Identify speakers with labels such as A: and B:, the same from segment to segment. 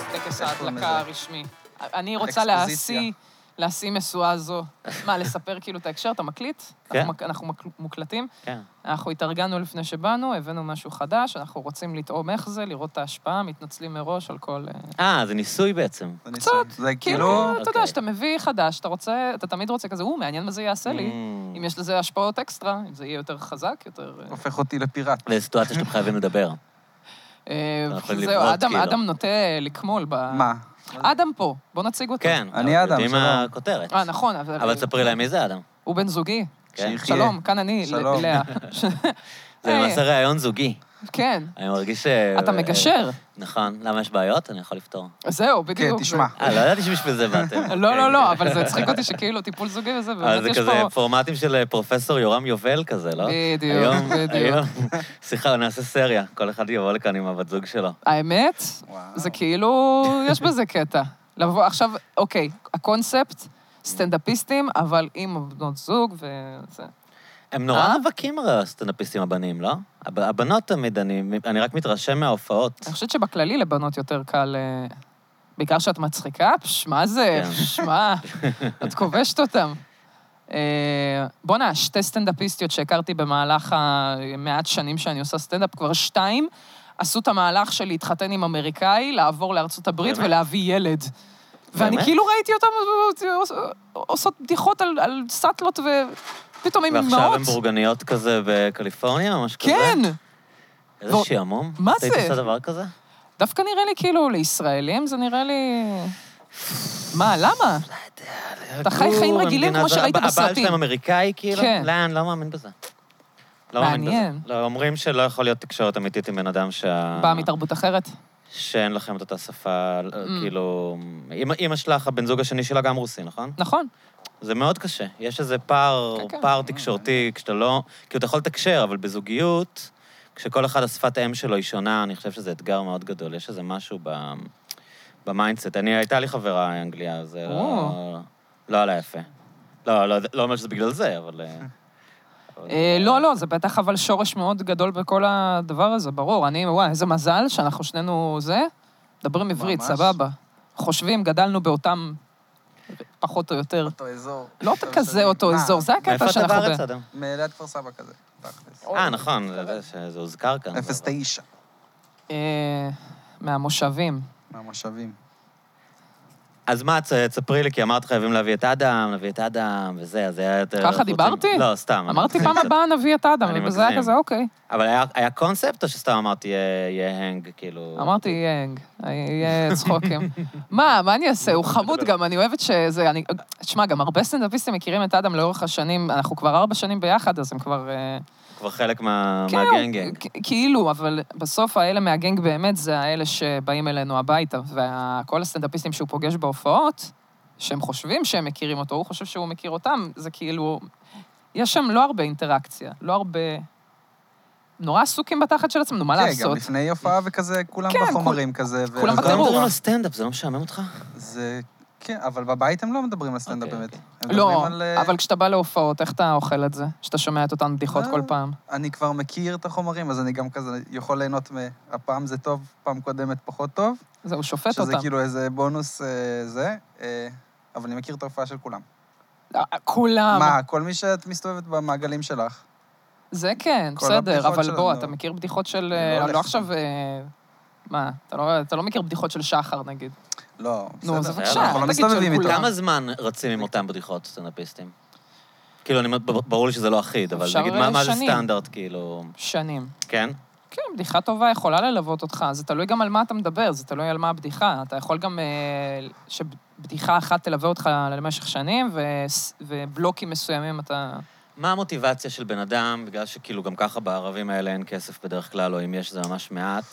A: קוראים
B: המחלקה
A: לזה?
B: הרשמי. אני רוצה
A: אקספוזיציה.
B: להשיא, להשיא משואה זו. מה, לספר כאילו את ההקשר? אתה מקליט?
C: כן.
B: אנחנו מק- אנחנו מק- מוקלטים.
C: כן.
B: אנחנו התארגנו לפני שבאנו, הבאנו משהו חדש, אנחנו רוצים לטעום איך זה, לראות את ההשפעה, מתנצלים מראש על כל... אה,
C: אה, זה ניסוי בעצם.
A: זה
B: קצת,
A: ניסוי. זה כאילו...
B: כאילו, אתה
C: אוקיי.
B: יודע, שאתה מביא חדש, אתה רוצה, אתה תמיד רוצה כזה, הוא, מעניין מה זה יעשה לי.
C: Mm.
B: אם יש לזה השפעות אקסטרה, אם זה יהיה יותר חזק, יותר... אה,
A: הופך אותי לפיראט.
C: וזו סיטואציה שאתם חייבים לדבר.
B: אה,
C: אנחנו יכולים
B: זהו,
C: לבנות,
B: אדם-
C: כאילו.
B: אדם נוטה לקמול ב...
A: מה?
B: אדם פה, בוא נציג אותו.
C: כן.
A: אני
C: אבל
A: אדם,
C: יודעים מה
A: שלום.
C: הכותרת.
B: אוקיי. אה, נכון, אבל...
C: אבל תספרי להם מי זה אדם.
B: הוא בן זוגי.
C: כן.
A: שיחיה.
B: שלום, כאן אני, ל-
A: שלום.
B: לאה.
C: זה
B: היי,
C: למעשה ראיון זוגי.
B: כן,
C: אני מרגיש ש...
B: אתה מגשר.
C: נכון. למה יש בעיות? אני יכול לפתור.
B: זהו, בדיוק.
A: כן, תשמע.
C: אה, לא ידעתי שבשביל זה באתם.
B: זה- לא, לא, לא, אבל זה הצחיק אותי שכאילו טיפול זוגי וזה,
C: אבל כן. אה, זה
B: באמת יש
C: כזה
B: פה...
C: פורמטים של אה, פרופסור יורם יובל כזה, לא?
B: בדיוק,
C: היום,
B: בדיוק.
C: היום, סליחה, נעשה סריה, כל אחד יבוא לכאן עם הבת זוג שלו.
B: האמת,
A: וואו.
B: זה כאילו, יש בזה קטע. לבוא עכשיו, אוקיי, הקונספט, סטנדאפיסטים, אבל עם בנות זוג וזה.
C: הם נורא
B: אה?
C: רווקים הרי הסטנדאפיסטים הבנים, לא? הב- הבנות תמיד, אני אני רק מתרשם מההופעות.
B: אני חושבת שבכללי לבנות יותר קל... אה, בעיקר שאת מצחיקה, פש, מה זה?
C: כן.
B: פש, מה? את כובשת אותם. אה, בואנה, שתי סטנדאפיסטיות שהכרתי במהלך המעט שנים שאני עושה סטנדאפ, כבר שתיים, עשו את המהלך של להתחתן עם אמריקאי, לעבור לארצות הברית
C: באמת?
B: ולהביא ילד. ואני
C: באמת?
B: כאילו ראיתי אותם אה, עושות בדיחות על, על סאטלות, ופתאום הם
C: ועכשיו
B: אימהות.
C: הן בורגניות כזה בקליפורניה, או משהו כזה?
B: כן!
C: איזה
B: בוא-
C: שעמום.
B: מה
C: היית
B: זה?
C: עושה דבר כזה?
B: דווקא נראה לי כאילו לישראלים, זה נראה לי... מה, למה? אתה חי
C: גור,
B: חיים רגילים
C: המדינה
B: כמו
C: זה-
B: שראית
C: הב- הבעל
B: בסרטים.
C: שלהם אמריקאי, כאילו?
B: כן.
C: לא, אני לא מאמין בזה. לא מאמין בזה.
B: מעניין.
C: לא, אומרים שלא יכול להיות תקשורת אמיתית עם בן אדם שה...
B: בא מתרבות אחרת?
C: שאין לכם את אותה שפה,
B: Mm.
C: כאילו... אמא- אמא שלך, הבן זוג השני שלה גם רוסי, נכון?
B: נכון.
C: זה מאוד קשה. יש איזה פער,
B: כן, כן.
C: פער תקשורתי, כשאתה לא... כאילו, אתה יכול לתקשר, אבל בזוגיות, כשכל אחד השפת אם שלו היא שונה, אני חושב שזה אתגר מאוד גדול. יש איזה משהו ב... במיינדסט. אני, הייתה לי חברה אנגליה, זה
B: או.
C: לא... לא עלה יפה. לא, לא, לא אומר שזה בגלל זה, אבל... אה, אבל-
B: אה, לא, לא, זה בטח אבל שורש מאוד גדול בכל הדבר הזה, ברור. אני, וואי, איזה מזל שאנחנו שנינו זה. מדברים עברית,
A: ממש.
B: סבבה. חושבים, גדלנו באותם, פחות או יותר.
A: אותו אזור.
B: לא
A: טוב,
B: כזה
A: שנים.
B: אותו
A: מה?
B: אזור, זה
C: מאיפה
B: הקטע
C: אה, אתה
B: שאנחנו...
C: בארץ,
B: ב-
C: אדם?
A: מאלעד כפר סבא כזה, תכלס.
C: אה, נכון, זה- זה- שזה הוזכר
B: אוקיי.
C: כאן. אבל-
A: 09,
B: אה, מהמושבים.
A: מהמושבים.
C: אז מה, צ- תספרי לי, כי אמרת חייבים להביא את אדם, נביא את אדם, וזה, אז היה... יותר-
B: ככה
C: אנחנו
B: דיברתי?
C: רוצים- לא, סתם. אני
B: אמרתי
C: מגזים
B: פעם
C: קצת.
B: הבאה נביא את אדם,
C: אני
B: וזה היה
C: מגזים.
B: כזה, אוקיי.
C: אבל היה, היה קונספט, או שסתם אמרתי, יהיה, יהיה הנג, כאילו...
B: אמרתי, יהיה הנג, יהיה צחוקים. מה, מה אני אעשה? הוא חמוד גם, אני אוהבת שזה... אני- תשמע, גם הרבה סטנדאפיסטים מכירים את אדם לאורך השנים, אנחנו כבר ארבע שנים ביחד, אז הם כבר... אה,
C: כבר חלק מה,
B: כן,
C: מהגנגנג.
B: כ- כאילו, אבל בסוף האלה מהגנג באמת זה האלה שבאים אלינו הביתה, וכל הסטנדאפיסטים שהוא פוגש בהופעות, שהם חושבים שהם מכירים אותו, הוא חושב שהוא מכיר אותם, זה כאילו... יש שם לא הרבה אינטראקציה, לא הרבה... נורא עסוקים בתחת של עצמנו, מה
A: כן, גם
B: לעשות?
A: לפני הופעה וכזה, כולם
B: כן,
A: בחומרים כזה.
B: כולם
A: ו- זה
C: כולם
B: בטירוף.
C: מדברים
A: נורא.
C: על סטנדאפ, זה לא משעמם אותך?
A: זה... כן, אבל בבית הם לא מדברים על סטנדאפ
C: אוקיי,
A: באמת.
C: אוקיי.
A: הם מדברים
B: לא,
A: על, אה,
B: אבל כשאתה בא להופעות, איך אתה אוכל את זה? שאתה שומע את אותן בדיחות
A: לא.
B: כל פעם.
A: אני כבר מכיר את החומרים, אז אני גם כזה יכול ליהנות מ... הפעם זה טוב, פעם קודמת פחות טוב.
B: זהו, שופט
A: שזה
B: אותם.
A: כאילו איזה בונוס אה, זה, אה, אבל אני מכיר את ההופעה של כולם.
B: אה, כולם.
A: מה, כל מי שאת מסתובבת במעגלים שלך.
B: זה כן,
A: כל
B: בסדר,
A: הבדיחות
B: אבל
A: שלנו.
B: בוא, אתה מכיר בדיחות של...
A: אני לא
B: אה,
A: הולך
B: לא
A: שם.
B: עכשיו... אה, מה, אתה לא- אתה לא מכיר בדיחות של שחר, נגיד.
A: לא, בסדר.
B: נו, אז
C: בסדר,
B: בבקשה,
A: אנחנו
B: אל
A: לא
B: תגיד
A: מסתובבים
B: של
A: איתו.
B: כולם.
C: כמה זמן רצים עם אותם בדיחות סטנדאפיסטים? כאילו, אני, אומר, ברור לי שזה לא אחיד, אבל
B: אפשר
C: נגיד, מה, מה זה
B: שנים.
C: סטנדרט, כאילו...
B: שנים.
C: כן?
B: כן, בדיחה טובה יכולה ללוות אותך, זה תלוי גם על מה אתה מדבר, זה תלוי על מה הבדיחה. אתה יכול גם אה, שבדיחה אחת תלווה אותך למשך שנים, וס- ובלוקים מסוימים אתה...
C: מה המוטיבציה של בן אדם, בגלל שכאילו גם ככה בערבים האלה אין כסף בדרך כלל, או אם יש זה ממש מעט,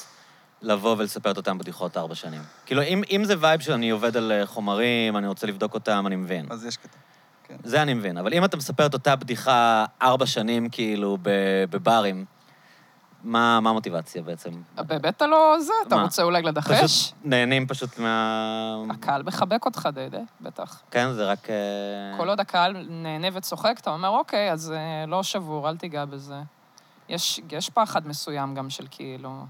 C: לבוא ולספר את אותן בדיחות ארבע שנים? כאילו, אם, אם זה וייב שאני עובד על אה, חומרים, אני רוצה לבדוק אותם, אני מבין.
A: אז יש קטע.
C: זה אני מבין, אבל אם אתה מספר את אותה בדיחה ארבע שנים, כאילו, ב- בברים, מה מה המוטיבציה בעצם?
B: באמת אתה לא זה, אתה
C: מה?
B: רוצה אולי לדחש?
C: פשוט נהנים פשוט מה...
B: הקהל מחבק אותך די, די, בטח.
C: כן, זה רק... אה,
B: כל עוד הקהל נהנה וצוחק, אתה אומר, אוקיי, אז אה, לא שבור, אל תיגע בזה. יש, יש פחד מסוים גם של כאילו...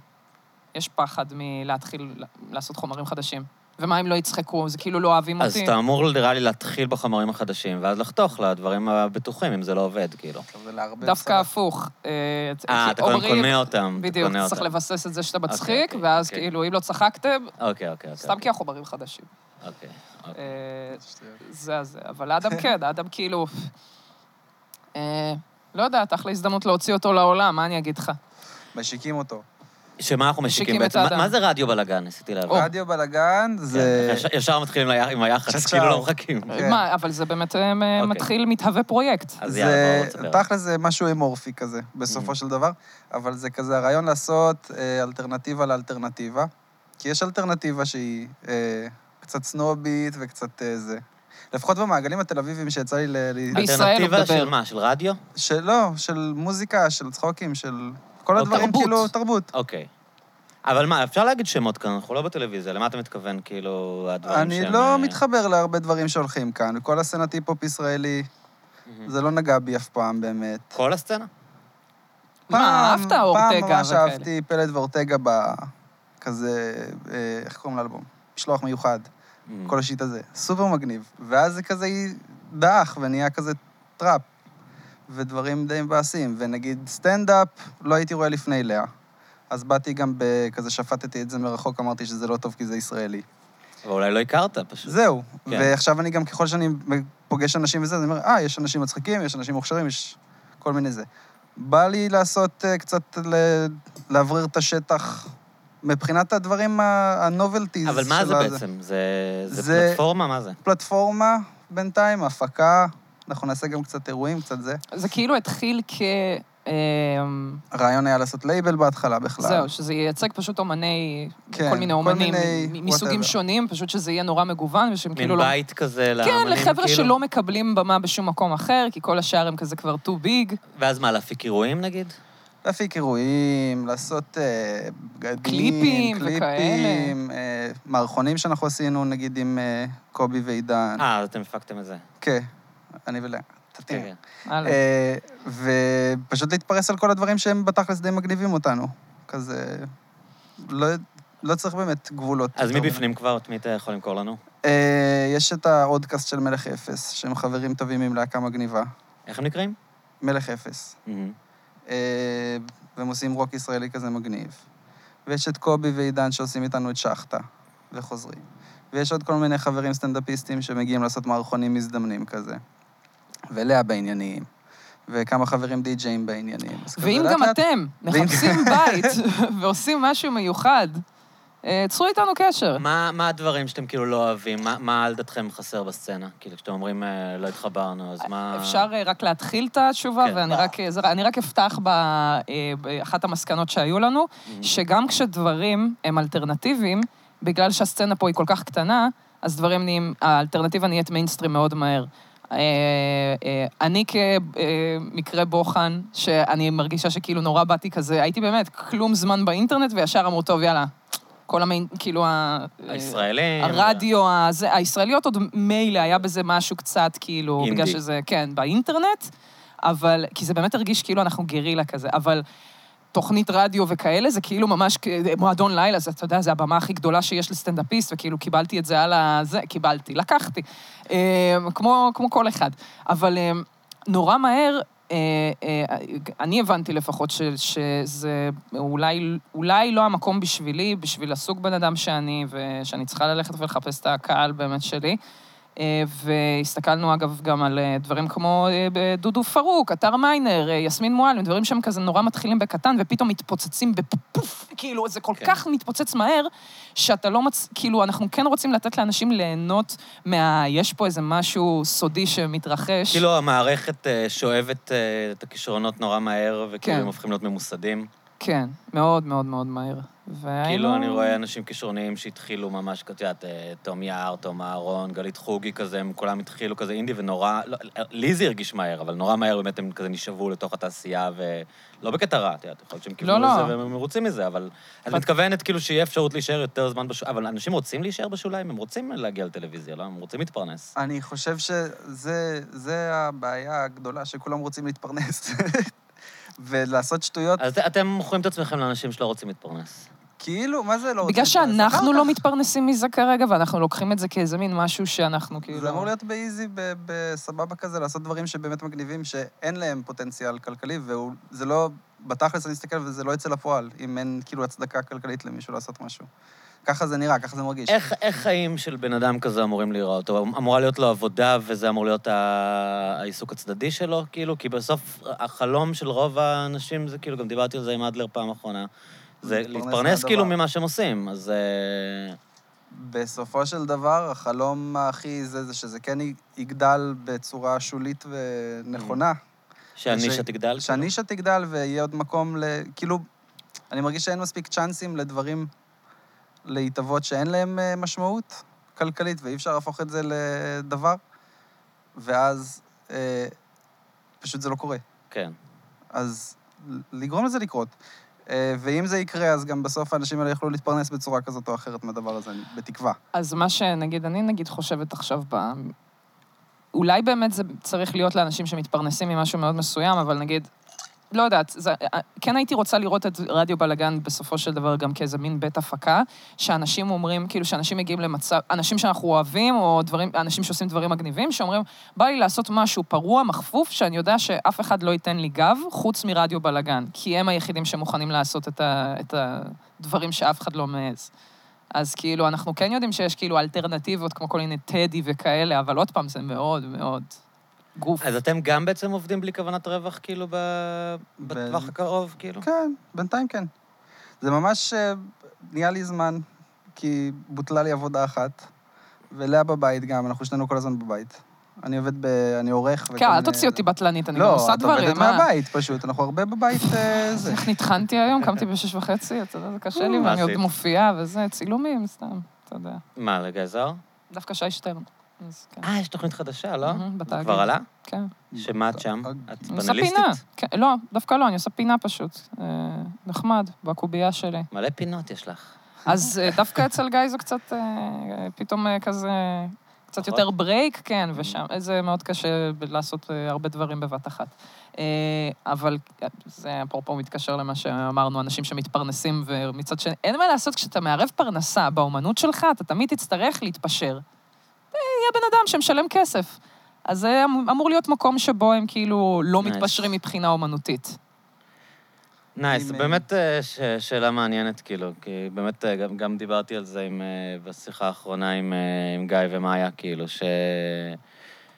B: יש פחד מלהתחיל לעשות חומרים חדשים. ומה אם לא יצחקו? זה כאילו לא אוהבים
C: אז
B: אותי.
C: אתה אמור, נראה לי, להתחיל בחומרים החדשים, ואז לחתוך לדברים הבטוחים, אם זה לא עובד, כאילו.
A: עכשיו זה לערבב
B: דווקא
A: סלט.
B: הפוך. אה,
C: אה, אתה קודם
B: אומרים-
C: קונה אותם. אתה
B: בדיוק,
C: קונה
B: אתה צריך
C: אותם.
B: לבסס את זה שאתה
C: אוקיי,
B: מצחיק,
C: אוקיי,
B: ואז
C: אוקיי.
B: כאילו, אם לא צחקתם,
C: אוקיי, אוקיי. אוקיי,
B: סתם כי החומרים חדשים.
C: אוקיי. אוקיי.
B: אה,
A: שטויות.
B: זה הזה. אבל אדם כן, אדם כאילו... אה, לא יודעת, אחלה הזדמנות להוציא אותו לעולם, מה אני אגיד לך?
A: משיקים אותו.
C: שמה אנחנו
B: משיקים
C: משיקים
B: את
C: בעצם? מה-
B: האדם.
C: מה זה רדיו בלאגן? ניסיתי להבין.
A: רדיו בלאגן זה...
C: כן, ישר- ישר מתחילים ל- עם היח"צ,
A: שצ"פ.
C: כאילו לא מחכים.
A: כן.
B: מה, אבל זה באמת אה,
C: אוקיי.
B: מתחיל, מתהווה פרויקט.
C: אז יאללה, בואו
A: זה,
C: תספר.
A: תכל'ס זה משהו אמורפי כזה, בסופו
C: Mm.
A: של דבר, אבל זה כזה הרעיון לעשות אה, אלטרנטיבה לאלטרנטיבה, כי יש אלטרנטיבה שהיא אה, קצת סנובית וקצת אה, זה. לפחות במעגלים התל אביביים שיצא לי ל... ל-
B: בישראל הוא
C: אלטרנטיבה
B: מדבר.
C: של מה? של רדיו?
A: שלא, של מוזיקה, של צחוקים, של כל
C: לא,
A: הדברים,
B: תרבות.
A: כאילו, תרבות.
C: אוקיי. אבל מה, אפשר להגיד שמות כאן, אנחנו לא בטלוויזיה, למה אתה מתכוון, כאילו, הדברים שהם...
A: אני לא
C: אה,
A: מתחבר להרבה דברים שהולכים כאן, כל הסצנת היפ-הופ ישראלי,
C: מהמם.
A: זה לא נגע בי אף פעם באמת.
C: כל הסצנה?
B: מה, אהבת
A: פעם
B: אורטגה
A: ממש
B: וכאלה?
A: אהבתי פלד ואורטגה ב... כזה, אה, איך קוראים לאלבום? משלוח מיוחד,
C: Mm.
A: כל השיט הזה. סופר מגניב. ואז זה כזה דעך ונהיה כזה טראפ. ודברים די מבאסים. ונגיד סטנדאפ, לא הייתי רואה לפני לאה. אז באתי גם בכזה, שפטתי את זה מרחוק, אמרתי שזה לא טוב כי זה ישראלי.
C: אבל אולי לא הכרת פשוט.
A: זהו.
C: כן.
A: ועכשיו אני גם, ככל שאני פוגש אנשים וזה, אני אומר, אה, יש אנשים מצחיקים, יש אנשים מוכשרים, יש כל מיני זה. בא לי לעשות אה, קצת, ל- לאוורר את השטח מבחינת הדברים הנובלטיז.
C: אבל מה זה בעצם? זה זה
A: זה-
C: פלטפורמה? מה זה?
A: פלטפורמה בינתיים, הפקה, אנחנו נעשה גם קצת אירועים, קצת זה.
B: זה כאילו התחיל כ... אמ,
A: הרעיון היה לעשות לייבל בהתחלה בכלל.
B: זהו, שזה ייצג פשוט אומני,
A: כן,
B: כל מיני
A: כל
B: אומנים,
A: מיני
B: מ- מסוגים
A: whatever.
B: שונים, פשוט שזה יהיה נורא מגוון, ושהם כאילו
C: מין
B: לא...
C: בית כזה לאמנים,
B: כן,
C: כאילו?
B: לחבר'ה שלא מקבלים במה בשום מקום אחר, כי כל השאר הם כזה כבר too big.
C: ואז מה, להפיק אירועים נגיד?
A: להפיק אירועים, לעשות אה, בגדים,
B: קליפים
A: קליפים, אה, מערכונים שאנחנו עשינו, נגיד עם אה, קובי ועידן.
C: אה, אז אתם הפקתם את זה.
A: כן, אני ולאה. תתאים.
C: כן.
B: הלאה.
A: אה, ופשוט להתפרס על כל הדברים שהם בתכלס די מגניבים אותנו. כזה... לא, לא צריך באמת גבולות.
C: אז מי
A: יותר מדי.
C: בפנים כבר? את מי אתה יכול למכור לנו?
A: אה, יש את האודקאסט של מלך אפס, שהם חברים טובים עם להקה מגניבה.
C: איך הם נקראים?
A: מלך אפס. אה, והם עושים רוק ישראלי כזה מגניב. ויש את קובי ועידן שעושים איתנו את שחטה, וחוזרים. ויש עוד כל מיני חברים סטנדאפיסטים שמגיעים לעשות מערכונים מזדמנים כזה. ולאה בעניינים, וכמה חברים די-ג'אים בעניינים. אז כזה
B: ואם
A: לאט
B: גם
A: לאט-
B: אתם מחפשים בית ועושים משהו מיוחד, אה, צרו איתנו קשר.
C: מה מה הדברים שאתם כאילו לא אוהבים? מה- מה על דתכם חסר בסצנה? כאילו, כשאתם אומרים אה, לא התחברנו, אז מה...
B: אפשר אה, רק להתחיל את התשובה,
C: כן.
B: ואני רק, אה, זה- אני רק אפתח ב- אה, באחת המסקנות שהיו לנו,
C: Mm-hmm.
B: שגם כשדברים הם אלטרנטיביים, בגלל שהסצנה פה היא כל כך קטנה, אז דברים נהיים, האלטרנטיבה נהיית מיינסטרים מאוד מהר. אה, אה, אני כמקרה בוחן, שאני מרגישה שכאילו נורא באתי כזה, הייתי באמת כלום זמן באינטרנט, וישר אמרו, טוב, יאללה. כל המיין, כאילו ה...
C: הישראלים...
B: אה, הרדיו, הזה, הישראליות עוד מילא, היה בזה משהו קצת כאילו,
C: אינדי.
B: בגלל שזה, כן, באינטרנט, אבל, כי זה באמת הרגיש כאילו אנחנו גרילה כזה, אבל תוכנית רדיו וכאלה, זה כאילו ממש כ- מועדון לילה, זה, אתה יודע, זה הבמה הכי גדולה שיש לסטנדאפיסט, וכאילו קיבלתי את זה על ה... זה, קיבלתי, לקחתי, אה, כמו, כמו כל אחד. אבל אה, נורא מהר, אה, אה, אני הבנתי לפחות ש, שזה אולי, אולי לא המקום בשבילי, בשביל הסוג בן אדם שאני, ושאני צריכה ללכת ולחפש את הקהל באמת שלי. אה, והסתכלנו, אגב, גם על אה, דברים כמו אה, ב- דודו פרוק, אתר מיינר, אה, יסמין מועלם, דברים שהם כזה נורא מתחילים בקטן ופתאום מתפוצצים בפוף, כאילו, זה כל
C: כן.
B: כך מתפוצץ מהר, שאתה לא מצ... כאילו, אנחנו כן רוצים לתת לאנשים ליהנות מה... יש פה איזה משהו סודי שמתרחש.
C: כאילו, המערכת אה, שואבת אה, את הכישרונות נורא מהר, וכאילו
B: כן.
C: הם הופכים להיות ממוסדים.
B: כן, מאוד מאוד מאוד מהר. והיינו...
C: כאילו, אני רואה אנשים כישרוניים שהתחילו ממש, את יודעת, אה, תום יער, תום אהרון, גלית חוגי כזה, הם כולם התחילו כזה אינדי, ונורא, לא, לי זה הרגיש מהר, אבל נורא מהר באמת הם כזה נשאבו לתוך התעשייה, ולא בקטע רע, את יודעת, יכול להיות שהם קיבלו
B: לא.
C: את זה והם מרוצים מזה, אבל... את
B: אבל-
C: מתכוונת כאילו שיהיה אפשרות להישאר יותר זמן בשוליים, אבל אנשים רוצים להישאר בשוליים, הם רוצים להגיע לטלוויזיה, לא? הם רוצים להתפרנס.
A: אני חושב שזה זה הבעיה הגדולה, שכולם רוצים להתפרנס. ולעשות שטויות,
B: אה.
C: אז את- אתם מוכרים את עצמכם לאנשים שלא רוצים להתפרנס.
A: כאילו, מה זה לא רוצים
B: בגלל
A: להתפרנס? אחר
B: שאנחנו לא
A: כך.
B: מתפרנסים מזה כרגע, ואנחנו לוקחים את זה כאיזה מין משהו שאנחנו כאילו...
A: זה אמור להיות באיזי, ב- בסבבה כזה, לעשות דברים שבאמת מגניבים, שאין להם פוטנציאל כלכלי, וזה לא... בתכלס אני מסתכל וזה לא יצא לפועל, אם אין כאילו הצדקה כלכלית למישהו לעשות משהו. ככה זה נראה, ככה זה מרגיש.
C: איך, איך חיים של בן אדם כזה אמורים להיראות? או אמורה להיות לו עבודה וזה אמור להיות ה... העיסוק הצדדי שלו, כאילו? כי בסוף החלום של רוב האנשים זה כאילו, גם דיברתי על זה עם אדלר פעם אחרונה, זה
A: להתפרנס
C: להתפרנס כאילו
A: מהדבר.
C: ממה שהם עושים, אז... אה,
A: בסופו של דבר, החלום הכי זה, זה שזה כן יגדל בצורה שולית ונכונה.
C: שהנישה
A: ש-
C: תגדל? כאילו?
A: שהנישה תגדל ויהיה עוד מקום ל... כאילו, אני מרגיש שאין מספיק צ'אנסים לדברים להתהוות שאין להם אה, משמעות כלכלית, ואי אפשר להפוך את זה לדבר, ואז אה, פשוט זה לא קורה.
C: כן.
A: אז ל- לגרום לזה לקרות. אה, ואם זה יקרה, אז גם בסוף האנשים האלה יוכלו להתפרנס בצורה כזאת או אחרת מהדבר הזה, אני- בתקווה.
B: אז מה שנגיד, אני נגיד חושבת עכשיו ב... אולי באמת זה צריך להיות לאנשים שמתפרנסים ממשהו מאוד מסוים, אבל נגיד, לא יודעת, זה, כן הייתי רוצה לראות את רדיו בלגן בסופו של דבר גם כאיזה מין בית הפקה, שאנשים אומרים, כאילו שאנשים מגיעים למצב, אנשים שאנחנו אוהבים, או דברים, אנשים שעושים דברים מגניבים, שאומרים, בא לי לעשות משהו פרוע, מכפוף, שאני יודע שאף אחד לא ייתן לי גב, חוץ מרדיו בלגן, כי הם היחידים שמוכנים לעשות את, ה, את הדברים שאף אחד לא מעז. אז כאילו, אנחנו כן יודעים שיש כאילו אלטרנטיבות, כמו כל מיני טדי וכאלה, אבל עוד פעם, זה מאוד מאוד גוף.
C: אז אתם גם בעצם עובדים בלי כוונת רווח, כאילו, ב... בטווח הקרוב, כאילו?
A: כן, בינתיים כן. זה ממש אה, נהיה לי זמן, כי בוטלה לי עבודה אחת, ולאה בבית גם, אנחנו שנינו כל הזמן בבית. אני עובד ב... אני עורך וכל
B: כן, אל
A: מיני-
B: תוציא אותי בטלנית, אני גם
A: אה, לא,
B: עושה
A: את
B: דברים.
A: עובדת
B: מה?
A: מהבית פשוט, אנחנו הרבה בבית אה, זה.
B: איך נטחנתי היום? קמתי בשש וחצי, אתה יודע, זה קשה לי,
C: מה
B: ואני עוד
C: עשית?
B: מופיעה וזה, צילומים, סתם, אתה יודע.
C: מה, לגיא זוהר?
B: דווקא שי שטרן. אז כן.
C: כן. אה, יש תוכנית חדשה, לא?
B: מהמם,
C: זה
B: בתאגיד.
C: כבר עלה?
B: כן.
C: שמה את שם?
A: בתאגיד.
C: את
B: אני עושה
C: פנליסטית?
B: פינה. כן, לא, דווקא לא, אני עושה פינה פשוט. אה, נחמד, בקובייה שלי.
C: מלא פינות יש לך.
B: אז אה, דווקא אצל גיא זה קצת, אה, פתאום אה, כזה, קצת
C: נכון.
B: יותר ברייק, כן, ושם אה, זה מאוד קשה ב- לעשות אה, הרבה דברים בבת אחת. אה, אבל אה, זה אפרופו מתקשר למה שאמרנו, אנשים שמתפרנסים, ומצד שני, אין מה לעשות, כשאתה מערב פרנסה באומנות שלך, אתה תמיד תצטרך להתפשר. אה, יהיה בן אדם שמשלם כסף. אז זה אמ- אמור להיות מקום שבו הם כאילו לא
C: Nice.
B: מתפשרים מבחינה אומנותית.
C: נייס,
A: אם,
C: זו
A: אה,
C: באמת אה, ש- שאלה מעניינת, כאילו, כי באמת אה, גם- גם דיברתי על זה עם, אה, בשיחה האחרונה עם אה, עם גיא ומאיה, כאילו, ש...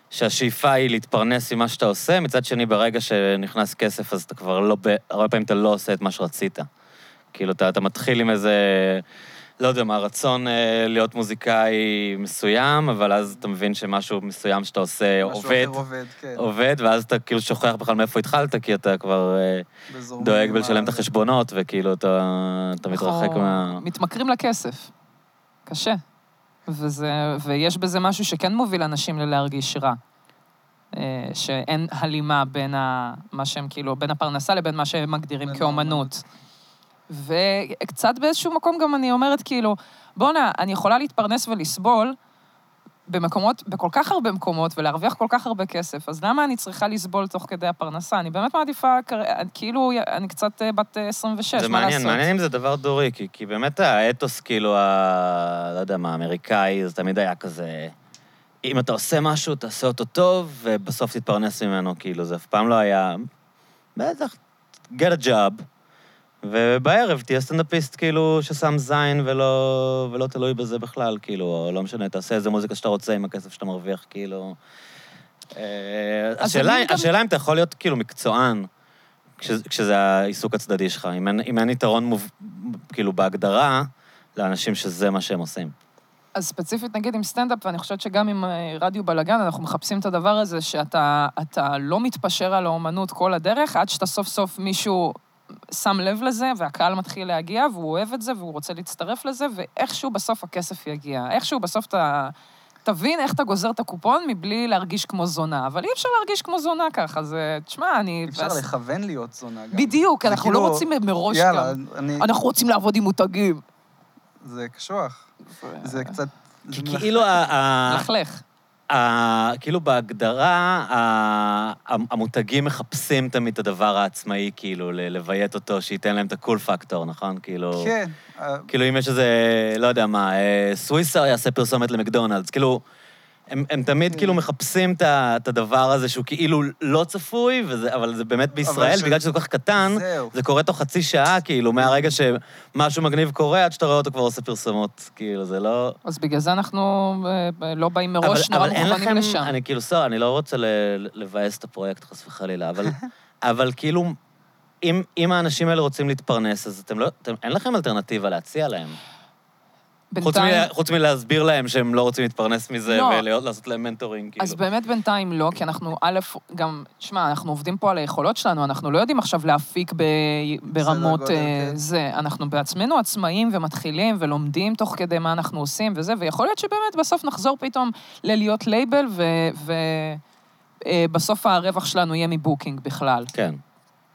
C: שהשאיפה היא להתפרנס עם מה שאתה עושה, מצד שני, ברגע שנכנס כסף, אז אתה כבר לא, ב... הרבה פעמים אתה לא עושה את מה שרצית. כאילו, אתה, אתה מתחיל עם איזה, לא יודע מה, רצון אה, להיות מוזיקאי מסוים, אבל אז אתה מבין שמשהו מסוים שאתה עושה עובד,
A: משהו אחר עובד, כן.
C: עובד, ואז אתה כאילו שוכח בכלל מאיפה התחלת, כי אתה כבר... אה,
A: בזורמים
C: דואג
A: עם
C: בלשלם את
A: ה-
C: החשבונות, וכאילו אתה, אתה מתרחק
B: אנחנו
C: מה...
B: מתמכרים לכסף. קשה. וזה, ויש בזה משהו שכן מוביל אנשים ללהרגיש רע. אה, שאין הלימה בין ה, מה שהם כאילו, בין הפרנסה לבין מה שהם מגדירים
A: בין
B: כאומנות. וקצת באיזשהו מקום גם אני אומרת כאילו, בואנה, אני יכולה להתפרנס ולסבול במקומות, בכל כך הרבה מקומות ולהרוויח כל כך הרבה כסף, אז למה אני צריכה לסבול תוך כדי הפרנסה? אני באמת מעדיפה, כר- כאילו, אני קצת אה, בת אה, 26, מה
C: זה
B: לעשות?
C: מעניין, מעניין אם זה דבר דורי, כי, כי באמת האתוס, כאילו, ה... לא יודע מה, האמריקאי, זה תמיד היה כזה... אם אתה עושה משהו, תעשה אותו טוב, ובסוף תתפרנס ממנו, כאילו, זה אף פעם לא היה... בטח, get a job, ובערב תהיה סטנדאפיסט, כאילו, ששם זין ולא, ולא תלוי בזה בכלל, כאילו, או לא משנה, תעשה איזה מוזיקה שאתה רוצה עם הכסף שאתה מרוויח, כאילו... אה,
B: אז
C: השאלה,
B: אני גם-
C: השאלה אם אתה יכול להיות כאילו מקצוען, כש, כשזה העיסוק הצדדי שלך, אם אין, אם אין יתרון מוב... כאילו בהגדרה לאנשים שזה מה שהם עושים.
B: אז ספציפית, נגיד עם סטנדאפ, ואני חושבת שגם עם אה, רדיו בלאגן, אנחנו מחפשים את הדבר הזה שאתה אתה לא מתפשר על האומנות כל הדרך, עד שאתה סוף סוף מישהו שם לב לזה, והקהל מתחיל להגיע, והוא אוהב את זה, והוא רוצה להצטרף לזה, ואיכשהו בסוף הכסף יגיע. איכשהו בסוף אתה... תבין איך אתה גוזר את הקופון מבלי להרגיש כמו זונה, אבל אי אפשר להרגיש כמו זונה ככה, זה... תשמע, אני...
A: אפשר לכוון להיות זונה גם.
B: בדיוק,
A: זה
B: אנחנו
A: כאילו-
B: לא רוצים מראש
A: יאללה,
B: גם.
A: אני...
B: אנחנו רוצים לעבוד עם מותגים.
A: זה קשוח. זה קצת...
C: כי
B: אה, נכון.
A: זה מלח-
C: כאילו ה... ה-
B: לכלך.
C: ה- כאילו בהגדרה, ה- המותגים מחפשים תמיד את הדבר העצמאי, כאילו, ל- לביית אותו, שייתן להם את הקול פקטור, נכון? כאילו...
A: כן, אה,
C: כאילו, אם יש איזה, לא יודע מה, אה, סוויסר יעשה פרסומת למקדונלדס, כאילו... הם, הם תמיד כאילו מחפשים את ה- את הדבר הזה שהוא כאילו לא צפוי, וזה, אבל זה באמת בישראל,
A: ש-
C: בגלל שזה כל כך
B: כן.
C: קטן,
A: זהו.
C: זה קורה תוך חצי שעה, כאילו, מהרגע שמשהו מגניב קורה, עד שאתה רואה אותו כבר עושה פרסומות. כאילו, זה לא...
B: אז בגלל זה אנחנו אה, ב- לא באים מראש
C: אבל-
B: נורא
C: אבל אין
B: מוכנים
C: לכם-
B: לשם.
C: אני כאילו, סליחה, אני לא רוצה ל- לבאס את הפרויקט, חס וחלילה, אבל, אבל כאילו, אם, אם האנשים האלה רוצים להתפרנס, אז אתם לא, אתם, אין לכם אלטרנטיבה להציע להם. חוץ,
B: בינתיים...
C: מ, חוץ מלהסביר להם שהם לא רוצים להתפרנס מזה
B: לא.
C: ולעשות להם מנטורינג, כאילו.
B: אז באמת בינתיים לא, כי אנחנו, א', גם, שמע, אנחנו עובדים פה על היכולות שלנו, אנחנו לא יודעים עכשיו להפיק ב, ברמות
A: גודל,
B: אה,
A: כן.
B: זה. אנחנו בעצמנו עצמאים ומתחילים ולומדים תוך כדי מה אנחנו עושים וזה, ויכול להיות שבאמת בסוף נחזור פתאום ללהיות לייבל, ובסוף אה, הרווח שלנו יהיה מבוקינג בכלל.
C: כן.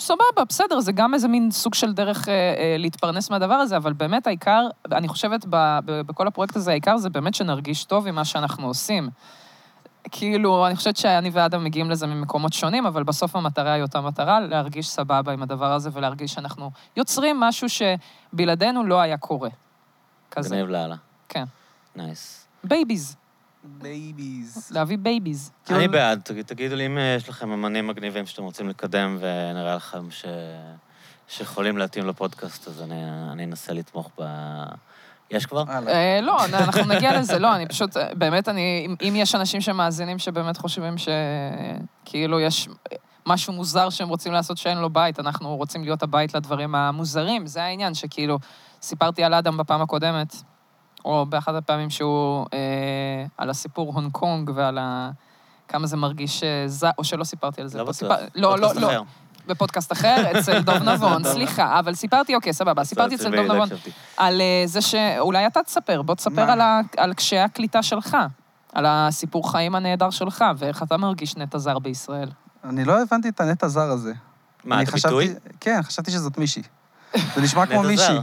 B: סבבה, בסדר, זה גם איזה מין סוג של דרך אה, אה, להתפרנס מהדבר הזה, אבל באמת העיקר, אני חושבת ב, ב, בכל הפרויקט הזה, העיקר זה באמת שנרגיש טוב עם מה שאנחנו עושים. כאילו, אני חושבת שאני ואדם מגיעים לזה ממקומות שונים, אבל בסוף המטרה היא אותה מטרה, להרגיש סבבה עם הדבר הזה ולהרגיש שאנחנו יוצרים משהו שבלעדינו לא היה קורה. כזה,
C: גניב לאללה.
B: כן.
C: נייס.
B: בייביז,
A: בייביז.
B: להביא בייביז.
C: אני
A: כאילו-
C: בעד, תגיד- תגידו לי אם אה, יש לכם אמנים מגניבים שאתם רוצים לקדם, ונראה לכם ש... שיכולים להתאים לפודקאסט, אז אני, אני אנסה לתמוך ב... יש כבר?
A: הלאה.
B: אה, לא, נ- אנחנו נגיע לזה, לא, אני פשוט, אה, באמת, אני, אם- אם יש אנשים שמאזינים שבאמת חושבים שכאילו יש אה, משהו מוזר שהם רוצים לעשות שאין לו בית, אנחנו רוצים להיות הבית לדברים המוזרים, זה העניין, שכאילו, סיפרתי על אדם בפעם הקודמת, או באחת הפעמים שהוא, אה, על הסיפור הונג קונג ועל ה... כמה זה מרגיש אה, ז... או שלא סיפרתי על זה.
C: לא
B: פה
C: בטוח.
B: סיפר- לא, לא,
C: פודקאסט
B: לא.
C: אחר. לא,
B: בפודקאסט אחר, אצל דוב נבון, סליחה, אבל סיפרתי, אוקיי, סבבה, סיפרתי אצל דוב
C: בעילה,
B: נבון
C: הקשבתי.
B: על אה, זה שאולי אתה תספר, בוא תספר
A: מה?
B: על, ה... על קשיי הקליטה שלך, על הסיפור חיים הנהדר שלך, ואיך אתה מרגיש נטע זר בישראל.
A: אני לא הבנתי את הנט הזר הזה.
C: מה,
A: אני
C: את
A: חשבתי-
C: הביטוי?
A: כן, חשבתי שזאת מישהי. זה נשמע כמו
C: נטע
A: מישהי.
C: זר.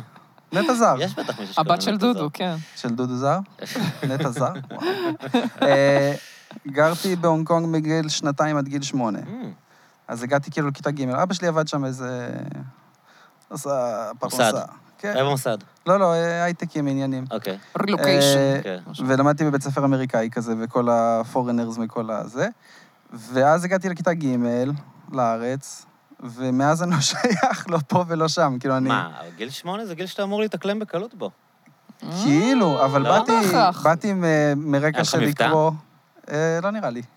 A: נטע זר.
C: יש בטח מישהו שקוראים
B: הבת של
C: לה כזאת.
B: דודו, כן.
A: של דודו זר? נטע זר? וואו. אה, גרתי בהונג קונג מגיל שנתיים עד גיל שמונה.
C: אמ,
A: אז הגעתי כאילו לכיתה ג', אבא שלי עבד שם איזה... עשה
C: מוסד. אה.
A: פרנסה. כן.
C: רבע מוסד,
A: לא, לא, אה, הייטקים עניינים.
C: אוקיי.
B: רילוקיישן.
A: אה,
C: כן, משהו.
A: ולמדתי בבית ספר אמריקאי כזה, וכל ה-foreigners מכל הזה. ואז הגעתי לכיתה ג' לארץ, ומאז אני לא שייך, לא פה ולא שם. כאילו, אני...
C: מה, גיל שמונה זה גיל שאתה אמור להתאקלם בקלות בו.
A: כאילו, אבל
C: לא
A: באתי,
B: בהכרח.
A: באתי עם, אה, מרקע
C: היה לך
A: של
C: מבטא?
A: לקרוא... אה, לא נראה לי.
B: אה,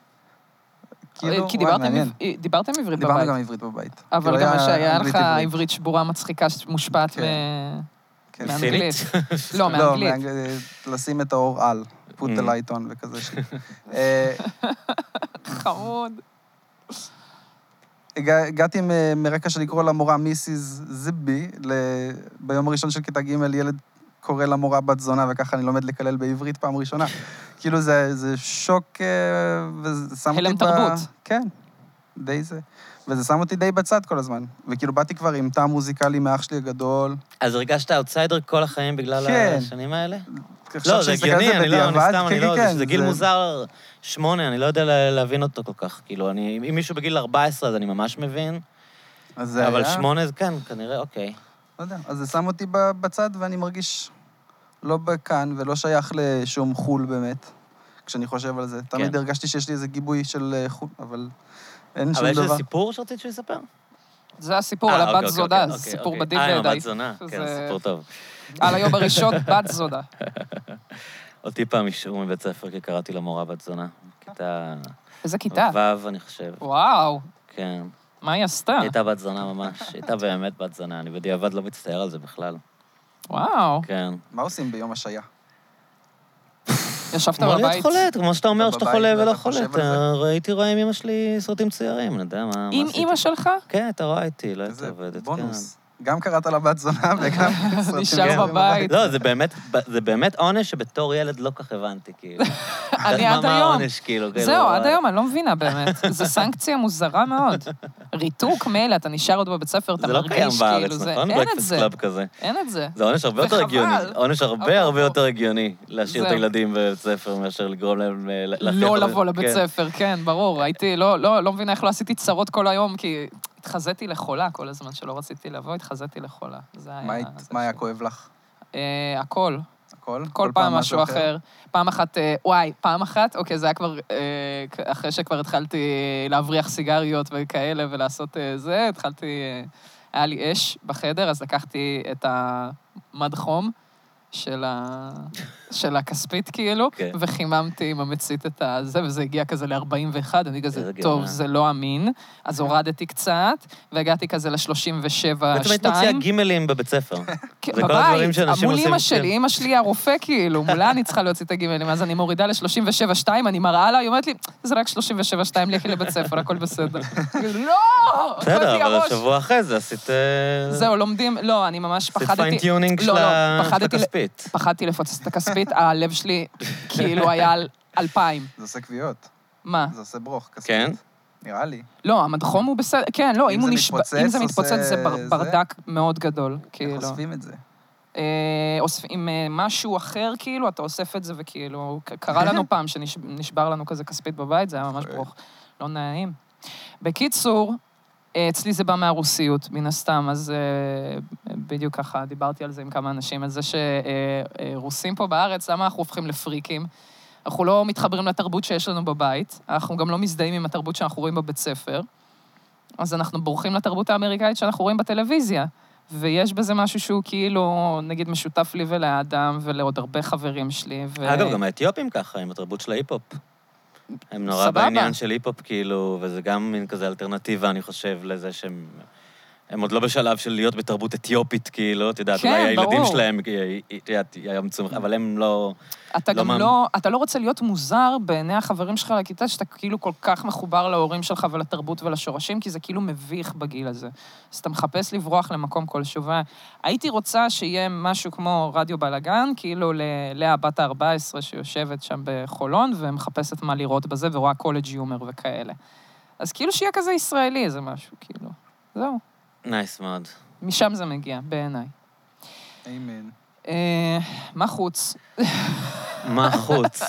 B: כי
A: כאילו, וואי,
B: דיברתם
A: מעניין.
B: עב- אה, דיברתם עברית
A: דיברנו
B: בבית.
A: גם עברית בבית.
B: אבל
A: כאילו,
B: גם
A: היה
B: שהיה
A: אנגלית
B: לך עברית שבורה מצחיקה שמושפעת
A: כן.
B: מ-
A: כן.
B: מאנגלית. לא,
A: לא,
B: מאנגלית.
A: מאנגלית, לשים את האור על, put the
C: Mm.
A: light on וכזה ש... אה,
B: חמוד.
A: הגע- הגעתי עם, אה, מרקע של לקרוא למורה מיסיס זיבי, ל- ביום הראשון של כיתה ג' ילד קורא למורה בת זונה, וככה אני לומד לקלל בעברית פעם ראשונה. כאילו זה, זה שוק, אה, וזה שם אותי
B: הלם תרבות.
A: כן, די זה. וזה שם אותי די בצד כל הזמן. וכאילו באתי כבר עם טעם מוזיקלי מאח שלי הגדול.
C: אז הרגשת אאוטסיידר כל החיים בגלל
A: כן.
C: השנים האלה?
A: עכשיו
C: לא, זה
A: שאני מסתכל על
C: הגיוני, אני לא, אני
A: בדיעבד,
C: סתם, אני
A: כן,
C: לא,
A: כן,
C: זה- זה גיל מוזר, שמונה, אני לא יודע לה- להבין אותו כל כך. כאילו, אני, אם מישהו בגיל 14, אז אני ממש מבין,
A: אז זה
C: אבל
A: היה-
C: שמונה זה כן, כנראה, אוקיי.
A: לא יודע, אז זה שם אותי ב- בצד, ואני מרגיש לא כאן ולא שייך לשום חו"ל באמת, כשאני חושב על
C: כן.
A: זה. תמיד הרגשתי שיש לי איזה גיבוי של אה, חו"ל, אבל אין
C: אבל
A: שום
C: יש איזה
A: דבר.
C: סיפור שרצית שהוא יספר?
B: זה הסיפור על
C: אה, אוקיי,
B: הבת
C: אוקיי,
B: זודה,
C: אוקיי,
B: זה סיפור
C: אוקיי.
B: בדין
C: אה, עם
B: בידיי.
C: הבת זונה, כן,
B: זה-
C: סיפור טוב.
B: על היום הראשון, בת זודה.
C: אותי פעם השעו מבית ספר כי קראתי למורה בת זונה. כיתה
B: איזה כיתה.
C: ו', אני חושב,
B: וואו,
C: כן.
B: מה היא עשתה?
C: היא הייתה בת זונה ממש, היא הייתה באמת בת זונה, אני בדיעבד לא מצטער על זה בכלל.
B: וואו.
C: כן.
A: מה עושים ביום השעיה?
B: ישבת
C: כמו להיות
B: בבית.
C: חולה, כמו שאתה אומר
A: אתה
C: שאתה
A: בבית
C: חולה
A: ואתה
C: ולא חולה.
A: חושב על
C: אתה- הייתי רואה עם אמא שלי סרטים ציירים, אני יודע מה... מה
B: עם
C: עשיתי.
B: אימא שלך?
C: כן, אתה רואה איתי, לא הייתה
A: איזה
C: עובדת. כן.
A: בונוס. גם קראת לה בת זונה וגם... כן. סרטים
B: נשאר
A: שעושים
B: בבית.
C: לא, זה באמת, זה באמת עונש שבתור ילד לא כך הבנתי, כאילו.
B: אני
C: מה-
B: עד
C: מה
B: היום.
C: העונש, כאילו? כאילו,
B: זהו, עד היום אני לא מבינה באמת. זו סנקציה מוזרה מאוד. ריתוק מילא, אתה נשאר עוד בבית ספר, אתה
C: זה לא קיים
B: מרגיש
C: בארץ,
B: כאילו זה...
C: נכון?
B: אין את
C: Breakfast
B: זה,
C: Club כזה.
B: אין את זה.
C: זה עונש הרבה יותר
B: וחבל.
C: הגיוני. עונש
B: אבל
C: הרבה הרבה
B: לא.
C: יותר הגיוני להשאיר את
B: זהו.
C: הילדים בבית ספר מאשר לגרום להם... אה, להכריח
B: לא
C: אותם-
B: לבוא לבית
C: כן.
B: ספר, כן, ברור. הייתי, לא- לא לא מבינה איך לא עשיתי צרות כל היום, כי התחזיתי לחולה כל הזמן שלא רציתי לבוא, התחזיתי לחולה. זה היה...
A: מה היית-
B: זה
A: מה היה
B: ש-
A: כואב לך?
B: אה, הכל.
A: הכל?
B: כל פעם משהו אחר. פעם אחת, אה, וואי, פעם אחת, אוקיי, זה היה כבר, אה, כ- אחרי שכבר התחלתי אה, להבריח סיגריות וכאלה ולעשות אה, זה, התחלתי, אה, היה לי אש בחדר, אז לקחתי את המד חום של, ה... של הכספית, כאילו,
C: כן.
B: וחיממתי עם המצית את הזה, וזה הגיע כזה ל-41, אני כזה,
C: איזה גאונה.
B: טוב, זה לא אמין, אז הורדתי קצת, והגעתי כזה ל-37-2.
C: בעצם היית מוציאה גימלים בבית ספר.
B: כן,
C: זה כל הדברים
B: בבית,
C: שאנשים
B: מול
C: עושים,
B: אימא
C: כן.
B: שלי, אימא שלי היא הרופא כאילו, מולה אני צריכה להוציא את הגימלים, אז אני מורידה ל-37.2, אני מראה לה, היא אומרת לי, זה רק 37.2, לכי לבית ספר, הכל בסדר. לא!
C: בסדר,
B: אכלתי
C: אבל
B: הראש.
C: השבוע אחרי זה עשית... אה,
B: זהו, לומדים, לא, אני ממש
C: עשית
B: פחדתי.
C: פיינטיונינג
B: לא,
C: של
B: לא,
C: ה- של
B: פחדתי ל-
C: הכספית.
B: פחדתי לפוצץ את הכספית, הלב שלי כאילו היה על אלפיים.
A: זה עושה כוויות,
B: מה?
A: זה עושה ברוך. כספית.
C: כן?
A: נראה לי.
B: לא, המדחום הוא בסדר, כן, לא,
A: אם
B: אם הוא
A: זה
B: נשב...
A: מתפוצץ,
B: אם זה
A: עושה
B: מתפוצץ זה בר-
A: זה?
B: ברדק מאוד גדול, כאילו.
A: איך אוספים את זה?
B: אה, אוספ... עם אה, משהו אחר, כאילו, אתה אוסף את זה, וכאילו, ק- קרה לנו פעם שנשבר לנו כזה כספית בבית, זה היה ממש
A: אוי.
B: ברוך. לא נעים. בקיצור, אה, אצלי זה בא מהרוסיות, מן הסתם, אז אה, בדיוק ככה דיברתי על זה עם כמה אנשים, על זה שרוסים פה בארץ, למה אנחנו הופכים לפריקים? אנחנו לא מתחברים לתרבות שיש לנו בבית, אנחנו גם לא מזדהים עם התרבות שאנחנו רואים בבית ספר, אז אנחנו בורחים לתרבות האמריקאית שאנחנו רואים בטלוויזיה. ויש בזה משהו שהוא כאילו, נגיד, משותף לי ולאדם ולעוד הרבה חברים שלי. ו...
C: אגב, גם האתיופים ככה, עם התרבות של ההיפ-הופ. הם נורא
B: סבבה.
C: בעניין של היפ-הופ, כאילו, וזה גם מין כזה אלטרנטיבה, אני חושב, לזה שהם... הם עוד לא בשלב של להיות בתרבות אתיופית, כאילו, את יודעת,
B: כן,
C: אולי הילדים
B: ברור.
C: שלהם אה, י- י- י- יאמצו, אבל הם לא...
B: אתה
C: לא
B: גם
C: מאמין.
B: לא, אתה לא רוצה להיות מוזר בעיני החברים שלך לכיתה, שאתה כאילו כל כך מחובר להורים שלך ולתרבות ולשורשים, כי זה כאילו מביך בגיל הזה. אז אתה מחפש לברוח למקום כלשהו. והייתי רוצה שיהיה משהו כמו רדיו בלאגן, כאילו ללאה בת ה-14 שיושבת שם בחולון ומחפשת מה לראות בזה ורואה קולג' יומר וכאלה. אז כאילו שיהיה כזה ישראלי איזה משהו, כאילו. זהו.
C: נייס מאוד.
B: משם זה מגיע, בעיניי.
A: איימן.
B: אה, מה חוץ?
C: מה חוץ?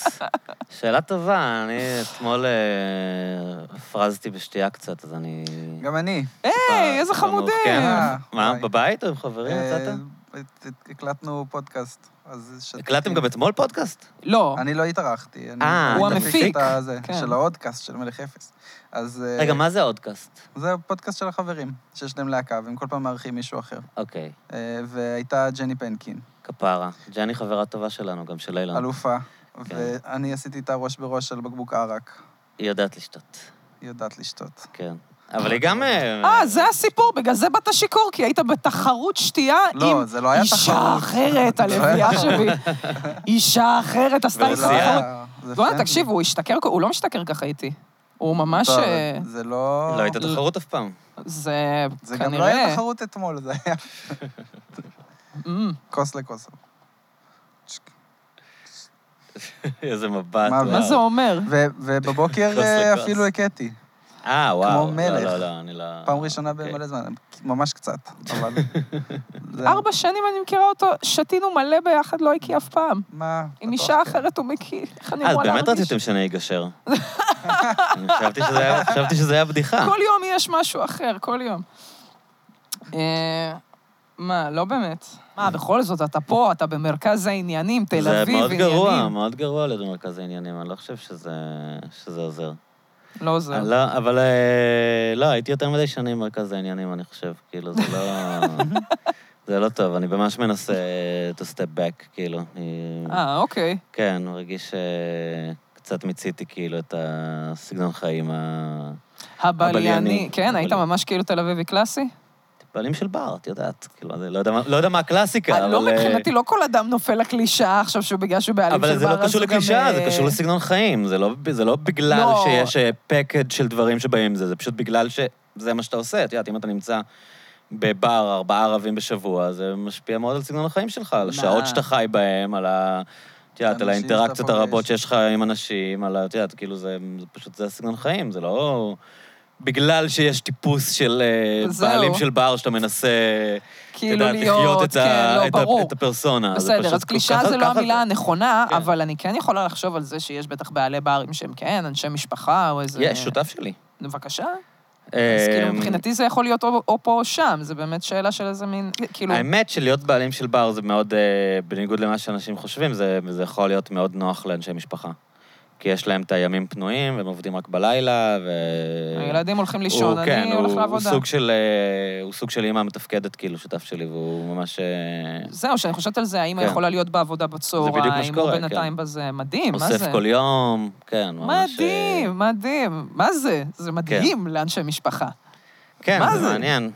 C: שאלה טובה, אני אתמול אה, הפרזתי בשתייה קצת, אז אני...
A: גם אני.
B: היי, איזה
C: טיפה לא
B: חמודים. אה,
C: מעודכן. מה,
A: וואי.
C: בבית או עם חברים יצאת?
A: אה, הת- הת- הקלטנו פודקאסט, אז... כן. שתיתי.
C: הקלטתם גם אתמול פודקאסט?
B: לא.
A: אני לא התארחתי. אני-
C: אה,
A: אני
B: הוא
A: תפיק
B: המפיק.
A: את הזה,
B: כן.
A: של ההודקאסט של מלך אפס. אז... אה,
C: רגע, מה זה אודקאסט?
A: זה הפודקאסט של החברים, שיש להם להקה, והם כל פעם מארחים מישהו אחר.
C: אוקיי,
A: אה, והייתה ג'ני פנקין,
C: כפרה. ג'ני חברה טובה שלנו, גם של אילן.
A: אלופה,
C: כן.
A: ואני עשיתי איתה ראש בראש של בקבוק ערק.
C: היא יודעת לשתות,
A: היא יודעת לשתות.
C: כן. אבל היא גם...
B: אה, זה הסיפור, בגלל זה באת שיכור, כי היית בתחרות שתייה
A: לא,
B: עם
A: זה לא היה
B: אישה
A: תחרות. לא
B: אחרת, הלוויה שלי. אישה אחרת עשתה לי
A: זה לא
C: ורוסיה.
B: תחרות.
A: היה- זה
B: בוא'נה,
A: פרנדלי.
B: תקשיב, הוא השתכר, הוא לא משתכר ככה איתי. הוא ממש...
A: טוב,
B: אה,
A: זה לא...
C: לא הייתה תחרות אף פעם.
B: זה
A: זה גם לא היה
B: כנראה...
A: תחרות אתמול, זה היה
B: אמ,
A: כוס לכוס.
C: איזה מבט.
A: מה-
C: וואו.
B: מה זה אומר?
A: ו- ובבוקר
C: כוס
A: אה,
C: לכוס.
A: אפילו הכיתי.
C: אה, וואו.
A: כמו מלך.
C: לא, לא, לא, אני לא...
A: פעם ראשונה
C: אוקיי.
A: במלא זמן, ממש קצת, אבל... זה-
B: ארבע שנים אני מכירה אותו, שתינו מלא ביחד, לא הקיא אף פעם.
A: מה?
B: עם
A: בטוח,
B: אישה
A: כן.
B: אחרת הוא מקיא. איך אני
C: אה, אז
B: אמורה
C: באמת
B: להרגיש?
C: רציתם שאני אגשר. אני חשבתי שזה היה- חשבתי שזה היה בדיחה.
B: כל יום יש משהו אחר, כל יום. אה, מה, לא באמת. מה, בכל זאת, אתה פה, אתה במרכז העניינים, תל אביב,
C: זה
B: עניינים.
C: מאוד גרוע, מאוד גרוע להיות במרכז העניינים, אני לא חושב שזה שזה עוזר.
B: לא עוזר.
C: אני לא, אבל אה, לא, הייתי יותר מדי שנים במרכז העניינים, אני חושב, כאילו, זה לא... זה לא טוב, אני ממש מנסה אה, to step back, כאילו. אני-
B: אה, אוקיי.
C: כן, הוא הרגיש שקצת מיציתי כאילו את הסגנון חיים ה... הבלייני.
B: הבלייני. כן, היית
C: הבלייני.
B: ממש כאילו תל אביבי קלאסי?
C: בעלים של בר, את יודעת. כאילו, אני לא יודע מה- לא יודע מה הקלאסיקה,
B: אה,
C: אבל...
B: לא,
C: אה,
B: מבחינתי, לא כל אדם נופל לקלישאה עכשיו שהוא בגלל שהוא בעלים של בר,
C: אבל זה לא
B: אז
C: קשור
B: הוא גם,
C: לקלישאה, זה
B: אה,
C: קשור לסגנון חיים. זה לא- זה לא בגלל
B: לא.
C: שיש פקד של דברים שבאים עם זה, זה פשוט בגלל שזה מה שאתה עושה. את יודעת, אם אתה נמצא בבר ארבעה ערבים בשבוע, זה משפיע מאוד על סגנון החיים שלך, על
B: מה?
C: השעות שאתה חי בהם, על ה... את יודעת, על
A: האנשים שאתה
C: האינטראקציות הרבות
A: פוגש.
C: שיש לך עם אנשים, על ה... את יודעת, כאילו, זה זה פשוט, זה הסגנון חיים, זה לא... בגלל שיש טיפוס של אה,
B: זהו.
C: בעלים של בר שאתה מנסה, את
B: כאילו
C: יודעת, לחיות
B: להיות,
C: את
B: כן,
C: ה-
B: לא,
C: את ה-
B: ברור.
C: את הפרסונה. זה פשוט
B: בסדר, אז
C: כל-
B: קלישאה
C: ככה-
B: זה לא
C: ככה
B: המילה הנכונה,
C: כן.
B: אבל אני כן יכולה לחשוב על זה שיש בטח בעלי ברים שהם כן, אנשי משפחה או איזה...
C: יש, שותף שלי.
B: בבקשה. אז
C: אה,
B: כאילו, מבחינתי זה יכול להיות או או פה או שם, זה באמת שאלה של איזה מין... כאילו,
C: האמת שלהיות בעלים של בר זה מאוד, אה, בניגוד למה שאנשים חושבים, זה, זה יכול להיות מאוד נוח לאנשי משפחה. כי יש להם את הימים פנויים, והם עובדים רק בלילה, ו...
B: הילדים הולכים
C: הוא-
B: לישון,
C: כן,
B: אני
C: הוא-
B: הולך לעבודה.
C: הוא סוג של, אה, הוא סוג של אימא מתפקדת, כאילו, שותף שלי, והוא ממש... אה,
B: זהו, שאני חושבת על זה, האמא
C: כן.
B: יכולה להיות בעבודה
C: בדיוק מה
B: בצהריים, הוא
C: שקורה, כן.
B: בינתיים בזה, מדהים, מה
C: אוסף
B: זה?
C: כל יום, כן, הוא ממש... אה,
B: מדהים, מדהים, מה זה? זה מדהים לאנשי משפחה.
C: כן,
B: מה
C: זה
B: זה?
C: מעניין.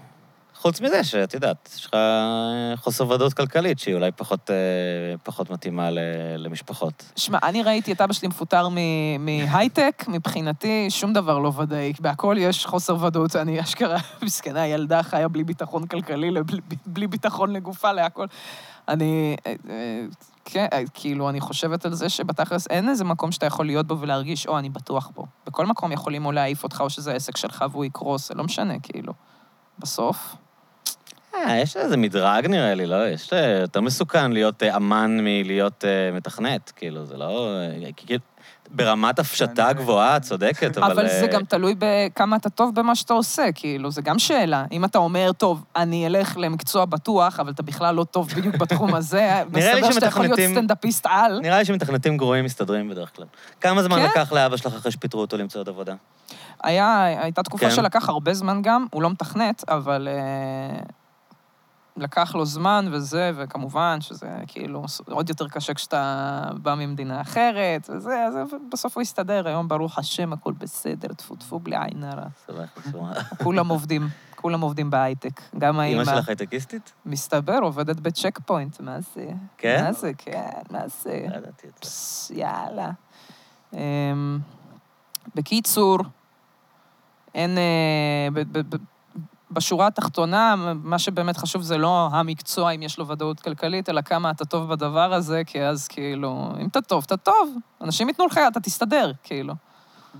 C: חוץ מזה שאת יודעת, יש לך אה, חוסר ודאות כלכלית שהיא אולי פחות, אה, פחות מתאימה ל- למשפחות.
B: שמע, אני ראיתי את אבא שלי מפוטר מ- מהייטק, מבחינתי שום דבר לא ודאי, בהכל יש חוסר ודאות, אני אשכרה, מסכנה, ילדה חיה בלי ביטחון כלכלי, לבלי- בלי ביטחון לגופה, להכל. אני, אה, אה, כן, אה, כאילו, אני חושבת על זה שבתכלס אין איזה מקום שאתה יכול להיות בו ולהרגיש, או, אני בטוח בו. בכל מקום יכולים או להעיף אותך, או שזה העסק שלך והוא יקרוס, זה לא משנה, כאילו. בסוף,
C: אה, יש איזה מדרג נראה לי, לא? יש אה, יותר מסוכן להיות אה, אמן מלהיות אה, מתכנת, כאילו, זה לא... אה, כי- כי- ברמת הפשטה
A: אני-
C: גבוהה, את צודקת, אבל...
B: אבל זה
C: אה,
B: גם תלוי בכמה אתה טוב במה שאתה עושה, כאילו, זה גם שאלה. אם אתה אומר, טוב, אני אלך למקצוע בטוח, אבל אתה בכלל לא טוב בדיוק בתחום הזה,
C: נראה לי
B: מסתבר שאתה יכול להיות
C: שמתכנתים-
B: סטנדאפיסט על.
C: נראה לי שמתכנתים גרועים מסתדרים בדרך כלל. כמה זמן
B: כן?
C: לקח לאבא שלך אחרי שפיטרו אותו למצוא עוד עבודה?
B: היה, הייתה תקופה
C: כן.
B: שלקח הרבה זמן גם, הוא לא מתכנת, אבל אה, לקח לו זמן וזה, וכמובן שזה כאילו עוד יותר קשה כשאתה בא ממדינה אחרת, וזה, אז בסוף הוא הסתדר, היום ברוך השם, הכול בסדר, טפו טפו, בלי עין הרע.
C: סבבה, סבבה.
B: כולם עובדים, כולם עובדים בהייטק, גם האמא.
C: אמא שלך הייטקיסטית?
B: מסתבר, עובדת בצ'ק פוינט, מה זה?
C: כן?
B: מה זה, כן, מה זה?
C: לא ידעתי את זה.
B: פס, יאללה. אמ, בקיצור, אין... אה, ב- ב- ב- בשורה התחתונה, מה שבאמת חשוב זה לא המקצוע, אם יש לו ודאות כלכלית, אלא כמה אתה טוב בדבר הזה, כי אז כאילו, אם אתה טוב, אתה טוב. אנשים ייתנו לך, יד, אתה תסתדר, כאילו.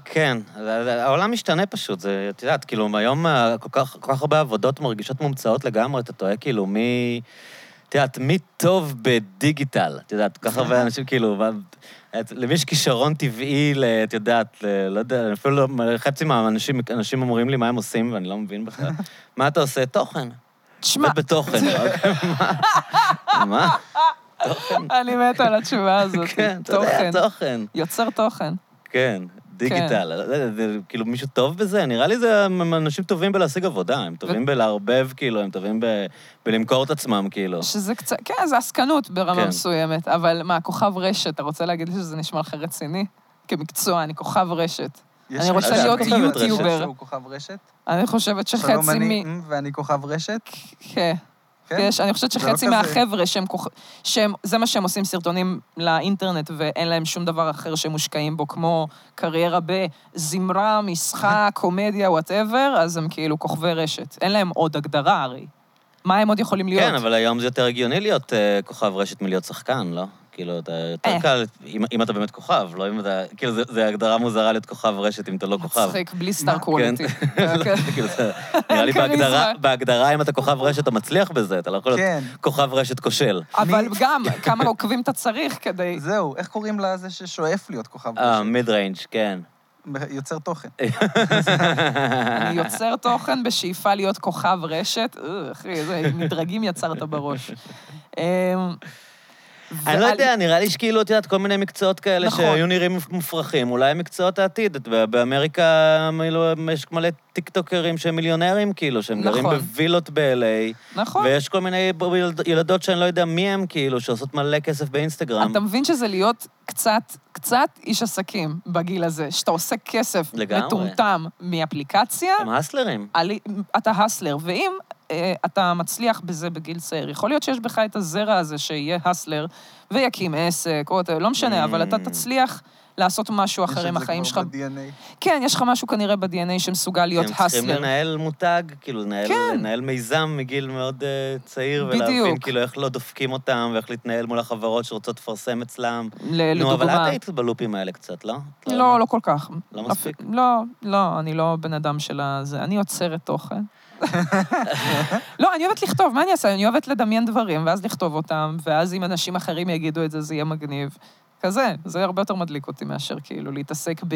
C: כן, אז- אז העולם משתנה פשוט, זה, את יודעת, כאילו, היום אה, כל כך, כל כך הרבה עבודות מרגישות מומצאות לגמרי, אתה טועה, כאילו, מי... את יודעת, מי טוב בדיגיטל? את יודעת, כל כך הרבה אנשים, כאילו, מה- את- למי יש כישרון טבעי, ל- את יודעת, ל- לא יודע, אפילו לא, חצי מהאנשים אנשים אומרים לי מה הם עושים, ואני לא מבין בכלל. מה אתה עושה? תוכן.
B: תשמע,
C: עובד בתוכן. אוקיי, מה? מה?
B: אני מתה על התשובה הזאת.
C: כן, אתה
B: תוכן.
C: יודע, תוכן.
B: יוצר תוכן.
C: כן, דיגיטל. זה, זה, כאילו, מישהו טוב בזה? נראה לי זה, הם אנשים טובים בלהשיג עבודה, הם טובים בלערבב, כאילו, הם טובים ב, בלמכור את עצמם, כאילו.
B: שזה קצת, כן, זה עסקנות ברמה
C: כן.
B: כן. מסוימת, אבל מה, כוכב רשת, אתה רוצה להגיד לי שזה נשמע לך רציני? כמקצוע, אני כוכב רשת.
A: יש
B: אני רוצה
A: מישהו
C: להיות
A: שהוא
C: יוטיובר.
A: שהוא כוכב רשת?
B: אני חושבת
A: שלום,
B: שחצי
A: אני
B: מ...
A: מ- ואני כוכב רשת?
B: כן.
A: כן.
B: יש, אני חושבת
A: זה לא
B: שחצי
A: כזה.
B: מהחבר'ה שהם כוכ... שהם, זה מה שהם עושים, סרטונים לאינטרנט, ואין להם שום דבר אחר שהם מושקעים בו, כמו קריירה בזמרה, משחק, קומדיה, וואטאבר, אז הם כאילו כוכבי רשת. אין להם עוד הגדרה הרי. מה הם עוד יכולים להיות?
C: כן, אבל היום זה יותר הגיוני להיות אה, כוכב רשת מלהיות שחקן, לא? כאילו, אתה יותר
B: אה.
C: קל, אם, אם אתה באמת כוכב, לא אם אתה... כאילו, זה- זה הגדרה מוזרה להיות כוכב רשת אם אתה לא כוכב.
B: מצחיק, אוקיי. בלי כן. סטאר
A: מה? כן.
B: קוולטי.
C: כאילו, זה- נראה לי
B: אין
C: בהגדרה,
B: כריזמה.
C: בהגדרה, אם אתה כוכב רשת, אתה מצליח בזה, אתה לא יכול להיות
A: כן.
C: כוכב רשת כושל.
B: אבל גם, כמה עוקבים אתה צריך כדי...
A: זהו, איך קוראים לזה ששואף להיות כוכב
C: אה,
A: רשת?
C: מיד ריינג', כן.
A: יוצר תוכן.
B: אני יוצר תוכן בשאיפה להיות כוכב רשת. אה, אחי, איזה מדרגים יצרת בראש. אמ,
C: אני לא
B: ועל-
C: יודע, נראה לי שכאילו, את יודעת, כל מיני מקצועות כאלה
B: נכון.
C: שהיו נראים מופרכים, אולי הם מקצועות העתיד. את- באמריקה מילו- יש מלא טיקטוקרים שהם מיליונרים, כאילו, שהם גרים
B: נכון.
C: בווילות ב-LA,
B: נכון.
C: ויש כל מיני ב- ילד- ילדות שאני לא יודע מי הם, כאילו, שעושות מלא כסף באינסטגרם.
B: אתה מבין שזה להיות קצת, קצת איש עסקים בגיל הזה, שאתה עושה כסף
C: לגמרי.
B: מטומטם מאפליקציה,
C: הם הסלרים.
B: עלי- אתה הסלר, ואם אה, אתה מצליח בזה בגיל צעיר, יכול להיות שיש בך את הזרע הזה שיהיה הסלר ויקים עסק, או אתה, לא משנה, אבל אתה
C: Mm.
B: תצליח לעשות משהו אחר עם החיים שלך. כן, יש לך משהו כנראה ב-DNA שמסוגל להיות
C: הם צריכים
B: הסלר.
C: לנהל מותג, כאילו, לנהל,
B: כן.
C: לנהל מיזם מגיל מאוד אה, צעיר, ולהבין
B: בדיוק.
C: כאילו איך לא דופקים אותם, ואיך להתנהל מול החברות שרוצות לפרסם אצלם.
B: ל-
C: נו, אבל את
B: לדוגמה.
C: היית בלופים האלה קצת, לא? את
B: לא, לא כל כך.
C: לא מספיק?
B: אפ- לא, לא, אני לא בן אדם של הזה. אני עוצרת תוכן. לא, אני אוהבת לכתוב, מה אני אעשה? אני אוהבת לדמיין דברים, ואז לכתוב אותם, ואז אם אנשים אחרים יגידו את זה, זה יהיה מגניב. כזה, זה הרבה יותר מדליק אותי מאשר כאילו להתעסק ב...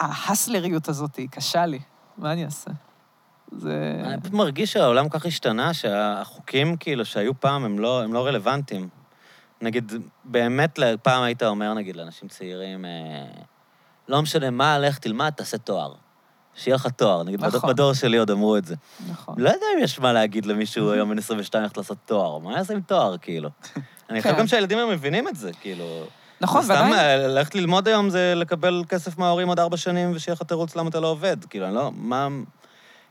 B: ההסלריות הזאת, היא קשה לי. מה אני אעשה? זה...
C: אני פשוט מרגיש שהעולם כך השתנה, שהחוקים כאילו שהיו פעם הם לא, הם לא רלוונטיים. נגיד, באמת פעם היית אומר, נגיד, לאנשים צעירים, אה, לא משנה מה, לך תלמד, תעשה תואר. שיהיה לך תואר. נגיד, בדור-
B: נכון.
C: בדור שלי עוד אמרו את זה.
B: נכון.
C: לא יודע אם יש מה להגיד למישהו היום בן 22 ללכת לעשות תואר. מה יעשה עם תואר, כאילו? אני חושב
B: כן.
C: גם שהילדים היום מבינים את זה, כאילו.
B: נכון,
C: זה
B: ועדיין...
C: סתם אה, ללכת ללמוד היום זה לקבל כסף מההורים עוד ארבע שנים ושיהיה לך תירוץ למה אתה לא עובד. כאילו, אני לא... מה...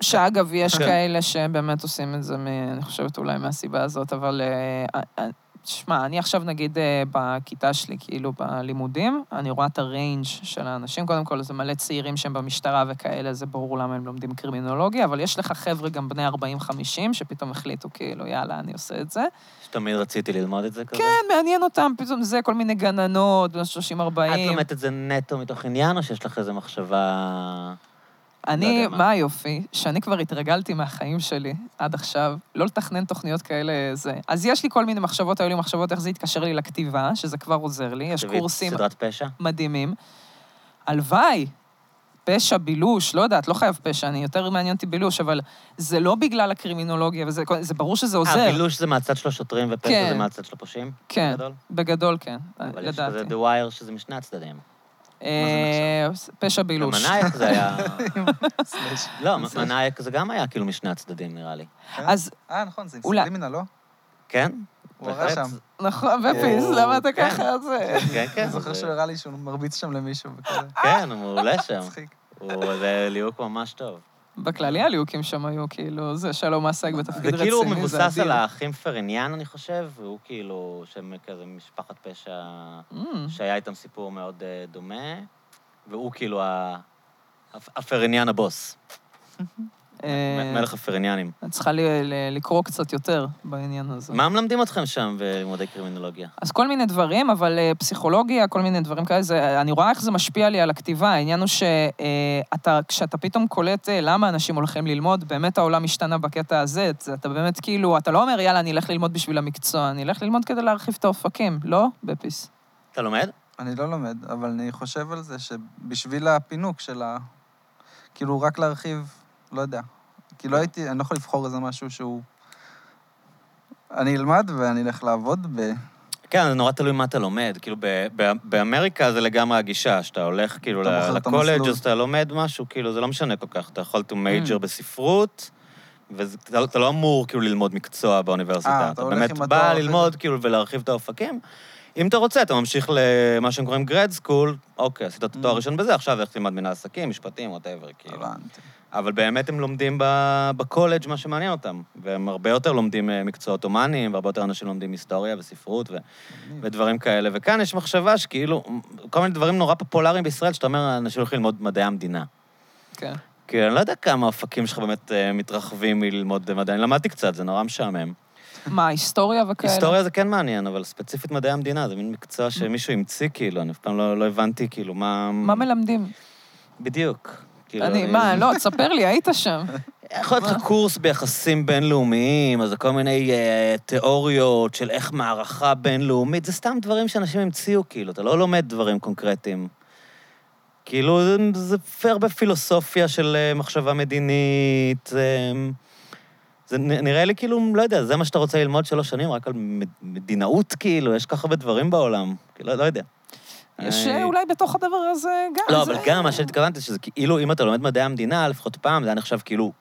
B: שאגב, יש
C: כן.
B: כאלה שבאמת עושים את זה, מ- אני חושבת אולי מהסיבה הזאת, אבל... אה, אה, שמע, אני עכשיו נגיד אה, בכיתה שלי, כאילו בלימודים, אני רואה את הריינג' של האנשים. קודם כל, זה מלא צעירים שהם במשטרה וכאלה, זה ברור למה הם לומדים קרימינולוגיה, אבל יש לך חבר'ה גם בני 40-50, שפתאום החליטו, כאילו, יאללה, אני עושה את זה.
C: שתמיד רציתי ללמוד את זה כזה.
B: כן, מעניין אותם, פתאום זה, כל מיני גננות, בנות 30-40.
C: את לומדת את זה נטו מתוך עניין, או שיש לך איזו מחשבה... לא
B: אני,
C: יודע מה.
B: מה היופי? שאני כבר התרגלתי מהחיים שלי עד עכשיו, לא לתכנן תוכניות כאלה זה. אז יש לי כל מיני מחשבות, היו לי מחשבות איך זה יתקשר לי לכתיבה, שזה כבר עוזר לי, יש
C: תביאי
B: קורסים
C: סדרת פשע?
B: מדהימים. הלוואי, פשע, בילוש, לא יודעת, לא חייב פשע, אני יותר מעניין אותי בילוש, אבל זה לא בגלל הקרימינולוגיה, וזה זה ברור שזה
C: אה,
B: עוזר.
C: בילוש זה מהצד של השוטרים ופשע
B: כן.
C: זה מהצד של הפושעים?
B: כן,
C: גדול?
B: בגדול כן,
C: אבל יש כזה
B: לדעתי.
C: The Wire שזה משני הצדדים.
B: אה, פשע בילוש.
C: ומנאייק זה היה...
A: סלאש.
C: לא, מנאייק זה גם היה כאילו משני הצדדים, נראה לי.
B: אז,
A: אה, נכון, זה עם
B: אולי.
A: סלימינה, לא?
C: כן?
A: הוא הראה
C: בהחלט.
A: שם.
B: נכון, בפיס, למה אתה
C: אה, כן.
B: ככה? זה...
C: כן, כן.
A: אני זוכר
C: זה-
A: שהוא הראה לי שהוא מרביץ שם למישהו וכזה.
C: כן, הוא מעולה שם.
A: מצחיק.
C: הוא, זה ליהוק ממש טוב.
B: בכללי הליהוקים שם היו כאילו, זה שלום אסג בתפקיד
C: זה
B: רציני,
C: כאילו מבוסס
B: אדיר.
C: על האחים פריניאן, אני חושב, והוא כאילו, שהם כזה משפחת פשע,
B: Mm,
C: שהיה איתם סיפור מאוד אה, דומה, והוא כאילו ה- הפ- הפריניאן הבוס,
B: אה,
C: מ- מלך הפריניאנים.
B: את צריכה ל- ל- לקרוא קצת יותר בעניין הזה.
C: מה מלמדים אתכם שם בלימודי קרימינולוגיה?
B: אז כל מיני דברים, אבל אה, פסיכולוגיה, כל מיני דברים כאלה, זה, אני רואה איך זה משפיע לי על הכתיבה. העניין הוא שכשאתה פתאום קולט אה, למה אנשים הולכים ללמוד, באמת העולם השתנה בקטע הזה. זה- אתה באמת כאילו, אתה לא אומר, יאללה, אני אלך ללמוד בשביל המקצוע, אני אלך ללמוד כדי להרחיב את האופקים, לא? בפיס.
C: אתה לומד?
A: אני לא לומד, אבל אני חושב על זה שבשביל הפינוק של ה... כאילו, רק להרחיב, לא יודע. כי לא הייתי, אני לא יכול לבחור איזה משהו שהוא... אני אלמד ואני אלך לעבוד ב...
C: כן, זה נורא תלוי מה אתה לומד. כאילו, ב- ב- באמריקה זה לגמרי הגישה, שאתה הולך כאילו
A: אתה
C: ל-
A: בוחר את
C: לקולג'
A: המסלול. Mm.
C: אז אתה לומד משהו, כאילו, זה לא משנה כל כך. אתה יכול to major בספרות, ואתה לא אמור כאילו ללמוד מקצוע באוניברסיטה.
A: אה,
C: אתה
A: אתה הולך
C: באמת
A: עם
C: בא
A: התואר
C: ללמוד כאילו ולהרחיב את האופקים. אם אתה רוצה, אתה ממשיך למה שהם קוראים גרד סקול, אוקיי, עשית את התואר
A: Mm.
C: הראשון בזה, עכשיו לך תלמד מנהל עסקים, משפטים, ווטאבר, כאילו.
A: הבנתי.
C: אבל באמת הם לומדים ב- בקולג' מה שמעניין אותם, והם הרבה יותר לומדים אה, מקצועות הומניים, והרבה יותר אנשים לומדים היסטוריה וספרות ו- ודברים כאלה. וכאן יש מחשבה שכאילו, כל מיני דברים נורא פופולריים בישראל, שאתה אומר, אנשים הולכים ללמוד מדעי המדינה.
B: כן.
C: כי אני לא יודע כמה האופקים שלך באמת אה, מתרחבים מללמוד מדעי, אני למדתי קצת, זה נורא משעמם.
B: מה, היסטוריה וכאלה?
C: היסטוריה זה כן מעניין, אבל ספציפית מדעי המדינה, זה מין מקצוע שמישהו המציא, כאילו, אני אף פעם לא לא הבנתי, כאילו, מה...
B: מה מלמדים?
C: בדיוק. כאילו,
B: אני, מה, לא, תספר לי, היית שם.
C: יכול להיות לך קורס ביחסים בינלאומיים, אז זה כל מיני אה, תיאוריות של איך מערכה בינלאומית, זה סתם דברים שאנשים המציאו, כאילו, אתה לא לומד דברים קונקרטיים. כאילו, זה, זה פ- הרבה פילוסופיה של אה, מחשבה מדינית. אה, זה נ- נראה לי כאילו, לא יודע, זה מה שאתה רוצה ללמוד שלוש שנים, רק על מד- מדינאות, כאילו, יש כל כך הרבה דברים בעולם. כאילו, לא, לא יודע. אה,
B: יש אה,
C: אני-
B: אולי בתוך הדבר הזה גם.
C: לא,
B: זה-
C: אבל גם מה שהתכוונתי, שזה כאילו, אם אתה לומד מדעי המדינה, לפחות פעם, זה היה נחשב כאילו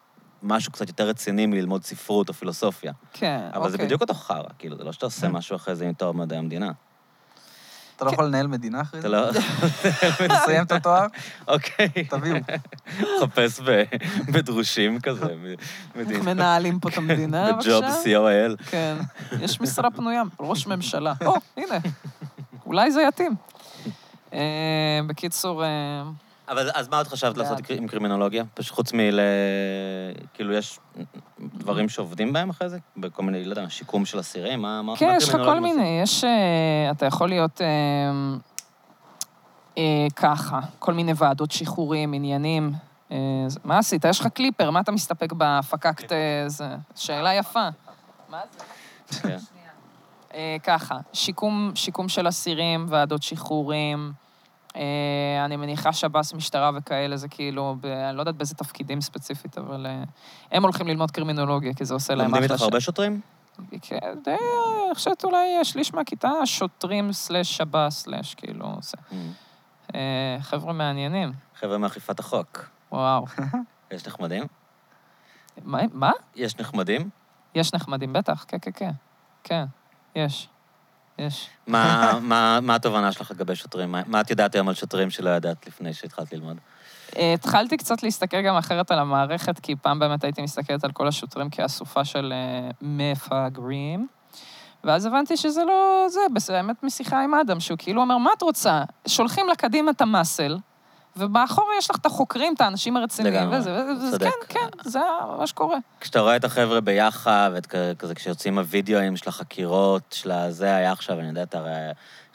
C: משהו קצת יותר רציני מללמוד ספרות או פילוסופיה.
B: כן,
C: אבל זה
B: אוקיי. אה.
C: בדיוק אותו חרא, כאילו, זה לא שאתה עושה משהו אחרי זה עם תואר מדעי המדינה.
A: אתה לא יכול לנהל מדינה אחרי
C: אתה
A: זה?
C: לא...
A: תסיים את התואר,
C: אוקיי.
A: תביאו.
C: חפש ב- בדרושים כזה, מ-
B: איך
C: מדינה.
B: מנהלים פה את המדינה עכשיו?
C: בג'וב co.il.
B: כן. יש משרה פנויה, ראש ממשלה. או, הנה, אולי זה יתאים. אה, בקיצור, אה,
C: אבל אז מה עוד חשבת לעשות
B: בעד.
C: עם קרימינולוגיה? פשוט חוץ מל... כאילו, יש דברים שעובדים בהם אחרי זה? בכל מיני, לא יודע, שיקום של אסירים? מה מה- מה
B: כן, יש לך כל
C: קרימינולוגים
B: מיני, יש... אה, אתה יכול להיות אה, אה, ככה, כל מיני ועדות שחרורים, עניינים. אה, זה- מה עשית? יש לך קליפר, מה אתה מסתפק בהפקקת... אה, זה? שאלה יפה. מה זה?
C: עושים? כן.
B: אה, ככה, שיקום, שיקום של אסירים, ועדות שחרורים. אה, אני מניחה שב"ס, משטרה וכאלה, זה כאילו, ב, אני לא יודעת באיזה תפקידים ספציפית, אבל אה, הם הולכים ללמוד קרימינולוגיה, כי זה עושה להם
C: לומדים
B: אחלה
C: איתך
B: ש-
C: הרבה שוטרים?
B: כן, די, אני חושבת אולי אה, שליש מהכיתה, שוטרים סלאש שב"ס סלאש, כאילו, זה. אה, חבר'ה מעניינים,
C: חבר'ה מאכיפת החוק.
B: וואו.
C: יש נחמדים?
B: מה? מה?
C: יש נחמדים?
B: יש נחמדים, בטח, כן, כן, כן. כן, יש. יש.
C: מה, מה, מה התובנה שלך לגבי שוטרים? מה, מה את יודעת היום על שוטרים שלא ידעת לפני שהתחלת ללמוד?
B: אה, התחלתי קצת להסתכל גם אחרת על המערכת, כי פעם באמת הייתי מסתכלת על כל השוטרים כאסופה של אה, מפגרים. ואז הבנתי שזה לא זה, בסדר, האמת משיחה עם אדם, שהוא כאילו אומר, מה את רוצה? שולחים לה קדימה את המאסל, ובאחורה יש לך את החוקרים, את האנשים הרציניים,
C: לגמרי,
B: וזה, וזה, וזה,
C: צודק.
B: כן, כן, זה מה שקורה.
C: כשאתה רואה את החבר'ה ביחד, ואת כ- כזה, כשיוצאים הווידאוים של החקירות, של הזה היה עכשיו, אני יודעת, הרי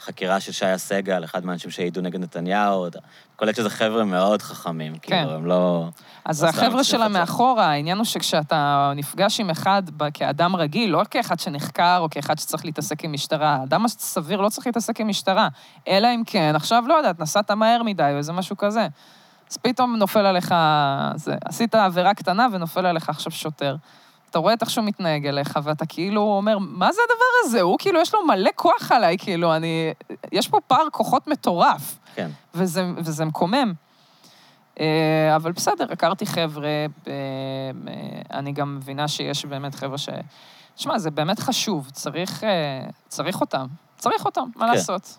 C: חקירה של שי סגל, אחד מהאנשים שהעידו נגד נתניהו, אתה קולט שזה חבר'ה מאוד
B: כן.
C: חכמים, כאילו, הם לא...
B: אז
C: לא סתם
B: החבר'ה
C: מצליח
B: שלה
C: את זה.
B: מאחורה, העניין הוא שכשאתה נפגש עם אחד ב- כאדם רגיל, לא כאחד שנחקר או כאחד שצריך להתעסק עם משטרה, האדם הסביר לא צריך להתעסק עם משטרה, אלא אם כן, עכשיו לא יודעת, נסעת מהר מדי או איזה משהו כזה. אז פתאום נופל עליך, זה, עשית עבירה קטנה ונופל עליך עכשיו שוטר. אתה רואה את איך שהוא מתנהג אליך, ואתה כאילו אומר, מה זה הדבר הזה? הוא כאילו, יש לו מלא כוח עליי, כאילו, אני... יש פה פער כוחות מטורף.
C: כן.
B: וזה, וזה מקומם. אה, אבל בסדר, הכרתי חבר'ה, אה, אה, אני גם מבינה שיש באמת חבר'ה ש... תשמע, זה באמת חשוב, צריך, אה, צריך אותם. צריך אותם, מה
C: כן.
B: לעשות?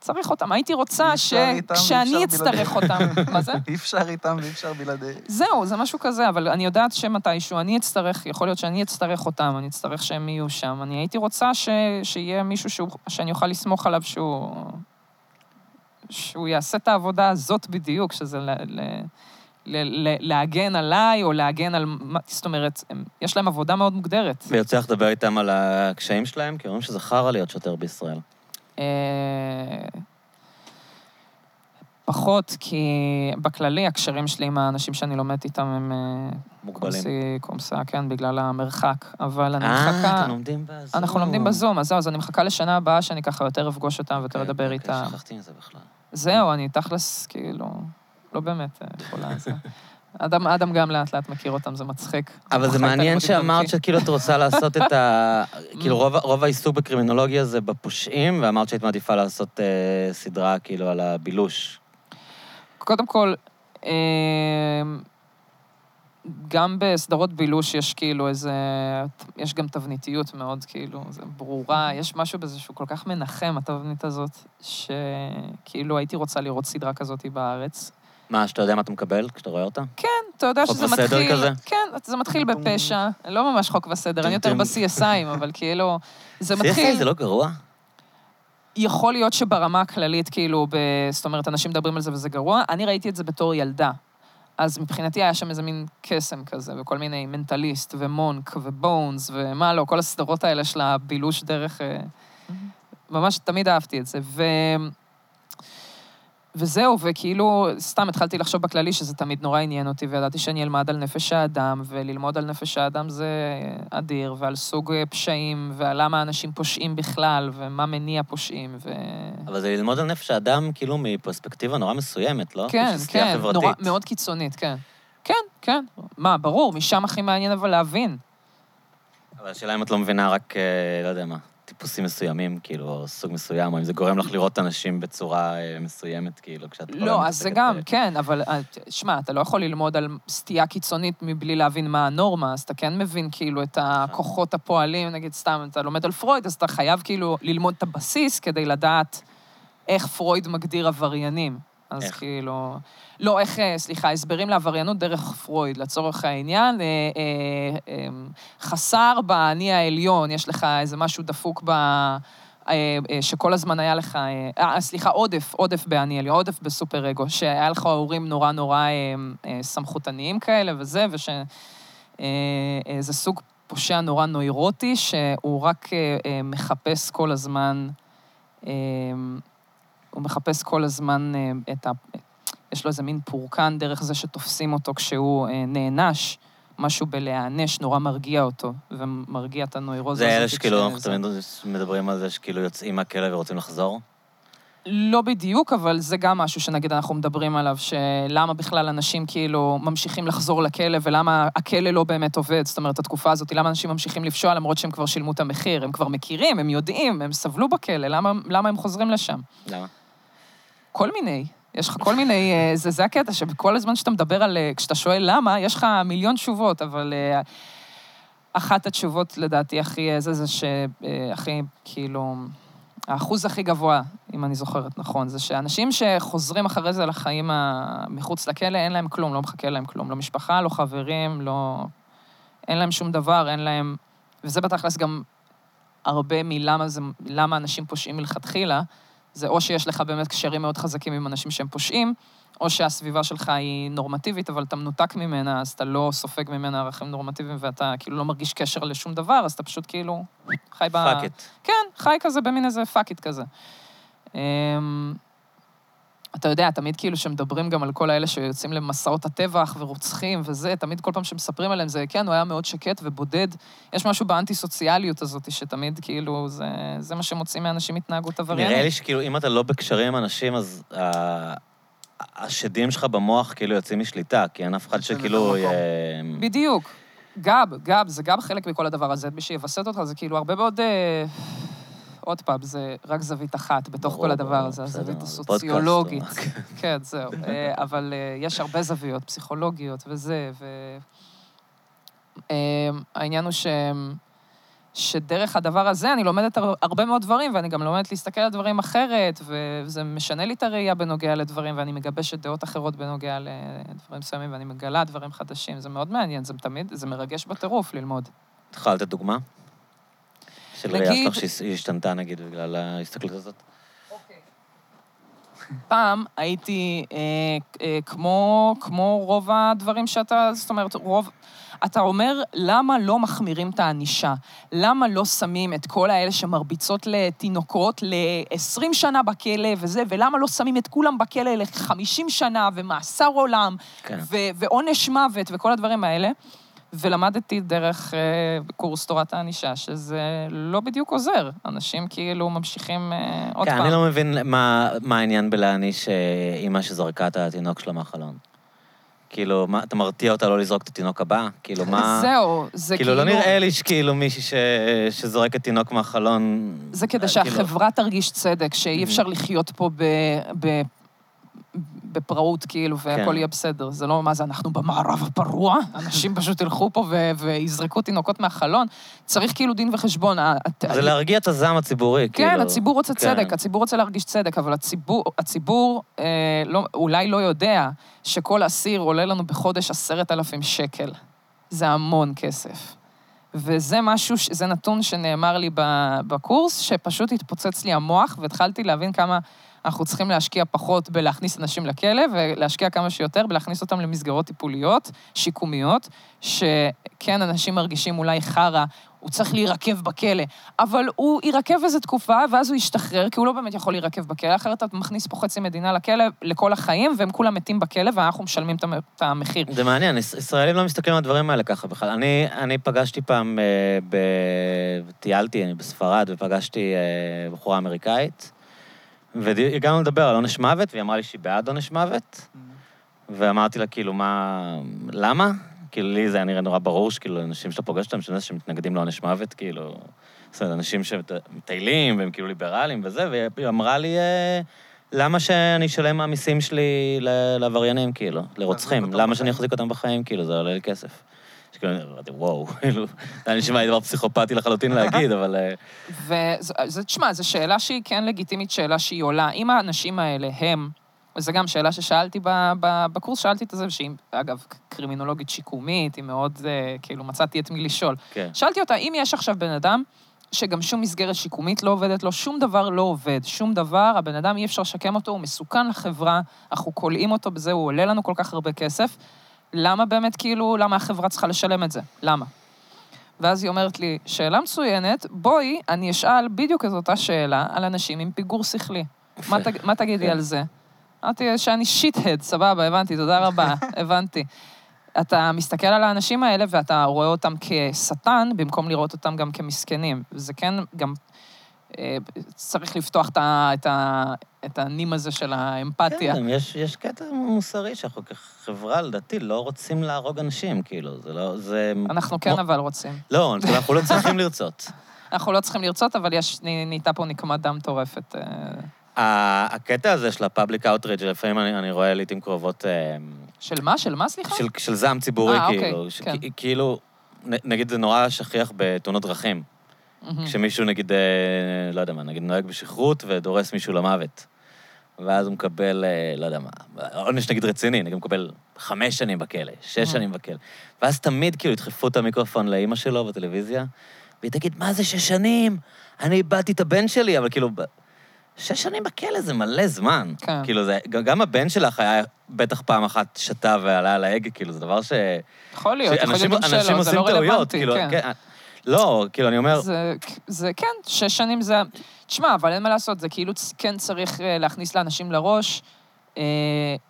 B: צריך אותם. הייתי
A: אי
B: רוצה
A: אפשר איתם, אי
B: שכשאני
A: אפשר בלעדיהם.
B: אצטרך אותם, מה זה?
A: אי אפשר איתם ואי אפשר בלעדיהם.
B: זהו, זה משהו כזה, אבל אני יודעת שמתישהו אני אצטרך, יכול להיות שאני אצטרך אותם, אני אצטרך שהם יהיו שם. אני הייתי רוצה ש, שיהיה מישהו שהוא, שאני אוכל לסמוך עליו שהוא... שהוא יעשה את העבודה הזאת בדיוק, שזה ל, ל, ל, ל, להגן עליי או להגן על... מה- זאת אומרת, הם, יש להם עבודה מאוד מוגדרת.
C: ויוצא לך לדבר איתם על הקשיים שלהם, כי אומרים שזה חרא להיות שוטר בישראל.
B: אה, פחות, כי בכללי הקשרים שלי עם האנשים שאני לומדת איתם הם אה,
C: מוגבלים.
B: קומסי, קומסה, כן, בגלל המרחק. אבל אני
C: אה,
B: מחכה...
C: אתם לומדים בזום.
B: אנחנו לומדים בזום, אז זהו, אז אני מחכה לשנה הבאה שאני ככה יותר אפגוש אותם ויותר
C: אוקיי,
B: אדבר
C: אוקיי,
B: איתם.
C: שכחתי מזה בכלל.
B: זהו, אני תכלס, כאילו, לא באמת אה, יכולה... זה. אדם, אדם גם לאט לאט מכיר אותם, זה מצחיק.
C: אבל
B: הוא
C: זה
B: חי את
C: מעניין
B: הלימודים
C: שאמרת
B: דרכי.
C: שכאילו את רוצה לעשות את ה... כאילו רוב, רוב העיסוק בקרימינולוגיה זה בפושעים, ואמרת שהיית מעדיפה לעשות אה, סדרה כאילו על הבילוש.
B: קודם כל, אה, גם בסדרות בילוש יש כאילו איזה... יש גם תבניתיות מאוד, כאילו, זה ברורה. יש משהו בזה שהוא כל כך מנחם, התבנית הזאת, שכאילו הייתי רוצה לראות סדרה כזאת בארץ.
C: מה, שאתה יודע מה אתה מקבל כשאתה רואה אותה?
B: אתה יודע
C: חוק
B: שזה
C: וסדר
B: מתחיל...
C: כזה?
B: כן, זה מתחיל בפשע. לא ממש חוק וסדר,
C: טום
B: אני יותר
C: טום.
B: ב-CSIים, אבל כאילו... זה
C: CSI
B: מתחיל...
C: זה לא גרוע?
B: יכול להיות שברמה הכללית, כאילו, ב... זאת אומרת, אנשים מדברים על זה וזה גרוע, אני ראיתי את זה בתור ילדה. אז מבחינתי היה שם איזה מין קסם כזה, וכל מיני מנטליסט, ומונק, ובונס, ומה לא, כל הסדרות האלה של הבילוש דרך... אה, ממש תמיד אהבתי את זה. ו... וזהו, וכאילו, סתם התחלתי לחשוב בכללי שזה תמיד נורא עניין אותי, וידעתי שאני אלמד על נפש האדם, וללמוד על נפש האדם זה אדיר, ועל סוג אה, פשעים, ועל למה אנשים פושעים בכלל, ומה מניע פושעים, ו...
C: אבל זה ללמוד על נפש האדם כאילו מפרספקטיבה נורא מסוימת, לא?
B: כן,
C: של סטייה
B: כן,
C: חברתית.
B: נורא, מאוד קיצונית, כן. כן, כן. מה, ברור, משם הכי מעניין אבל להבין.
C: אבל השאלה אם את לא מבינה רק, אה, לא יודע מה, טיפוסים מסוימים, כאילו, או סוג מסוים, או אם זה גורם לך לראות אנשים בצורה אה, מסוימת, כאילו, כשאת...
B: לא, אז זה גם, כן, אבל אה, שמע, אתה לא יכול ללמוד על סטייה קיצונית מבלי להבין מה הנורמה, אז אתה כן מבין כאילו את הכוחות הפועלים, נגיד סתם, אתה לומד על פרויד, אז אתה חייב כאילו ללמוד את הבסיס כדי לדעת איך פרויד מגדיר עבריינים. אז
C: איך?
B: כאילו... לא, איך, אה, סליחה, הסברים לעבריינות דרך פרויד, לצורך העניין. אה, אה, אה, חסר באני העליון, יש לך איזה משהו דפוק ב... אה, אה, שכל הזמן היה לך, אה, אה, סליחה, עודף, עודף באניאלי, עודף בסופר אגו, שהיה לך הורים נורא נורא אה, אה, סמכותניים כאלה וזה, וש... אה, אה, זה סוג פושע נורא נוירוטי, שהוא רק אה, אה, מחפש כל הזמן, אה, הוא מחפש כל הזמן אה, את ה... יש לו איזה מין פורקן דרך זה שתופסים אותו כשהוא אה, נענש. משהו בלהיענש נורא מרגיע אותו, ומרגיע את הנוירוזה.
C: זה אלה
B: הזאת
C: שכאילו, לא
B: כשזה-
C: אנחנו תמיד מדברים על זה שכאילו יוצאים מהכלא ורוצים לחזור.
B: לא בדיוק, אבל זה גם משהו שנגיד אנחנו מדברים עליו, שלמה בכלל אנשים כאילו ממשיכים לחזור לכלא, ולמה הכלא לא באמת עובד, זאת אומרת, התקופה הזאת, למה אנשים ממשיכים לפשוע למרות שהם כבר שילמו את המחיר, הם כבר מכירים, הם יודעים, הם סבלו בכלא, למה, למה הם חוזרים לשם?
C: למה?
B: כל מיני. יש לך כל מיני, אה, זה, זה הקטע, שכל הזמן שאתה מדבר על, אה, כשאתה שואל למה, יש לך מיליון תשובות, אבל אה, אחת התשובות לדעתי הכי אה, זה, זה שהכי, כאילו, האחוז הכי גבוה, אם אני זוכרת נכון, זה שאנשים שחוזרים אחרי זה לחיים ה- מחוץ לכלא, אין להם כלום, לא מחכה להם כלום, לא משפחה, לא חברים, לא... אין להם שום דבר, אין להם... וזה בתכלס גם הרבה מלמה זה, למה אנשים פושעים מלכתחילה. זה או שיש לך באמת קשרים מאוד חזקים עם אנשים שהם פושעים, או שהסביבה שלך היא נורמטיבית, אבל אתה מנותק ממנה, אז אתה לא סופג ממנה ערכים נורמטיביים, ואתה כאילו לא מרגיש קשר לשום דבר, אז אתה פשוט כאילו חי ב...
C: פאק את.
B: כן, חי כזה במין איזה פאק איט כזה. אמ, אתה יודע, תמיד כאילו שמדברים גם על כל האלה שיוצאים למסעות הטבח ורוצחים וזה, תמיד כל פעם שמספרים עליהם זה, כן, הוא היה מאוד שקט ובודד. יש משהו באנטי-סוציאליות הזאת, שתמיד כאילו, זה, זה מה שמוצאים מאנשים התנהגות עבריינית.
C: נראה לי שכאילו, אם אתה לא בקשרים עם אנשים, אז ה- השדים שלך במוח כאילו יוצאים משליטה, כי אין אף אחד
A: יוצא
C: שכאילו...
A: ממקום.
C: אה,
B: בדיוק. גב, גב, זה גם חלק מכל הדבר הזה. מי שיווסת אותך זה כאילו הרבה מאוד... אה, עוד פעם, זה רק זווית אחת בתוך
C: ברור,
B: כל הדבר
C: ברור,
B: הזה,
C: בסדר,
B: הזווית
C: זה
B: הסוציולוגית.
C: פודקאסט, לא.
B: כן, זהו. אה, אבל אה, יש הרבה זוויות, פסיכולוגיות וזה, ו... אה, העניין הוא ש... שדרך הדבר הזה אני לומדת הר- הרבה מאוד דברים, ואני גם לומדת להסתכל על דברים אחרת, וזה משנה לי את הראייה בנוגע לדברים, ואני מגבשת דעות אחרות בנוגע לדברים מסוימים, ואני מגלה דברים חדשים. זה מאוד מעניין, זה תמיד, זה מרגש בטירוף ללמוד.
C: את יכולה לתת דוגמה? של ראייה
B: נגיד-
C: שלך שהיא השתנתה, נגיד, בגלל ההסתכלות הזאת?
B: פעם הייתי אה, אה, כמו, כמו רוב הדברים שאתה, זאת אומרת, רוב... אתה אומר, למה לא מחמירים את הענישה? למה לא שמים את כל האלה שמרביצות לתינוקות ל-20 שנה בכלא וזה, ולמה לא שמים את כולם בכלא ל-50 שנה ומאסר עולם,
C: כן.
B: ו- ועונש מוות וכל הדברים האלה? ולמדתי דרך אה, קורס תורת הענישה, שזה לא בדיוק עוזר. אנשים כאילו ממשיכים אה, עוד
C: כן,
B: פעם.
C: אני לא מבין מה מה העניין בלהעניש אה, אימא שזרקה את התינוק שלה מהחלון. כאילו, מה, אתה מרתיע אותה לא לזרוק את התינוק הבא? כאילו, מה...
B: זהו, זה
C: כאילו, לא נראה לי שכאילו מישהי ש... שזורקת תינוק מהחלון...
B: זה
C: אה,
B: כדי
C: כאילו, Mm-hmm.
B: שהחברה תרגיש צדק, שאי אפשר לחיות פה ב... ב... בפראות, כאילו, והכל
C: כן.
B: יהיה בסדר. זה לא, מה זה, אנחנו במערב הפרוע? אנשים פשוט ילכו פה ו- ויזרקו תינוקות מהחלון? צריך כאילו דין וחשבון. ה- ה-
C: כאילו, זה להרגיע את הזעם הציבורי, כאילו.
B: כן, הציבור רוצה
C: כן.
B: צדק, הציבור רוצה להרגיש צדק, אבל הציבור, הציבור אה, לא, אולי לא יודע שכל אסיר עולה לנו בחודש עשרת אלפים שקל. זה המון כסף. וזה משהו, ש- זה נתון שנאמר לי ב- בקורס, שפשוט התפוצץ לי המוח, והתחלתי להבין כמה אנחנו צריכים להשקיע פחות בלהכניס אנשים לכלא, ולהשקיע כמה שיותר בלהכניס אותם למסגרות טיפוליות, שיקומיות, שכן, אנשים מרגישים אולי חרא, הוא צריך להירקב בכלא, אבל הוא יירקב איזו תקופה, ואז הוא ישתחרר, כי הוא לא באמת יכול להירקב בכלא, אחרת אתה מכניס פה חצי מדינה לכלא לכל החיים, והם כולם מתים בכלא, ואנחנו משלמים את המ- את המחיר.
C: זה מעניין, יש- ישראלים לא מסתכלים על הדברים האלה ככה בכלל. אני, אני פגשתי פעם, אה, ב... טיילתי אני בספרד ופגשתי אה, בחורה אמריקאית, והגענו לדבר על עונש מוות, והיא אמרה לי שהיא בעד עונש מוות, ואמרתי לה, כאילו, מה... למה? כאילו, לי זה היה נראה נורא ברור שכאילו, אנשים שאתה פוגש אותם, שאתה שמתנגדים לעונש מוות, כאילו... זאת אומרת, אנשים שמטיילים, והם כאילו ליברלים וזה, והיא אמרה לי, אה, למה שאני אשלם מהמיסים שלי ל- לעבריינים, כאילו, לרוצחים?
A: אותם
C: למה שאני
A: בחיים."
C: אחזיק אותם בחיים? כאילו, זה עולה לי כסף. שכאילו, אני אמרתי, וואו, כאילו, זה היה נשמע לי דבר פסיכופתי לחלוטין להגיד, אבל... אה,
B: וזה, תשמע, זו שאלה שהיא כן לגיטימית, שאלה שהיא עולה. אם האנשים האלה הם, וזו גם שאלה ששאלתי ב- ב- בקורס, שאלתי את זה, שהיא, אגב, קרימינולוגית שיקומית, היא מאוד, אה, כאילו, מצאתי את מי לשאול.
C: כן.
B: שאלתי אותה, אם יש עכשיו בן אדם שגם שום מסגרת שיקומית לא עובדת לו, שום דבר לא עובד, שום דבר, הבן אדם אי אפשר לשקם אותו, הוא מסוכן לחברה, אנחנו כולאים אותו בזה, הוא עולה לנו כל כך הרבה כסף. למה באמת, כאילו, למה החברה צריכה לשלם את זה? למה? ואז היא אומרת לי, שאלה מצוינת, בואי, אני אשאל בדיוק את אותה שאלה על אנשים עם פיגור שכלי. מה, תג, מה תגידי
C: כן.
B: על זה? אמרתי שאני שיט-הד, סבבה, הבנתי, תודה רבה, הבנתי. אתה מסתכל על האנשים האלה ואתה רואה אותם כשטן, במקום לראות אותם גם כמסכנים. זה כן גם... אה, צריך לפתוח את, ה, את, ה, את הנים הזה של האמפתיה.
C: כן, גם יש, יש קטע מוסרי שאנחנו כחברה, לדעתי, לא רוצים להרוג אנשים, כאילו, זה לא... זה...
B: אנחנו כן
C: מ-
B: אבל רוצים.
C: לא, אנחנו לא צריכים לרצות.
B: אנחנו לא צריכים לרצות, אבל יש, נהייתה פה נקמת דם מטורפת. אה,
C: ה- הקטע הזה של הפאבליק אאוטריג', לפעמים אני, אני רואה לעיתים קרובות אה,
B: של מה? של מה, סליחה?
C: של, של זעם ציבורי,
B: נכון. אה, אוקיי,
C: כאילו. שכ-
B: כן.
C: כאילו, נ- נגיד זה נורא שכיח בתאונות דרכים.
B: מהמם.
C: כשמישהו נגיד, אה, לא יודע מה, נגיד נוהג בשכרות ודורס מישהו למוות. ואז הוא מקבל, אה, לא יודע מה, עונש נגיד רציני, נגיד הוא מקבל חמש שנים בכלא,
B: Mm.
C: שש שנים בכלא. ואז תמיד כאילו ידחפו את המיקרופון לאימא שלו בטלוויזיה, והיא תגיד, מה זה שש שנים? אני איבדתי את הבן שלי, אבל כאילו, ב- שש שנים בכלא זה מלא זמן.
B: כן.
C: כאילו, זה, גם- גם הבן שלך היה בטח פעם אחת שתה ועלה על ההגה, כאילו, זה
B: לא,
C: דבר ש...
B: יכול להיות, יכול
C: שאנשים-
B: להיות גם
C: אנשים
B: שלא, זה
C: עושים
B: לא
C: טעויות,
B: רלוונטי,
C: כאילו,
B: כן.
C: כן. לא, כאילו, אני אומר,
B: זה, זה כן, שש שנים זה... תשמע, אבל אין מה לעשות, זה כאילו צ- כן צריך אה, להכניס לאנשים לראש. אה,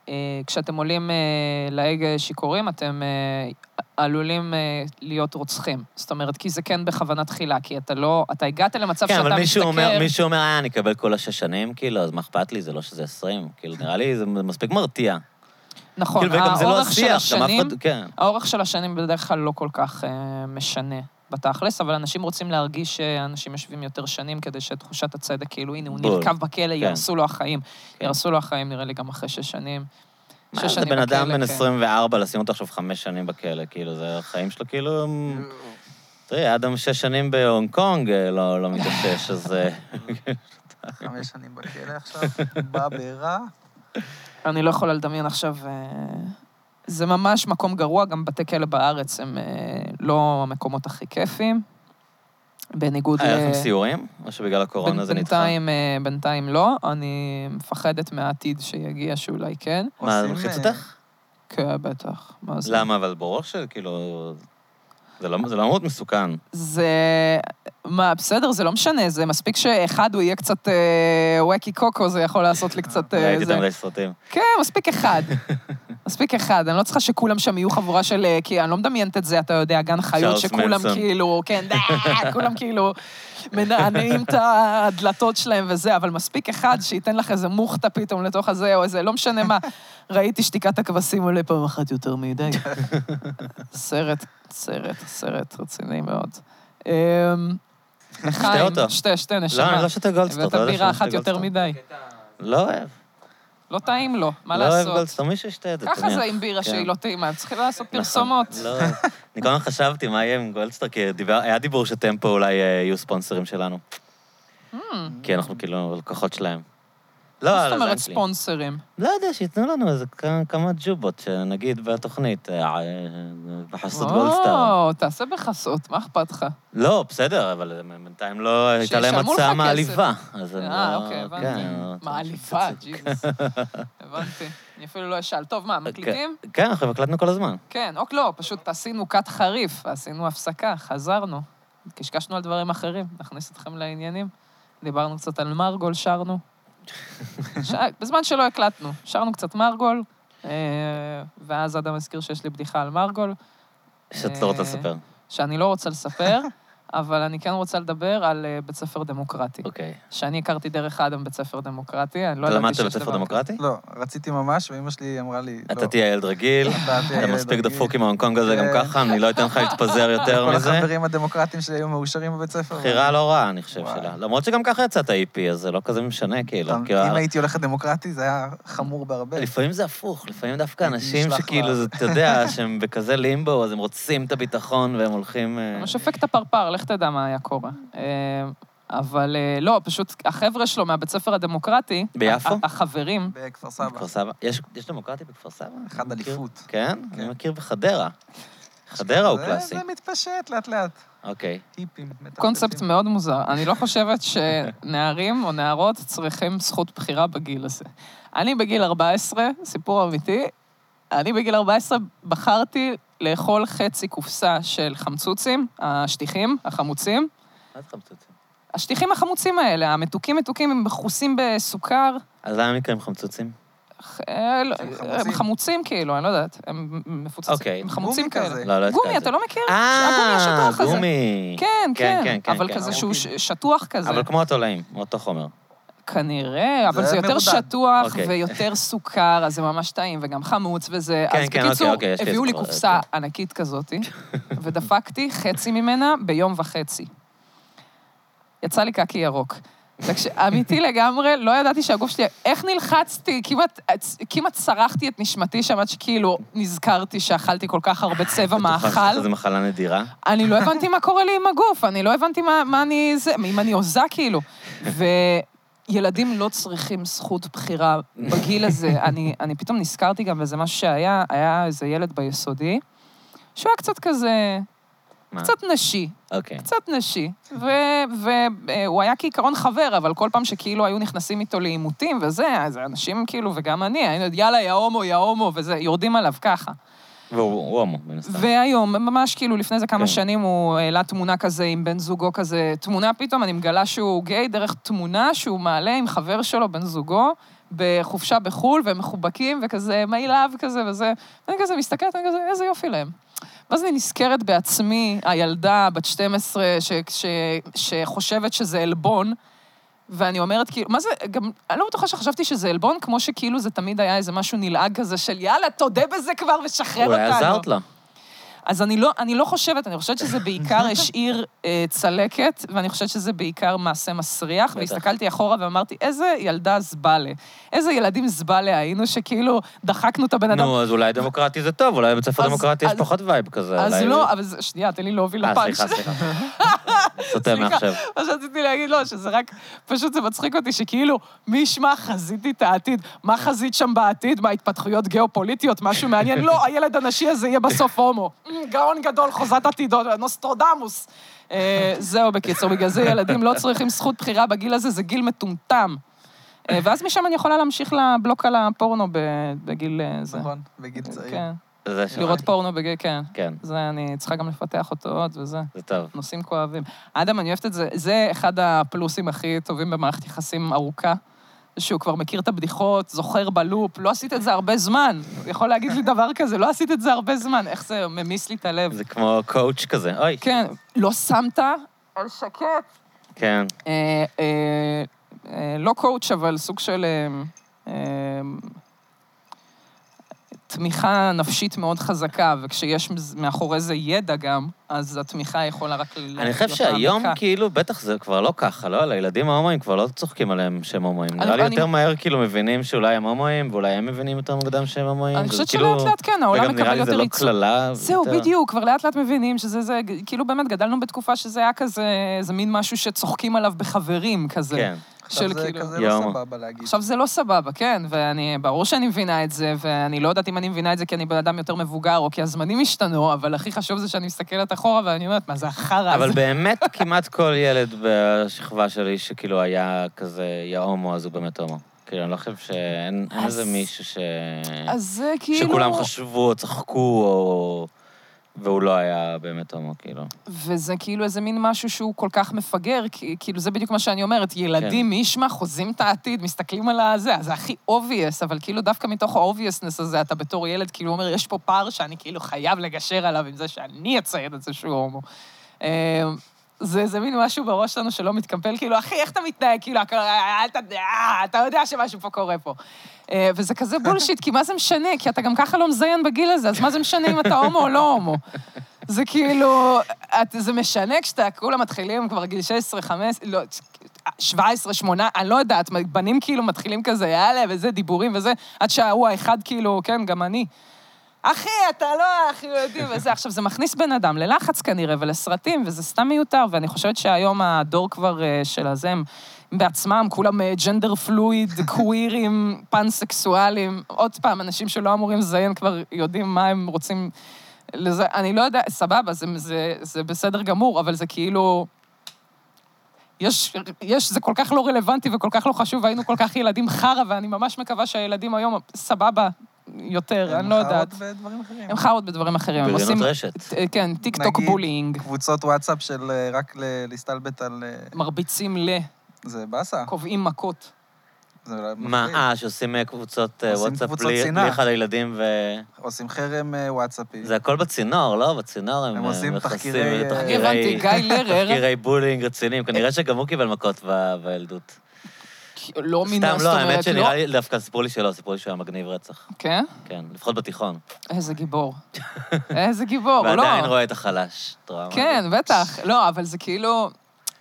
B: אה, כשאתם עולים אה, להגה שיכורים, אתם אה, עלולים אה, להיות רוצחים. זאת אומרת, כי זה כן בכוונה תחילה, כי אתה לא... אתה הגעת למצב
C: כן,
B: שאתה
C: אבל מישהו אומר,
B: משתכר...
C: מישהו אומר, אה, אני אקבל כל השש שנים, כאילו, אז מה אכפת לי, זה לא שזה עשרים. כאילו, נראה לי זה מספיק מרתיע.
B: נכון,
C: כאילו, וגם זה לא
B: האורך של
C: השיח, גם אף
B: השנים...
C: אחד, כן.
B: האורך של השנים בדרך כלל לא כל כך אה, משנה בתכלס, אבל אנשים רוצים להרגיש שאנשים יושבים יותר שנים כדי שתחושת הצדק, כאילו, הנה, הוא
C: בול.
B: נרקב בכלא, יהרסו לו החיים.
C: כן.
B: יהרסו לו החיים, נראה לי, גם אחרי שש שנים. כן.
C: מה זה בן אדם בן 24, לשים אותו עכשיו חמש שנים בכלא, כאילו, זה החיים שלו, כאילו... הם- תראי, אדם שש שנים בהונג קונג אה, לא לא מתאושש, אז... אה,
A: חמש שנים בכלא עכשיו, בברה.
B: אני לא יכולה לדמיין עכשיו... אה, זה ממש מקום גרוע, גם בתי כלא בארץ הם אה, לא המקומות הכי כיפיים. בניגוד
C: היה
B: ל-
C: לכם סיורים? או שבגלל הקורונה
B: אה, בינ-
C: זה נדחה?
B: בינתיים, אה, בינתיים לא, אני מפחדת מהעתיד שיגיע שאולי כן.
C: מה, זה
A: עושים,
C: מלחיץ
A: אה,
C: אותך?
B: כן, בטח. מה זה?
C: למה? אבל ברור שכאילו... זה לא זה לא מאוד מסוכן.
B: זה... מה, בסדר, זה לא משנה, זה מספיק שאחד הוא יהיה קצת אה, וואקי קוקו, זה יכול לעשות לי קצת... אה,
C: ראיתי את
B: זה.
C: המלא סרטים.
B: כן, מספיק אחד. מספיק אחד, אני לא צריכה שכולם שם יהיו חבורה של... אה, כי אני לא מדמיינת את זה, אתה יודע, גן חיות,
C: צ'ארלס
B: שכולם
C: מנסון.
B: כאילו, כן, אה, כולם כאילו מנענעים את הדלתות שלהם וזה, אבל מספיק אחד שייתן לך איזה מוכתה פתאום לתוך הזה או איזה, לא משנה מה. ראיתי שתיקת הכבשים עולה פעם אחת יותר מדי. סרט, סרט, סרט רציני מאוד. אמ, חיים,
C: אותו.
B: שתה, שתה, נשמה.
C: לא, אני לא שותה גולדסטון.
B: הבאת בירה אחת יותר מדי.
C: לא אוהב.
B: לא טעים לו, מה
C: לא אוהב
B: לעשות?
C: גולדסטון, מישהו ישתה את זה,
B: ככה זה
C: תניח.
B: עם בירה
C: כן.
B: שהיא לא טעימה, צריכים לעשות
C: נכון,
B: פרסומות.
C: לא, אני כל הזמן חשבתי מה יהיה עם גולדסטון, כי דיבר- היה דיבור שטמפו אולי אה, יהיו ספונסרים שלנו. כי אנחנו כאילו לקוחות שלהם. לא,
B: Hmm. מה
C: על
B: זאת אומרת
C: הזין שלי.
B: ספונסרים?
C: לא יודע, שייתנו לנו איזה כ- כמה ג'ובות, שנגיד בתוכנית, אה, אה, בחסות גולדסטאר.
B: או, תעשה בחסות, מה אכפת לך?
C: לא, בסדר, אבל בינתיים לא הייתה להם
B: שישלמו לך
C: הצעה
B: כסף.
C: מעליבה. אז הם
B: אה,
C: לא-
B: אוקיי, הבנתי.
C: כן, לא-
B: מעליבה, ג'יזוס. הבנתי. אני אפילו לא אשאל. טוב, מה, מקליטים?
C: כן, אנחנו הקלטנו כל הזמן.
B: כן, או לא, פשוט עשינו כת חריף, עשינו הפסקה, חזרנו. קשקשנו על דברים אחרים, נכניס אתכם לעניינים. דיברנו קצת על מרגול, שרנו. ש... בזמן שלא הקלטנו, שרנו קצת מרגול, אה, ואז אדם הזכיר שיש לי בדיחה על מרגול,
C: שאת לא רוצה
B: אה,
C: לספר.
B: שאני לא רוצה לספר, אבל אני כן רוצה לדבר על אה, בית ספר דמוקרטי.
C: אוקיי.
B: שאני הכרתי דרך אדם בית ספר דמוקרטי, אני לא
C: אתה
B: ידעתי
C: למדת
B: שיש
C: בבית ספר
B: דבר כזה.
C: דמוקרטי?
A: לא, רציתי ממש, ואימא שלי אמרה לי, לא.
C: אתה תהיה ילד רגיל,
A: אתה תהיה
C: אתה
A: ילד
C: מספיק
A: רגיל.
C: דפוק עם ההונג קונג הזה גם
A: כן.
C: ככה, אני לא אתן לך להתפזר יותר
A: כל
C: מזה.
A: החברים הדמוקרטים שלי היו מאושרים בבית ספר.
C: בחירה לא רעה, אני חושב,
A: וואי.
C: שלה. למרות שגם ככה יצאת איי-פי, אז זה לא כזה משנה, כאילו.
A: אתה-
C: כאילו,
A: אם הייתי הולך לדמוקרטי, זה היה חמור בהרבה.
C: לפעמים זה הפוך, לפעמים דווקא
A: הייתי
C: אנשים
A: נשלח
C: שכאילו,
A: לה.
C: זה- אתה יודע, שהם בכזה לימבו, אז הם רוצים את הביטחון והם הולכים... אה,
B: ממש אפקט הפרפר, לך תדע מה היה קורה. אה, אבל אה, לא, פשוט החבר'ה שלו מהבית ספר הדמוקרטי,
C: ביפו?
B: ה- החברים,
A: בכפר אה, סבא.
C: בכפר סבא. יש יש דמוקרטי בכפר סבא?
A: אחד
C: אני מכיר.
A: אליפות.
C: כן? אני
A: כן.
C: מכיר בחדרה. חדרה הוא
A: זה-
C: קלאסי.
A: זה מתפשט לאט-לאט.
C: אוקיי.
A: טיפים. מטפטפים.
B: קונספט מאוד מוזר. אני לא חושבת שנערים או נערות צריכים זכות בחירה בגיל הזה. אני בגיל 14, סיפור אמיתי, אני בגיל 14 בחרתי לאכול חצי קופסה של חמצוצים, השטיחים, החמוצים.
C: מה זה חמצוצים?
B: השטיחים החמוצים האלה, המתוקים-מתוקים, הם מכוסים בסוכר.
C: אז למה הם נקראים חמצוצים?
B: ח- אה, לא,
A: הם
B: אה,
A: חמוצים.
B: הם חמוצים כאילו, אני לא יודעת. הם מפוצצים,
C: אוקיי.
B: הם חמוצים
A: גומי
B: כאלה.
A: כזה.
C: לא, לא
B: גומי,
C: הזכרתי.
B: אתה לא מכיר? הגומי
C: אה,
B: השטוח הזה.
C: גומי.
B: כן,
C: כן,
B: כן,
C: כן,
B: אבל
C: כן,
B: כזה שהוא ש-
A: ארוכים.
B: שטוח כזה.
C: אבל כמו התולעים, אותו חומר.
B: כנראה, אבל
A: זה
B: זה יותר
A: מרודד.
B: שטוח
C: אוקיי.
B: ויותר סוכר, אז זה ממש טעים, וגם חמוץ וזה.
C: כן,
B: אז
C: כן,
B: בקיצור,
C: אוקיי, אוקיי, יש לי
B: הביאו לי
C: כבר,
B: קופסה ענקית כזאת, ודפקתי חצי ממנה ביום וחצי. יצא לי קקי ירוק. תקש- אמיתי לגמרי, לא ידעתי שהגוף שלי, איך נלחצתי, כמעט, כמעט צרחתי את נשמתי שם עד שכאילו נזכרתי שאכלתי כל כך הרבה צבע מאכל.
C: זו מחלה נדירה.
B: אני לא הבנתי מה קורה לי עם הגוף, אני לא הבנתי מה, מה אני... זה, אם אני הוזה כאילו. וילדים לא צריכים זכות בחירה בגיל הזה. אני, אני פתאום נזכרתי גם וזה משהו שהיה, היה איזה ילד ביסודי, שהוא היה קצת כזה,
C: מה?
B: קצת נשי,
C: אוקיי.
B: קצת נשי. והוא היה כעיקרון חבר, אבל כל פעם שכאילו היו נכנסים איתו לעימותים וזה, אז אנשים כאילו, וגם אני, היינו, יאללה, יא הומו, יא הומו, וזה, יורדים עליו ככה.
C: והוא הוא הומו, מן הסתם.
B: והיום, ממש כאילו לפני איזה
C: כן.
B: כמה שנים, הוא העלה תמונה כזה עם בן זוגו כזה, תמונה פתאום, אני מגלה שהוא גיי דרך תמונה שהוא מעלה עם חבר שלו, בן זוגו, בחופשה בחו"ל, והם מחובקים, וכזה מי לאב כזה וזה. ואני כזה מסתכלת, אני כזה, איזה יופי להם. ואז אני נזכרת בעצמי, הילדה בת 12, ש, ש, שחושבת שזה עלבון, ואני אומרת, כאילו, מה זה, גם, אני לא בטוחה שחשבתי שזה עלבון, כמו שכאילו זה תמיד היה איזה משהו נלעג כזה של יאללה, תודה בזה כבר ושחרר אותנו.
C: אולי עזרת לה.
B: אז אני לא, אני לא חושבת, אני חושבת שזה בעיקר השאיר אה, צלקת, ואני חושבת שזה בעיקר מעשה מסריח,
C: בטח.
B: והסתכלתי אחורה ואמרתי, איזה ילדה זבלה. איזה ילדים זבלה היינו, שכאילו דחקנו את הבן אדם.
C: נו, אז אולי דמוקרטי זה טוב, אולי בבית ספר
B: אז-
C: דמוקרטי יש
B: אז-
C: פחות וייב כזה.
B: אז
C: אולי-
B: לא, אבל זה- שנייה, תן לי להוביל
C: אה,
B: לפאנץ'.
C: סליחה, סליחה. סוטה
B: סליחה.
C: מעכשיו.
B: מה שרציתי להגיד, לא, שזה רק, פשוט זה מצחיק אותי, שכאילו, מי ישמע חזיתי את העתיד? מה חזית שם בעתיד? מה, התפתחויות גיאופוליטיות? משהו מעניין? לא, הילד הנשי הזה יהיה בסוף הומו. "אמ, גאון גדול, חוזת עתידו, נוסטרדמוס. אה, זהו, בקיצור, בגלל זה ילדים לא צריכים זכות בחירה בגיל הזה, זה גיל מטומטם. אה, ואז משם אני יכולה להמשיך לבלוק על הפורנו ב- בגיל אה, זה.
A: נכון, בגיל צעיר.
B: כן,
C: זה שמעתי.
B: לראות פורנו בגיל, כן.
C: כן,
B: זה, אני צריכה גם לפתח אותו עוד וזה.
C: זה טוב.
B: נושאים כואבים. אדם, אני אוהבת את זה, זה אחד הפלוסים הכי טובים במערכת יחסים ארוכה. שהוא כבר מכיר את הבדיחות, זוכר בלופ, לא עשית את זה הרבה זמן. הוא יכול להגיד לי דבר כזה, לא עשית את זה הרבה זמן, איך זה ממיס לי את הלב.
C: זה כמו קואוץ' כזה, אוי.
B: כן, לא שמת על שקט.
C: כן.
B: אה, אה, אה, לא קואוץ', אבל סוג של אה, אה, תמיכה נפשית מאוד חזקה, וכשיש מז- מאחורי זה ידע גם, אז התמיכה יכולה רק...
C: אני
B: לא
C: חושב שהיום, כאילו, בטח זה כבר לא ככה, לא? על הילדים ההומואים כבר לא צוחקים עליהם שהם הומואים. נראה לי
B: אני-
C: יותר מהר כאילו מבינים שאולי הם הומואים, ואולי הם מבינים יותר מוקדם שהם הומואים.
B: אני
C: זה
B: חושבת
C: כאילו-
B: שלאט לאט כן, העולם
C: וגם נראה
B: מקבל
C: לי זה
B: יותר
C: לא
B: ייצוג.
C: קללה.
B: זהו,
C: יותר-
B: בדיוק, כבר לאט לאט מבינים שזה זה, כאילו באמת גדלנו בתקופה שזה היה כזה, איזה מין משהו שצוחקים עליו בחברים כזה.
C: כן.
A: עכשיו
B: של
A: זה
B: כאילו...
A: כזה
C: יאומה.
A: לא סבבה להגיד.
B: עכשיו זה לא סבבה, כן, ואני, ברור שאני מבינה את זה, ואני לא יודעת אם אני מבינה את זה כי אני בן אדם יותר מבוגר, או כי הזמנים השתנו, אבל הכי חשוב זה שאני מסתכלת אחורה ואני אומרת, מה אה, זה החרא
C: אבל
B: הזה?
C: באמת כמעט כל ילד בשכבה שלי שכאילו היה כזה, יא הומו, אז הוא באמת הומו. כאילו, אני לא חושב שאין אין
B: אז-
C: איזה מישהו ש...
B: אז זה כאילו...
C: שכולם חשבו או צחקו או... והוא לא היה באמת הומו, כאילו.
B: וזה כאילו איזה מין משהו שהוא כל כך מפגר, כי- כאילו זה בדיוק מה שאני אומרת, ילדים, מי ישמע, חוזים את העתיד, מסתכלים על הזה, אז זה הכי obvious, אבל כאילו דווקא מתוך ה-obviousness הזה, אתה בתור ילד כאילו אומר, יש פה פער שאני כאילו חייב לגשר עליו עם זה שאני אציין את זה שהוא הומו. אה, זה, זה מין משהו בראש שלנו שלא מתקפל, כאילו, אחי, איך אתה מתנהג? כאילו, הכל, אה, אל ת... אה, אתה יודע שמשהו פה קורה פה. אה, וזה כזה בולשיט, כי מה זה משנה? כי אתה גם ככה לא מזיין בגיל הזה, אז מה זה משנה אם אתה הומו או לא הומו? זה כאילו, את, זה משנה כשאתה, כולם מתחילים כבר גיל 16, 15, לא, 17, 8, אני לא יודעת, בנים כאילו מתחילים כזה, יאללה, וזה, דיבורים וזה, עד שההוא האחד כאילו, כן, גם אני. אחי, אתה לא, אחי, יודעים, וזה. עכשיו, זה מכניס בן אדם ללחץ כנראה ולסרטים, וזה סתם מיותר, ואני חושבת שהיום הדור כבר אה, של הזה, הם בעצמם, כולם אה, ג'נדר פלואיד, קווירים, פאנסקסואלים. עוד פעם, אנשים שלא אמורים לזיין כבר יודעים מה הם רוצים לזה, אני לא יודע, סבבה, זה, זה, זה בסדר גמור, אבל זה כאילו... יש, יש, זה כל כך לא רלוונטי וכל כך לא חשוב, והיינו כל כך ילדים חרא, ואני ממש מקווה שהילדים היום סבבה יותר, אני לא יודעת.
A: הם חרות בדברים אחרים.
B: הם חרות בדברים אחרים, הם עושים...
C: בריונות רשת.
B: ת- כן, טיק טוק
A: נגיד,
B: בולינג,
A: קבוצות וואטסאפ של אה, רק ל- להסתלבט על... אה,
B: מרביצים ל...
A: זה באסה.
B: קובעים מכות.
C: אה,
A: זה לא
C: מה,
A: מפחיד.
C: אה, שעושים אה, קבוצות אה,
A: עושים
C: וואטסאפ
A: קבוצות
C: בלי
A: שנאה.
C: בלי אחד הילדים ו...
A: עושים חרם אה, וואטסאפי.
C: זה הכל בצינור, לא? בצינור הם
A: הם
C: אה,
A: עושים
C: מכסים
A: תחקירי, אה,
B: אני הבנתי, אה, גיא לרר,
C: תחקירי בולינג רציניים. כנראה שגם הוא קיבל מכות ב- בילדות.
B: לא מינו,
C: סתם,
B: זאת
C: לא, האמת
B: אומרת, לא...
C: שנראה לי, דווקא סיפרו לי שלא, סיפרו לי שהוא היה מגניב רצח.
B: כן?
C: כן, לפחות בתיכון.
B: איזה גיבור. איזה גיבור, לא.
C: ועדיין רואה את החלש. את רואה מה
B: כן,
C: זה?
B: בטח. לא, אבל זה כאילו...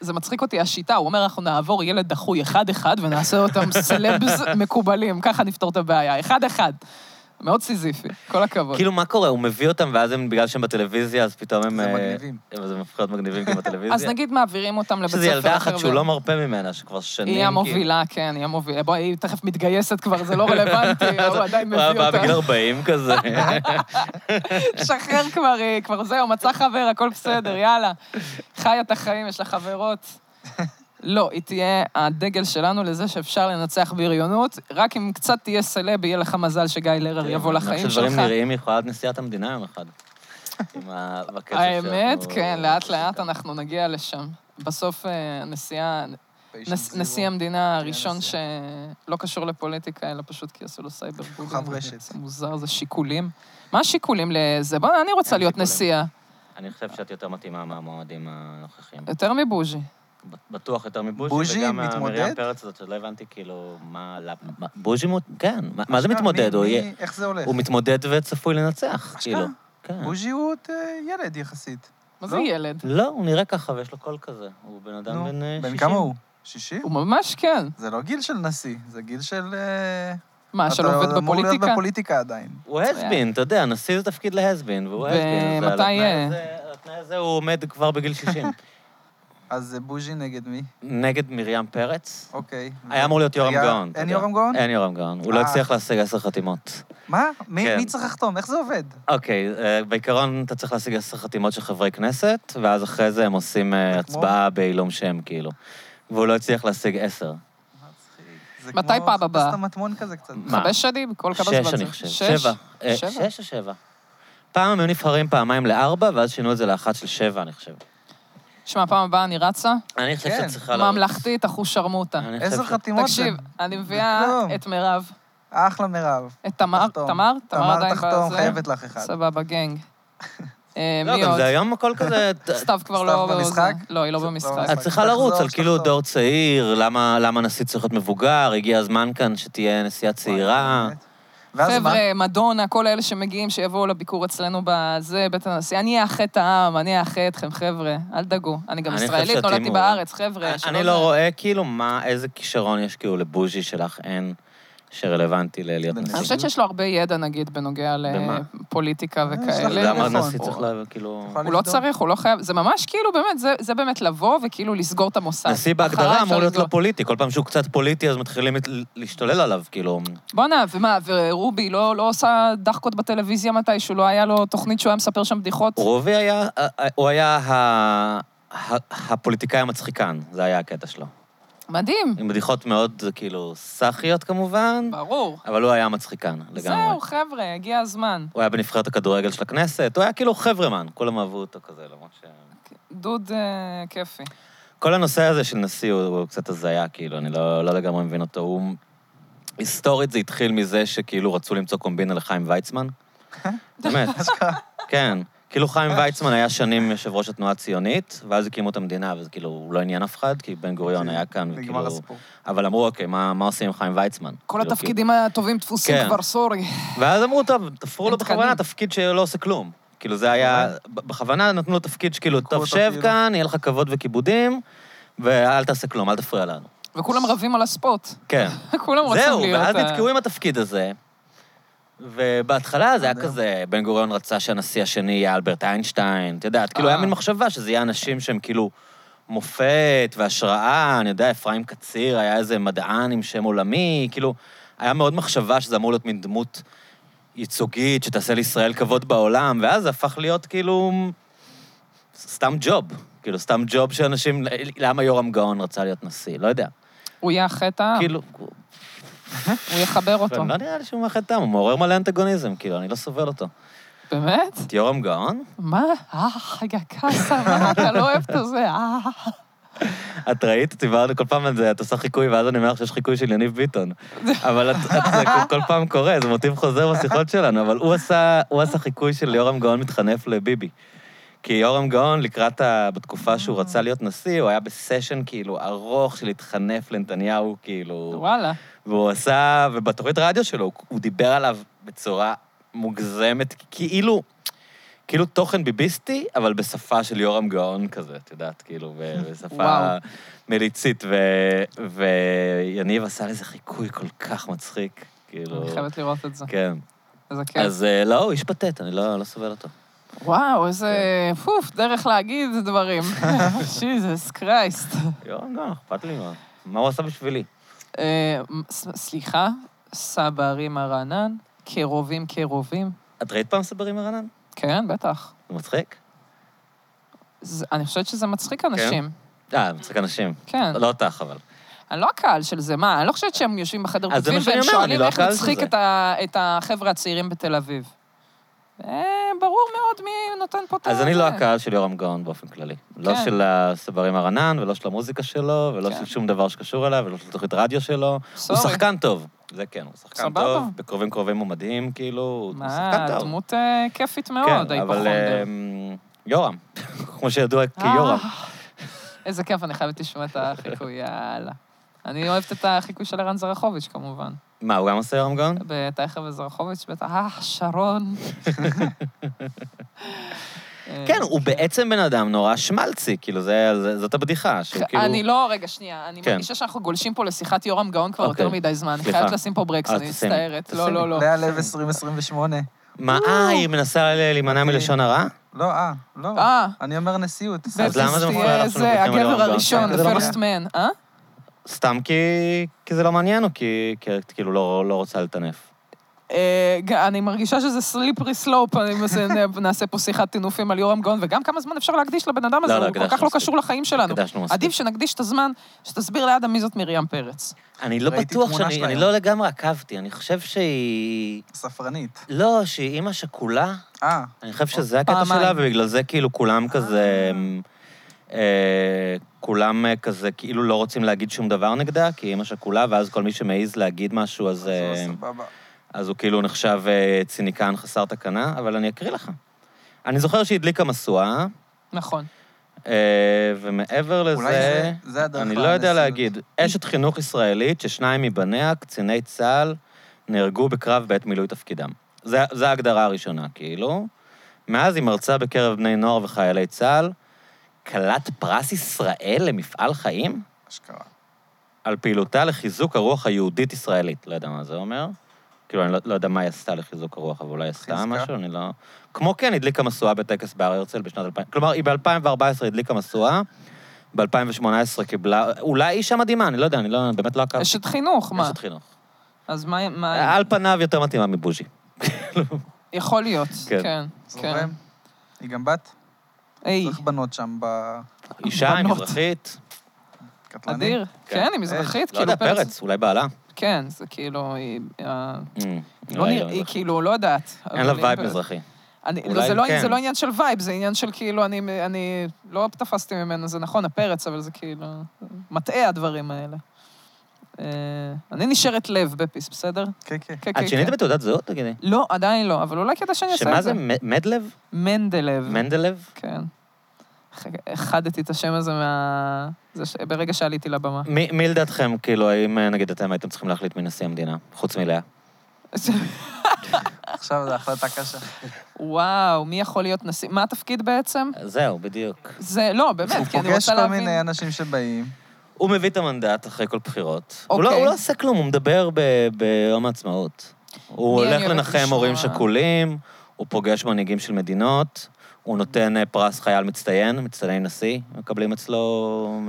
B: זה מצחיק אותי השיטה, הוא אומר, אנחנו נעבור ילד דחוי אחד-אחד ונעשה אותם סלבס מקובלים, ככה נפתור את הבעיה, אחד-אחד. מאוד סיזיפי, כל הכבוד.
C: כאילו, מה קורה? הוא מביא אותם, ואז הם, בגלל שהם בטלוויזיה, אז פתאום הם...
A: זה
C: אה,
A: מגניבים.
C: אז הם הופכים להיות מגניבים כי הם בטלוויזיה.
B: אז נגיד מעבירים אותם לבית ספר
C: שזה
B: אחר.
C: ילדה אחת שהוא
B: ו-
C: לא מרפה ממנה, שכבר שנים...
B: היא
C: כאילו.
B: המובילה, כן, היא המובילה. בואי, היא תכף מתגייסת כבר, זה לא רלוונטי, הוא עדיין
C: כאילו, הוא היה
B: מביא
C: בא בגיל
B: אותה.
C: 40 כזה.
B: שחרר כבר, היא כבר זהו, מצא חבר, הכל בסדר, יאללה. חיה את החיים, יש לה חברות. לא, היא תהיה הדגל שלנו לזה שאפשר לנצח בריונות, רק אם קצת תהיה סלב, יהיה לך מזל שגיא לרר יבוא לחיים
C: כן, שדברים
B: שלך.
C: נראים, היא יכולה להיות נשיאת המדינה יום אחד. עם ה- בכסף
B: האמת,
C: שאנחנו-
B: כן, לאט-לאט אנחנו נגיע לשם. בסוף אה, נשיאה-
A: Patient
B: נס-
A: zero.
B: נשיא המדינה הראשון
A: כן, נשיא.
B: שלא קשור לפוליטיקה, אלא פשוט כי עשו לו סייבר בולינג.
A: כוכב רשת.
B: זה מוזר, זה שיקולים. מה השיקולים לזה? בוא, אני רוצה
C: אין
B: להיות
C: שיקולים.
B: נשיאה.
C: אני חושב שאת יותר מתאימה מהמועמדים הנוכחים.
B: יותר מבוז'י.
C: בטוח יותר מבוז'י,
A: בוז'י
C: וגם
A: מתמודד?
C: מרים פרץ הזאת, שלא הבנתי כאילו, מה... למה- מה- בוז'י מות... כן, מה-
B: אמ-
C: מה זה
A: אשכרה,
C: מתמודד?
A: מי-
C: הוא
A: מי-
C: יהיה-
A: איך זה הולך?
C: הוא מתמודד וצפוי לנצח,
A: אשכרה?
C: כאילו. כן.
A: בוז'י הוא עוד אה, ילד יחסית.
B: מה זה
A: לא?
B: ילד?
C: לא, הוא נראה ככה ויש לו קול כזה. הוא בן אדם בן אה, 60.
A: בן כמה הוא? שישי?
B: הוא ממש כן.
A: זה לא גיל של נשיא, זה גיל של... אה,
B: מה, שלא
A: אתה
B: עובד
A: עוד אמור להיות
B: בפוליטיקה?
A: בפוליטיקה עדיין.
C: הוא הסבין, אתה יודע, נשיא זה תפקיד להסבין, והוא
B: ו-
C: הסבין.
B: מתי יהיה?
C: התנאי הזה הוא עומד כבר בגיל 60.
A: אז זה בוז'י נגד מי?
C: נגד מרים פרץ.
A: אוקיי.
C: היה אמור להיות יורם
A: היה-
C: גאון. אתה
A: אין
C: יודע.
A: יורם גאון?
C: אין יורם גאון. הוא לא
A: אה.
C: הצליח להשיג עשר חתימות.
A: מה? מי
C: כן.
A: מי צריך לחתום? איך זה עובד?
C: אוקיי, אה, בעיקרון אתה צריך להשיג עשר חתימות של חברי כנסת, ואז אחרי זה הם עושים אה,
A: זה כמו-
C: הצבעה בעילום שם, כאילו. והוא לא הצליח להשיג עשר.
A: זה
B: מתי
A: כמו
B: פעם הבאה?
A: חפש את המטמון כזה קצת.
C: מה?
B: חמש שנים? כל כמה זמן
C: שש,
B: זה?
C: אני חושב.
B: שש?
C: שבע. אה,
B: שבע?
C: שש או שבע? פעם הם היו נבחרים פעמיים לארבע, ואז שינו את זה לאחת של שבע, אני חושב.
B: שמע, פעם הבאה אני רצה.
C: אני חושב
A: כן.
C: שאת צריכה לרוץ.
B: ממלכתית, אחוש שרמוטה.
C: אני חושב
A: עשר
C: ש-
A: חתימות זה
B: תקשיב, אני מביאה
A: כלום.
B: את מירב,
A: אחלה מירב.
B: את תמר,
A: תחתום.
B: תמר? תמר עדיין
A: תחתום,
B: בזה?
A: חייבת לך אחד.
B: סבבה, גנג. אה,
C: לא,
B: מי
C: גם
B: עוד?
C: זה היום הכל כזה...
B: סתיו כבר
A: סתיו
B: לא...
A: במשחק?
B: זה- לא, היא לא
A: סתיו
B: במשחק.
A: במשחק.
C: את צריכה
A: תחזור,
C: לרוץ על
A: תחזור.
C: כאילו דור צעיר, למה למה נשיא צריך להיות מבוגר, הגיע הזמן כאן שתהיה נשיאה צעירה.
A: ואז מה?
B: חבר'ה, מדונה, כל אלה שמגיעים, שיבואו לביקור אצלנו בזה, בית הנשיא. אני אאחה את העם, אני אאחה אתכם, חבר'ה. אל תדאגו. אני גם
C: אני חושב
B: ישראלית,
C: שאתם
B: נולדתי
C: הוא-
B: בארץ, חבר'ה. שלא
C: אני
B: אה, זה-
C: לא רואה כאילו מה, איזה כישרון יש כאילו לבוז'י שלך אין, שרלוונטי ללהיות
A: אני
B: אני
C: נשיא.
B: חושבת שיש לו הרבה ידע, נגיד, בנוגע
C: במה?
B: לפוליטיקה
A: יש
B: וכאלה.
A: לך
C: למה
A: נכון.
C: הנשיא צריך
B: הוא-
C: לה... כאילו...
A: יכול
B: הוא לא
A: לבדוק.
B: צריך, הוא לא חייב, זה ממש כאילו, באמת, זה- זה באמת לבוא וכאילו לסגור את המוסד. אחריי
C: נשיא בהגדרה
B: אפשר
C: אמור להיות
B: לסגור.
C: לא פוליטי, כל פעם שהוא קצת פוליטי אז מתחילים את- להשתולל עליו, כאילו.
B: בואנה, ומה, ורובי לא לא עושה דחקות בטלוויזיה מתישהו, לא היה לו תוכנית שהוא היה מספר שם בדיחות?
C: רובי היה, אה, הוא היה ה- ה- הפוליטיקאי המצחיקן, זה היה הקטע שלו.
B: מדהים,
C: עם בדיחות מאוד כאילו סאחיות כמובן,
B: ברור.
C: אבל הוא היה מצחיקן לגמרי.
B: זהו, חבר'ה, הגיע הזמן.
C: הוא היה בנבחרת הכדורגל של הכנסת, הוא היה כאילו חברמן, כולם אהבו אותו כזה, למרות ש...
B: דוד אה, כיפי.
C: כל הנושא הזה של נשיא הוא, הוא קצת הזיה, כאילו, אני לא, לא לגמרי מבין אותו. הוא... היסטורית זה התחיל מזה שכאילו רצו למצוא קומבינה לחיים ויצמן. באמת, כן. כאילו חיים ויצמן היה שנים יושב ראש התנועה הציונית, ואז הקימו את המדינה, וזה כאילו, הוא לא עניין אף אחד, כי בן גוריון
B: אוקיי.
C: היה כאן,
A: נגמר
C: וכאילו...
A: הסיפור.
C: אבל אמרו, אוקיי, מה, מה עושים עם חיים ויצמן?
B: כל
C: כאילו,
B: התפקידים הטובים תפוסים
C: כן.
B: כבר, סורי.
C: ואז אמרו, טוב, תפרו לו
B: אין תקנים.
C: בכוונה תפקיד שלא עושה כלום. כאילו, זה היה... ב- בכוונה נתנו לו תפקיד שכאילו,
A: נכון. לקחו
C: טוב,
A: אותו
C: שב
A: כאילו.
C: כאן, יהיה לך כבוד וכיבודים, ואל תעשה כלום, אל תפריע לנו.
B: וכולם רבים על הספוט.
C: כן.
B: כולם רוצים להיות... אה,
C: זהו, ואז
B: ה-
C: נתקעו עם התפקיד הזה. ובהתחלה זה היה
B: אה.
A: מדהים.
C: כזה, בן גוריון רצה שהנשיא השני יהיה אלברט איינשטיין, את יודעת, כאילו,
B: אה.
C: היה מין מחשבה שזה יהיה אנשים שהם כאילו מופת והשראה, אני יודע, אפרים קציר היה איזה מדען עם שם עולמי, כאילו, היה מאוד מחשבה שזה אמור להיות מין דמות ייצוגית, שתעשה לישראל כבוד בעולם, ואז זה הפך להיות כאילו... סתם ג'וב. כאילו, סתם ג'וב שאנשים... למה יורם גאון רצה להיות נשיא? לא יודע.
B: הוא יהיה החטא,
C: כאילו...
B: הוא יחבר אותו.
C: לא נראה לי שהוא מאחד טעם, הוא מעורר מלא אנטגוניזם, כאילו, אני לא סובל אותו. לא-
B: באמת?
C: את יורם גאון?
B: מה? אה, יא קאסה, מה אתה לא אוהב את זה? אה.
C: את ראית? דיברנו כל פעם על זה, את עושה חיקוי, ואז אני אומר לך שיש חיקוי של יניב ביטון. אבל את, את, זה כל- כל פעם קורה, זה מוטיב חוזר בשיחות שלנו, אבל הוא עשה, הוא עשה חיקוי של יורם גאון מתחנף לביבי. כי יורם גאון, לקראת ה... בתקופה שהוא רצה להיות נשיא, הוא היה בסשן כאילו ארוך של להתחנף לנתניהו, כאילו...
B: וואלה.
C: והוא עשה, ובתוכנית רדיו שלו, הוא- הוא דיבר עליו בצורה מוגזמת, כאילו, כאילו תוכן ביביסטי, אבל בשפה של יורם גאון כזה, את יודעת, כאילו, ב- בשפה
B: וואו.
C: מליצית, ו, ויניב עשה לזה חיקוי כל כך מצחיק, כאילו...
B: אני חייבת לראות את זה.
C: כן.
B: איזה כיף.
C: אז אה, לא, הוא איש פתט, אני לא, לא סובל אותו.
B: וואו, איזה... פוף, דרך להגיד דברים. שיזוס קרייסט.
C: יורם גאון, אכפת לי מאוד. מה הוא עשה בשבילי?
B: אה, ס- סליחה, סבא רימה רענן, קרובים קרובים.
C: את ראית פעם סברים מרנן?
B: כן, בטח.
C: זה מצחיק?
B: זה- אני חושבת שזה
C: כן.
B: מצחיק אנשים.
C: אה, מצחיק אנשים.
B: כן.
C: לא אותך, אבל.
B: אני לא הקהל של זה, מה? אני לא חושבת שהם יושבים בחדר
C: אז זה
B: כותבים
C: מה שאני
B: והם
C: אומר, אני
B: שואלים
C: לא
B: איך
C: הקהל של
B: נצחיק
C: זה.
B: את ה- את החבר'ה הצעירים בתל אביב. אה, ברור מאוד מי נותן פה את
C: אז אני
B: הזה.
C: לא הקהל של יורם גאון באופן כללי. לא
B: כן.
C: של הסברים הרנן, ולא של המוזיקה שלו, ולא
B: כן.
C: של שום דבר שקשור אליו, ולא של תוכנית רדיו שלו. הוא
B: סורי.
C: שחקן טוב. זה כן, הוא שחקן
B: סבבה.
C: טוב, בקרובים קרובים הוא מדהים, כאילו, הוא שחקן
B: מה,
C: טוב.
B: דמות אה, כיפית מאוד,
C: כן, אבל
B: ההיפוכונדר.
C: אמ, יורם, כמו שידוע כיורם.
B: אה, איזה כיף, אני חייבת לשמוע את החיקוי, יאללה. אני אוהבת את החיקוי של ערן זרחוביץ', כמובן.
C: מה, הוא גם עושה יורם גאון?
B: אה. בטייכר וזרחוביץ', בטח, אה, שרון. אה,
C: כן, הוא בעצם בן אדם נורא שמלצי, כאילו, זה- זה- זאת הבדיחה, שהוא כאילו...
B: אני לא, רגע, שנייה, אני
C: כן.
B: מרגישה שאנחנו גולשים פה לשיחת יורם גאון כבר
C: אוקיי,
B: יותר מדי זמן. אני
C: סליחה.
B: חייבת לשים פה ברקס,
C: אז
B: אני
C: תשימי,
B: מצטערת.
C: תשימי.
B: לא, לא, לא.
A: לאה לב 2028.
C: מה, אה, היא מנסה ל- להימנע
B: אוקיי.
C: מלשון הרע?
A: לא, אה, לא.
B: אה,
A: אני אומר נסיעות.
C: אז למה זה מפריע לך שאנחנו
B: זה
C: מדברים על יורם
B: הגבר
C: גאון?
B: הראשון,
A: כן,
B: the
A: זה לא
B: first man, אה?
C: סתם כי כי זה לא מעניין, או כי כי את כאילו לא לא רוצה לטנף?
B: אה, ג- אני מרגישה שזה סליפרי סלופ, נעשה פה שיחת טינופים על יורם גאון, וגם כמה זמן אפשר להקדיש לבן אדם הזה,
C: לא, לא,
B: הוא כל
C: הקדשנו
B: כך לא
C: מספיק.
B: קשור לחיים שלנו.
C: הקדשנו מספיק.
B: עדיף שנקדיש את הזמן, שתסביר לאדם מי זאת מרים פרץ.
C: אני לא
A: ראיתי
C: בטוח
A: תמונה
C: שאני,
A: שלה
C: אני
A: היום.
C: לא לגמרי עקבתי, אני חושב שהיא...
A: ספרנית.
C: לא, שהיא אימא שכולה,
A: אה,
C: אני חושב שזה הקטע
B: פעמיים.
C: שלה, ובגלל זה כאילו כולם כזה... אה, כולם אה, כזה כאילו לא רוצים להגיד שום דבר נגדה, כי היא אימא שכולה, ואז כל מי שמעז להגיד משהו, אז,
A: זה
C: אה,
A: סבבה.
C: אז הוא כאילו נחשב אה, ציניקן חסר תקנה, אבל אני אקריא לך. אני זוכר שהיא הדליקה משואה,
B: נכון.
A: אוקיי.
C: אה, ומעבר לזה...
A: אולי זה- זה הדרך
C: אני לא יודע
A: לנשיאות.
C: להגיד. אשת חינוך ישראלית ששניים מבניה, קציני צה"ל, נהרגו בקרב בעת מילוי תפקידם. זה- זו ההגדרה הראשונה, כאילו. מאז היא מרצה בקרב בני נוער וחיילי צה"ל, כלת פרס ישראל למפעל חיים?
A: אשכרה.
C: על פעילותה לחיזוק הרוח היהודית-ישראלית. לא יודע מה זה אומר. כאילו, אני לא, לא יודע מה היא עשתה לחיזוק הרוח, אבל אולי היא עשתה
A: חיזקה.
C: משהו, אני לא... כמו כן, הדליקה משואה בטקס בהר הרצל בשנת 2000... כלומר, היא ב-2014 הדליקה משואה, ב-2018 קיבלה... אולי אישה מדהימה, אני לא יודע, אני לא, באמת לא עקבתי.
B: אשת חינוך, מה?
C: אשת אה, חינוך.
B: אז מה- מה...
C: על פניו יותר מתאימה מבוז'י.
B: יכול להיות,
C: כן.
B: כן. כן.
A: זורם. היא גם בת?
B: היי,
A: צריך בנות שם בקטלנית.
C: אישה, היא
B: בנות.
C: מזרחית.
B: אדיר.
C: כן.
B: כן, היא מזרחית,
C: לא יודע,
B: כאילו
C: פרץ, אולי בעלה.
B: כן, זה כאילו, היא... אה,
C: אה,
B: לא
C: אולי
B: נראה,
C: לא
B: היא
C: מזרחית.
B: כאילו, לא יודעת.
C: אין
B: אבל
C: לה
B: היא
C: וייב
B: פרץ.
C: מזרחי.
B: אני, לא,
C: אולי
B: זה, לא,
C: כן.
B: זה לא עניין של וייב, זה עניין של כאילו, אני, אני לא תפסתי ממנו, זה נכון, הפרץ, אבל זה כאילו... מטעה הדברים האלה. אה, אני נשארת לב בפיס, בסדר?
A: כן, כן.
B: כן, כן,
C: את שינית
B: כן.
C: בתעודת זהות, תגידי?
B: לא, עדיין לא, אבל אולי כדאי שאני אעשה
C: שמה
B: את זה.
C: זה? מ- מדלב?
B: מנדלב.
C: מנדלב?
B: כן. אחדתי את השם הזה מה... זה ש... ברגע שעליתי לבמה.
C: מי מי לדעתכם, כאילו, האם אה, נגיד אתם הייתם צריכים להחליט מי נשיא המדינה, חוץ מלאה?
A: עכשיו זו החלטה קשה.
B: וואו, מי יכול להיות נשיא? מה התפקיד בעצם? זהו.
C: בדיוק.
B: זה, לא,
A: הוא
B: באמת, כי אני
A: פוגש
B: רוצה
A: כל
B: להבין...
A: מיני אנשים שבאים.
C: הוא מביא את המנדט אחרי כל בחירות. הוא
B: אוקיי.
C: לא- הוא לא עושה כלום, הוא מדבר ב- ביום העצמאות. הוא
B: מי אני
C: הולך
B: אוהבת
C: לנחם
B: לשמוע?
C: הורים שכולים, הוא פוגש מנהיגים של מדינות, הוא נותן אה, פרס חייל מצטיין, מצטייני נשיא, מקבלים אצלו...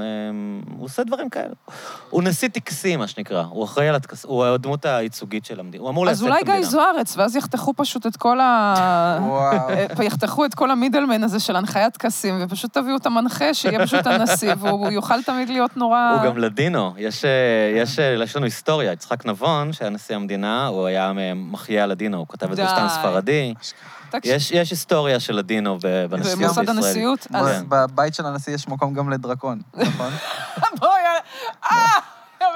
C: אה, הוא עושה דברים כאלה. הוא נשיא טקסי, מה שנקרא. הוא אחראי על הטקס... הוא הדמות הייצוגית של המדינה. הוא אמור
B: אז
C: לייצג את
B: אולי
C: המדינה.
B: גיא זוארץ, ואז יחתכו פשוט את כל ה...
A: וואו.
B: אה, יחתכו את כל המידלמן הזה של הנחיית טקסים, ופשוט תביאו את המנחה, שיהיה פשוט הנשיא, והוא הוא יוכל תמיד להיות נורא...
C: הוא גם לדינו. יש, אה, יש, אה, יש לנו היסטוריה. יצחק נבון, שהיה נשיא המדינה, הוא היה אה, מחיה לדינו, הוא כותב את זה
B: די.
C: סתם ספרדי.
B: תקשיב,
C: יש, יש היסטוריה של לדינו ב- בנשיאות בישראל.
B: במוסד הנשיאות,
A: אז
B: אז...
C: כן.
A: בבית של הנשיא יש מקום גם לדרקון, נכון?
B: בואי, יאללה. אה,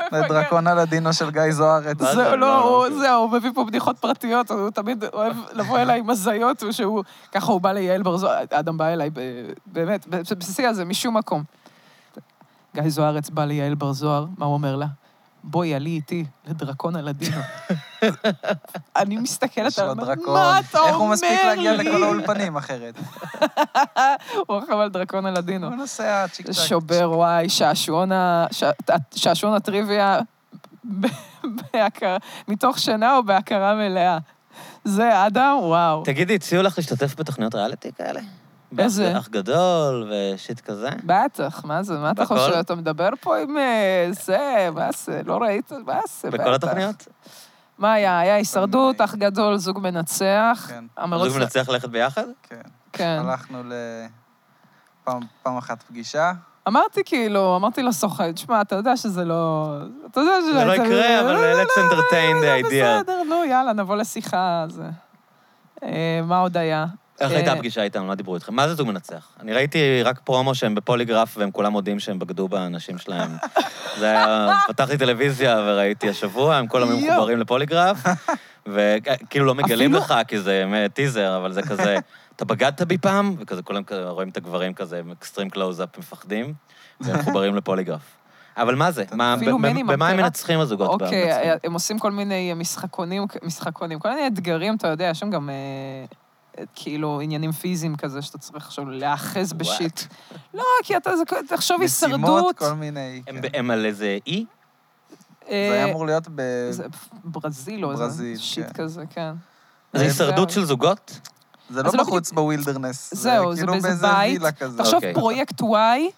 B: מפגר.
A: לדרקון הלדינו של גיא זוארץ.
C: מה
B: זהו,
C: זה?
B: לא,
C: לא,
B: הוא-
C: לא.
B: זהו, הוא מביא פה בדיחות פרטיות, הוא תמיד אוהב לבוא אליי עם הזיות, הוא שהוא... ככה הוא בא ליעל ברזו, אדם בא אליי, ב- באמת, בבסיסי הזה, משום מקום. גיא זוארץ בא ליעל בר זוהר, מה הוא אומר לה? בואי, עלי איתי לדרקון הלדינו. אני מסתכלת
A: יש לו
B: עליו, מה אתה
A: דרקון.
B: אומר לי?
A: איך הוא מספיק להגיע לכל האולפנים אחרת?
B: הוא רכב על דרקון הלדינו.
A: הוא נוסע צ'יק צ'אק.
B: שובר, וואי, שעשועון ה- שע- שעשועון הטריוויה ב- בהכר- מתוך שינה או בהכרה מלאה. זה אדם, וואו.
C: תגידי, הציעו לך להשתתף בתוכניות ריאליטי כאלה?
B: איזה?
C: באח- אח גדול ושיט כזה?
B: בטח, מה זה? מה אתה
C: בכל?
B: חושב? אתה מדבר פה עם אה, זה, מה זה? לא ראית? מה זה? בטח.
C: בכל התוכניות? אה,
B: מה היה? היה הישרדות,
A: מיני.
B: אח גדול, זוג מנצח.
A: כן.
B: המרוץ-
C: זוג מנצח ללכת ביחד?
A: כן.
B: כן.
A: הלכנו ל... פעם- פעם אחת פגישה.
B: אמרתי כאילו, אמרתי לסוכן, שמע, אתה יודע שזה לא... אתה יודע שזה...
C: זה לא יקרה, אבל let's entertain
B: לא,
C: the idea.
B: בסדר, נו, יאללה, נבוא לשיחה. זה. אה, מה עוד היה?
C: איך הייתה
B: אה,
C: הפגישה איתנו? מה דיברו איתכם? מה זה זוג מנצח? אני ראיתי רק פרומו שהם בפוליגרף והם כולם מודים שהם בגדו באנשים שלהם. זה היה... פתחתי טלוויזיה וראיתי השבוע, הם כולם היו
B: יואו.
C: מחוברים לפוליגרף, וכאילו לא מגלים
B: אפילו-
C: לך, כי זה אה, טיזר, אבל זה כזה, אתה בגדת בי פעם? וכזה כולם כזה רואים את הגברים כזה, הם אקסטרים קלוז-אפ, מפחדים, והם מחוברים לפוליגרף. אבל מה זה? מה-
B: אפילו
C: ב-
B: מינימום,
C: במה הם
B: תראה.
C: מנצחים
A: לא,
C: הזוגות?
B: אוקיי,
C: במנצחים?
B: הם עושים כל מיני אה, משחקונים, משחקונים, כל מיני אתגרים, אתה יודע, יש שם גם אה, כאילו עניינים פיזיים כזה, שאתה צריך עכשיו להאחז
C: What?
B: בשיט. לא, כי אתה, זה- תחשוב
A: משימות,
B: הישרדות.
A: כל מיני.
C: הם
A: כן.
C: ב- הם על איזה אי?
B: אה,
A: זה היה אמור להיות ב...
B: זה ברזיל או
A: ברזיל,
B: איזה שיט
A: כן.
B: כזה, כן.
C: זה
A: אה,
C: הישרדות של זוגות?
A: זה לא
B: זה לא
A: בחוץ בווילדרנס.
B: זהו, זה
A: כאילו
B: באיזה בית.
A: וילה כזה.
B: תחשוב,
C: אוקיי.
B: פרויקט Y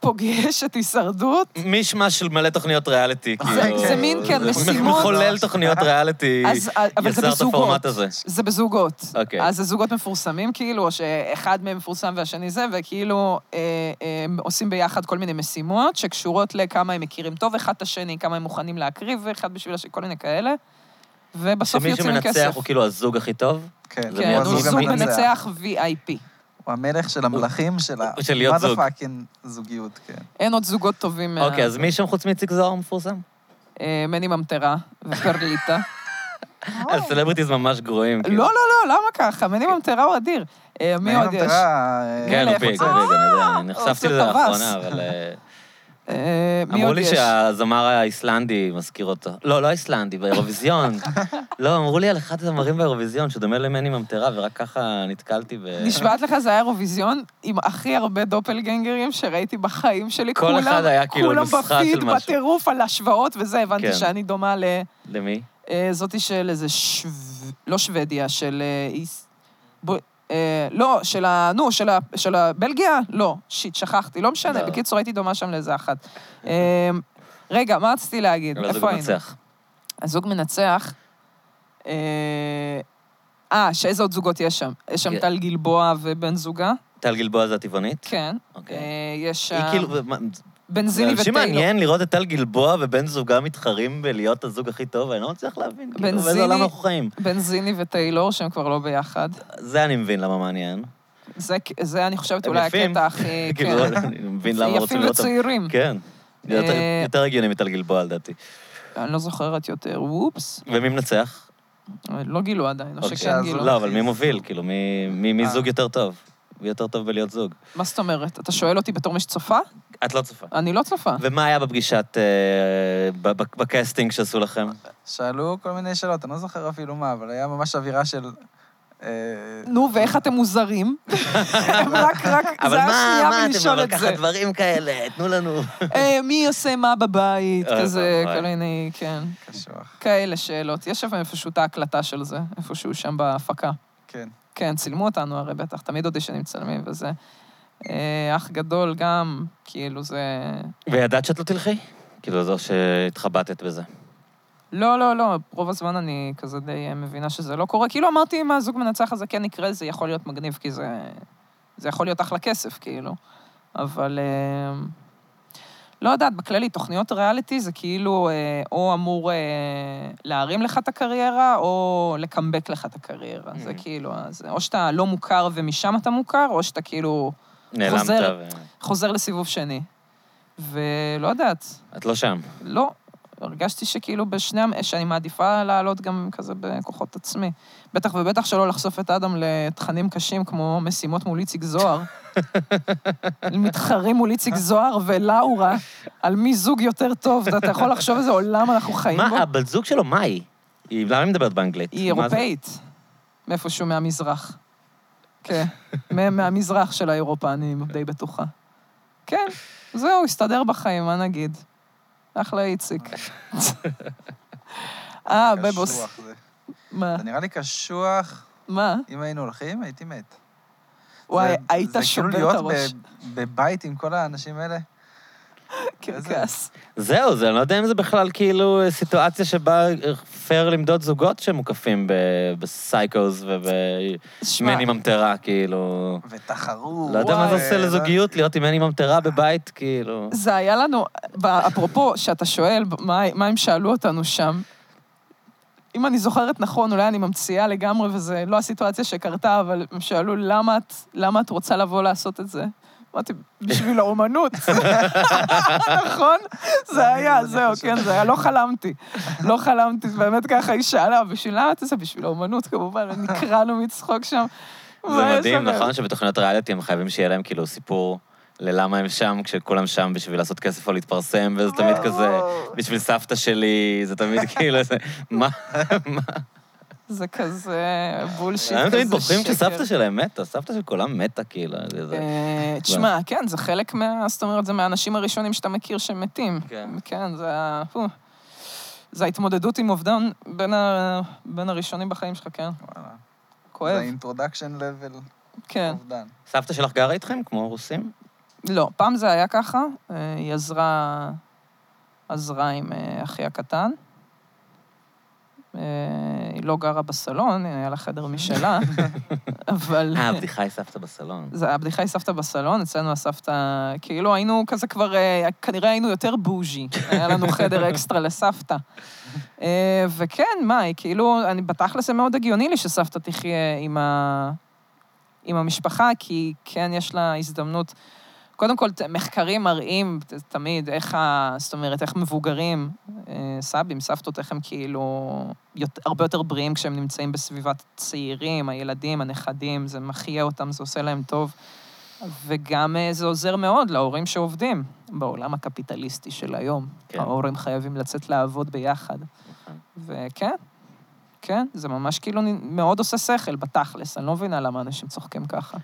B: פוגש את הישרדות.
C: מישמש של מלא תוכניות ריאליטי,
A: זה-
C: כאילו.
A: זה מין, כן, משימות.
C: מחולל תוכניות ריאליטי,
B: אז- אה, אבל זה
C: יצר את
B: בזוגות.
C: הפורמט הזה.
B: זה בזוגות.
C: אוקיי.
B: אז זה זוגות מפורסמים, כאילו, או שאחד מהם מפורסם והשני זה, וכאילו אה, אה, הם עושים ביחד כל מיני משימות שקשורות לכמה הם מכירים טוב אחד את השני, כמה הם מוכנים להקריב, אחד בשביל השני, כל מיני כאלה. ובסוף
C: שמי
B: יוצאים עם
C: שמנצח
B: כסף.
C: הוא כאילו הזוג הכי טוב?
A: כן,
C: זה
B: כן,
C: מי
B: הוא
C: הזוג
B: זוג
C: המנצח.
B: מנצח VIP.
A: הוא המלך של המלכים של ה...
C: של להיות זוג.
A: מה זוגיות, כן.
B: אין עוד זוגות טובים מה...
C: אוקיי, אז מי שם חוץ מאיציק זוהר מפורסם?
B: אה, מני ממטרה ופרליטה.
C: הסלבריטיז אה, ממש גרועים.
B: לא,
C: כאילו.
B: לא, לא, למה ככה? מני ממטרה הוא אדיר. אה, מי עוד יש?
A: כן.
C: כן,
B: מלך,
C: הוא פיק,
B: אה,
C: פיק, אני יודע, אני
B: הוא
C: נחשפתי
B: עושה
C: לזה
B: טווס.
C: לאחרונה, אבל... אה,
B: אה, מי
C: אמרו
B: עוד
C: לי
B: יש?
C: שהזמר האיסלנדי מזכיר אותו. לא, לא האיסלנדי, באירוויזיון. לא, אמרו לי על אחד הזמרים באירוויזיון, שדומה למני ממטרה, ורק ככה נתקלתי ב...
B: נשבעת לך, זה היה אירוויזיון עם הכי הרבה דופלגנגרים שראיתי בחיים שלי.
C: כל
B: כולם-
C: אחד היה כאילו
B: כולם
C: נוסחה של
B: בפיד,
C: משהו.
B: בטירוף, על השוואות וזה, הבנתי
C: כן.
B: שאני דומה ל...
C: למי?
B: אה, זאתי של איזה שו... לא שוודיה, של אה, איס... בו... אה, לא, של ה... נו, של, ה... של הבלגיה? לא, שיט, שכחתי, לא משנה.
C: לא.
B: בקיצור, הייתי דומה שם לאיזה אחת. אה, רגע, מה רציתי להגיד?
C: אבל זה
B: איפה היינו?
C: מנצח.
B: הזוג מנצח. אה, אה, שאיזה עוד זוגות יש שם? יש שם
C: כן.
B: טל גלבוע ובן זוגה?
C: טל גלבוע זה הטבעונית?
B: כן.
C: אוקיי.
B: אה, יש
C: היא
B: שם
C: כאילו... מה-
B: בנזיני
C: זה אנשים
B: וטיילור.
C: מעניין לראות את טל גלבוע ובן זוגה מתחרים בלהיות הזוג הכי טוב, אני לא מצליח להבין. כאילו, באיזה
B: בנזיני-
C: עולם אנחנו חיים?
B: בנזיני וטיילור, שהם כבר לא ביחד.
C: זה אני מבין למה מעניין.
B: זה, זה אני חושבת,
C: הם
B: אולי
C: יפים.
B: הקטע הכי...
C: כאילו,
B: אה, כן.
C: אני מבין למה רוצים
B: יפים
C: לראות אותם.
B: וצעירים.
C: כן. זה יותר-
B: אה,
C: יותר הגיוני מטל גלבוע, לדעתי. כן.
B: אני לא זוכרת יותר, וופס.
C: ומי מנצח?
B: לא גילו עדיין, או
C: אוקיי,
B: שכן
A: אז
B: גילו.
C: לא, אבל מי מוביל? כאילו, מי- מי מי
A: אה.
C: זוג יותר טוב? מי יותר טוב בלהיות זוג?
B: מה זאת אומרת? אתה שואל אותי בתור מי שצופה?
C: את לא צופה.
B: אני לא צופה.
C: ומה היה בפגישת... אה, ב- ב- בקסטינג שעשו לכם?
A: שאלו כל מיני שאלות, אני לא זוכר אפילו מה, אבל היה ממש אווירה של... אה,
B: נו, ואיך אתם מוזרים? הם רק, רק,
C: אבל
B: זה היה
C: מה,
B: שנייה
C: מה אתם, לא
B: מלשאול
C: אבל
B: את זה.
C: ככה דברים כאלה, תנו לנו.
B: אה, מי עושה מה בבית,
C: אוי,
B: כזה,
C: אוי.
B: כל מיני, כן.
A: קשוח,
B: כאלה שאלות. יש שם איפשהו את ההקלטה של זה, איפשהו שם בהפקה.
A: כן.
B: כן, צילמו אותנו הרי בטח, תמיד אודישנים מצלמים וזה. אה, אח גדול גם, כאילו זה...
C: וידעת שאת לא תלכי? כאילו, זו שהתחבטת בזה.
B: לא, לא, לא, רוב הזמן אני כזה די אה, מבינה שזה לא קורה. כאילו אמרתי, אם הזוג מנצח הזה כן יקרה, זה יכול להיות מגניב, כי זה... זה יכול להיות אחלה כסף, כאילו. אבל... אה, לא יודעת, בכללי, תוכניות ריאליטי זה כאילו אה, או אמור אה, להרים לך את הקריירה, או לקמבק לך את הקריירה. זה
C: Mhm.
B: כאילו, אז, או שאתה לא מוכר ומשם אתה מוכר, או שאתה כאילו
C: נעלמת
B: חוזר.
C: ו...
B: חוזר לסיבוב שני. ולא יודעת,
C: את לא שם.
B: לא. הרגשתי שכאילו בשני, המ- שאני מעדיפה לעלות גם כזה בכוחות עצמי. בטח ובטח שלא לחשוף את אדם לתכנים קשים כמו משימות מול איציק זוהר. מתחרים מול איציק זוהר ולאורה על מי זוג יותר טוב. אתה יכול לחשוב איזה עולם אנחנו חיים בו?
C: מה, הבת זוג שלו, מה היא? היא- למה היא מדברת באנגלית?
B: היא
C: מה זה?
B: אירופאית, מאיפשהו מהמזרח. כן, מה- מהמזרח של האירופה, אני די בטוחה. כן, זהו, הסתדר בחיים, מה נגיד? אחלה איציק. אה, בבוס.
A: קשוח זה.
B: מה?
A: זה נראה לי קשוח,
B: מה?
A: אם היינו הולכים, הייתי מת.
B: וואי,
A: זה-
B: היית שובר את
A: זה
B: הראש.
A: כאילו להיות ב- בבית עם כל האנשים האלה.
B: כן,
A: איזה-
B: קרקס.
C: זהו, זה, אני לא יודע אם זה בכלל כאילו סיטואציה שבה פייר למדוד זוגות שמוקפים ב- בסייקוס ובמני
B: שמע,
C: ממטרה, כאילו...
A: ותחרות. אה,
C: לא יודע מה זה
B: וואי,
C: עושה לזוגיות להיות עם מני ממטרה בבית, כאילו...
B: זה היה לנו, ב- אפרופו, שאתה שואל מה, מה הם שאלו אותנו שם, אם אני זוכרת נכון, אולי אני ממציאה לגמרי, וזה לא הסיטואציה שקרתה, אבל הם שאלו למה את, למה את רוצה לבוא לעשות את זה. אמרתי, בשביל האומנות, נכון? זה היה,
A: אני
B: זהו,
A: חושב.
B: כן, זה היה, לא חלמתי. לא חלמתי, באמת ככה היא שאלה, בשביל למה את זה? בשביל האומנות, כמובן, ונקרענו מצחוק שם.
C: זה
B: מה יש
C: מדהים,
B: לכם?
C: נכון? שבתוכניות ריאליטי הם חייבים שיהיה להם כאילו סיפור ללמה הם שם, כשכולם שם בשביל לעשות כסף או להתפרסם, וזה
B: אה,
C: תמיד כזה, בשביל סבתא שלי, זה תמיד כאילו איזה... מה?
B: זה כזה בולשיט כזה
C: הם תמיד בוחרים
B: שקר.
C: כשסבתא שלהם מתה, סבתא של כולם מתה, כאילו. זה- זה-
B: אה, תשמע, כן, זה חלק מה... זאת אומרת, זה מהאנשים הראשונים שאתה מכיר שמתים.
C: כן.
B: כן, זה ה... פו. זה ההתמודדות עם אובדן בין, ה... בין הראשונים בחיים שלך, כן.
A: וואלה.
B: כואב,
A: זה אינטרודקשן לבל
B: כן.
A: אובדן.
C: סבתא שלך גרה איתכם, כמו הרוסים?
B: לא, פעם זה היה ככה, אה, היא עזרה, עזרה עם אה, אחי הקטן. אה, היא לא גרה בסלון, היה לה חדר משלה, אבל...
C: אה, הבדיחה היא סבתא בסלון.
B: לא. זה הבדיחה היא סבתא בסלון, אצלנו הסבתא, כאילו היינו כזה כבר, אה, כנראה היינו יותר בוז'י. היה לנו חדר אקסטרה לסבתא. אה, וכן, מה, היא כאילו, אני, בתכלס זה מאוד הגיוני לי שסבתא תחיה עם, ה, עם המשפחה, כי כן יש לה הזדמנות. קודם כל, ת- מחקרים מראים ת- תמיד איך ה... זאת אומרת, איך מבוגרים, אה, סבים, סבתות, איך הם כאילו יותר, הרבה יותר בריאים כשהם נמצאים בסביבת צעירים, הילדים, הנכדים, זה מחיה אותם, זה עושה להם טוב. וגם אה, זה עוזר מאוד להורים שעובדים בעולם הקפיטליסטי של היום.
C: כן.
B: כן. ההורים חייבים לצאת לעבוד ביחד. וכן, כן, זה ממש כאילו נ- מאוד עושה שכל בתכלס, אני לא מבינה למה אנשים צוחקים ככה.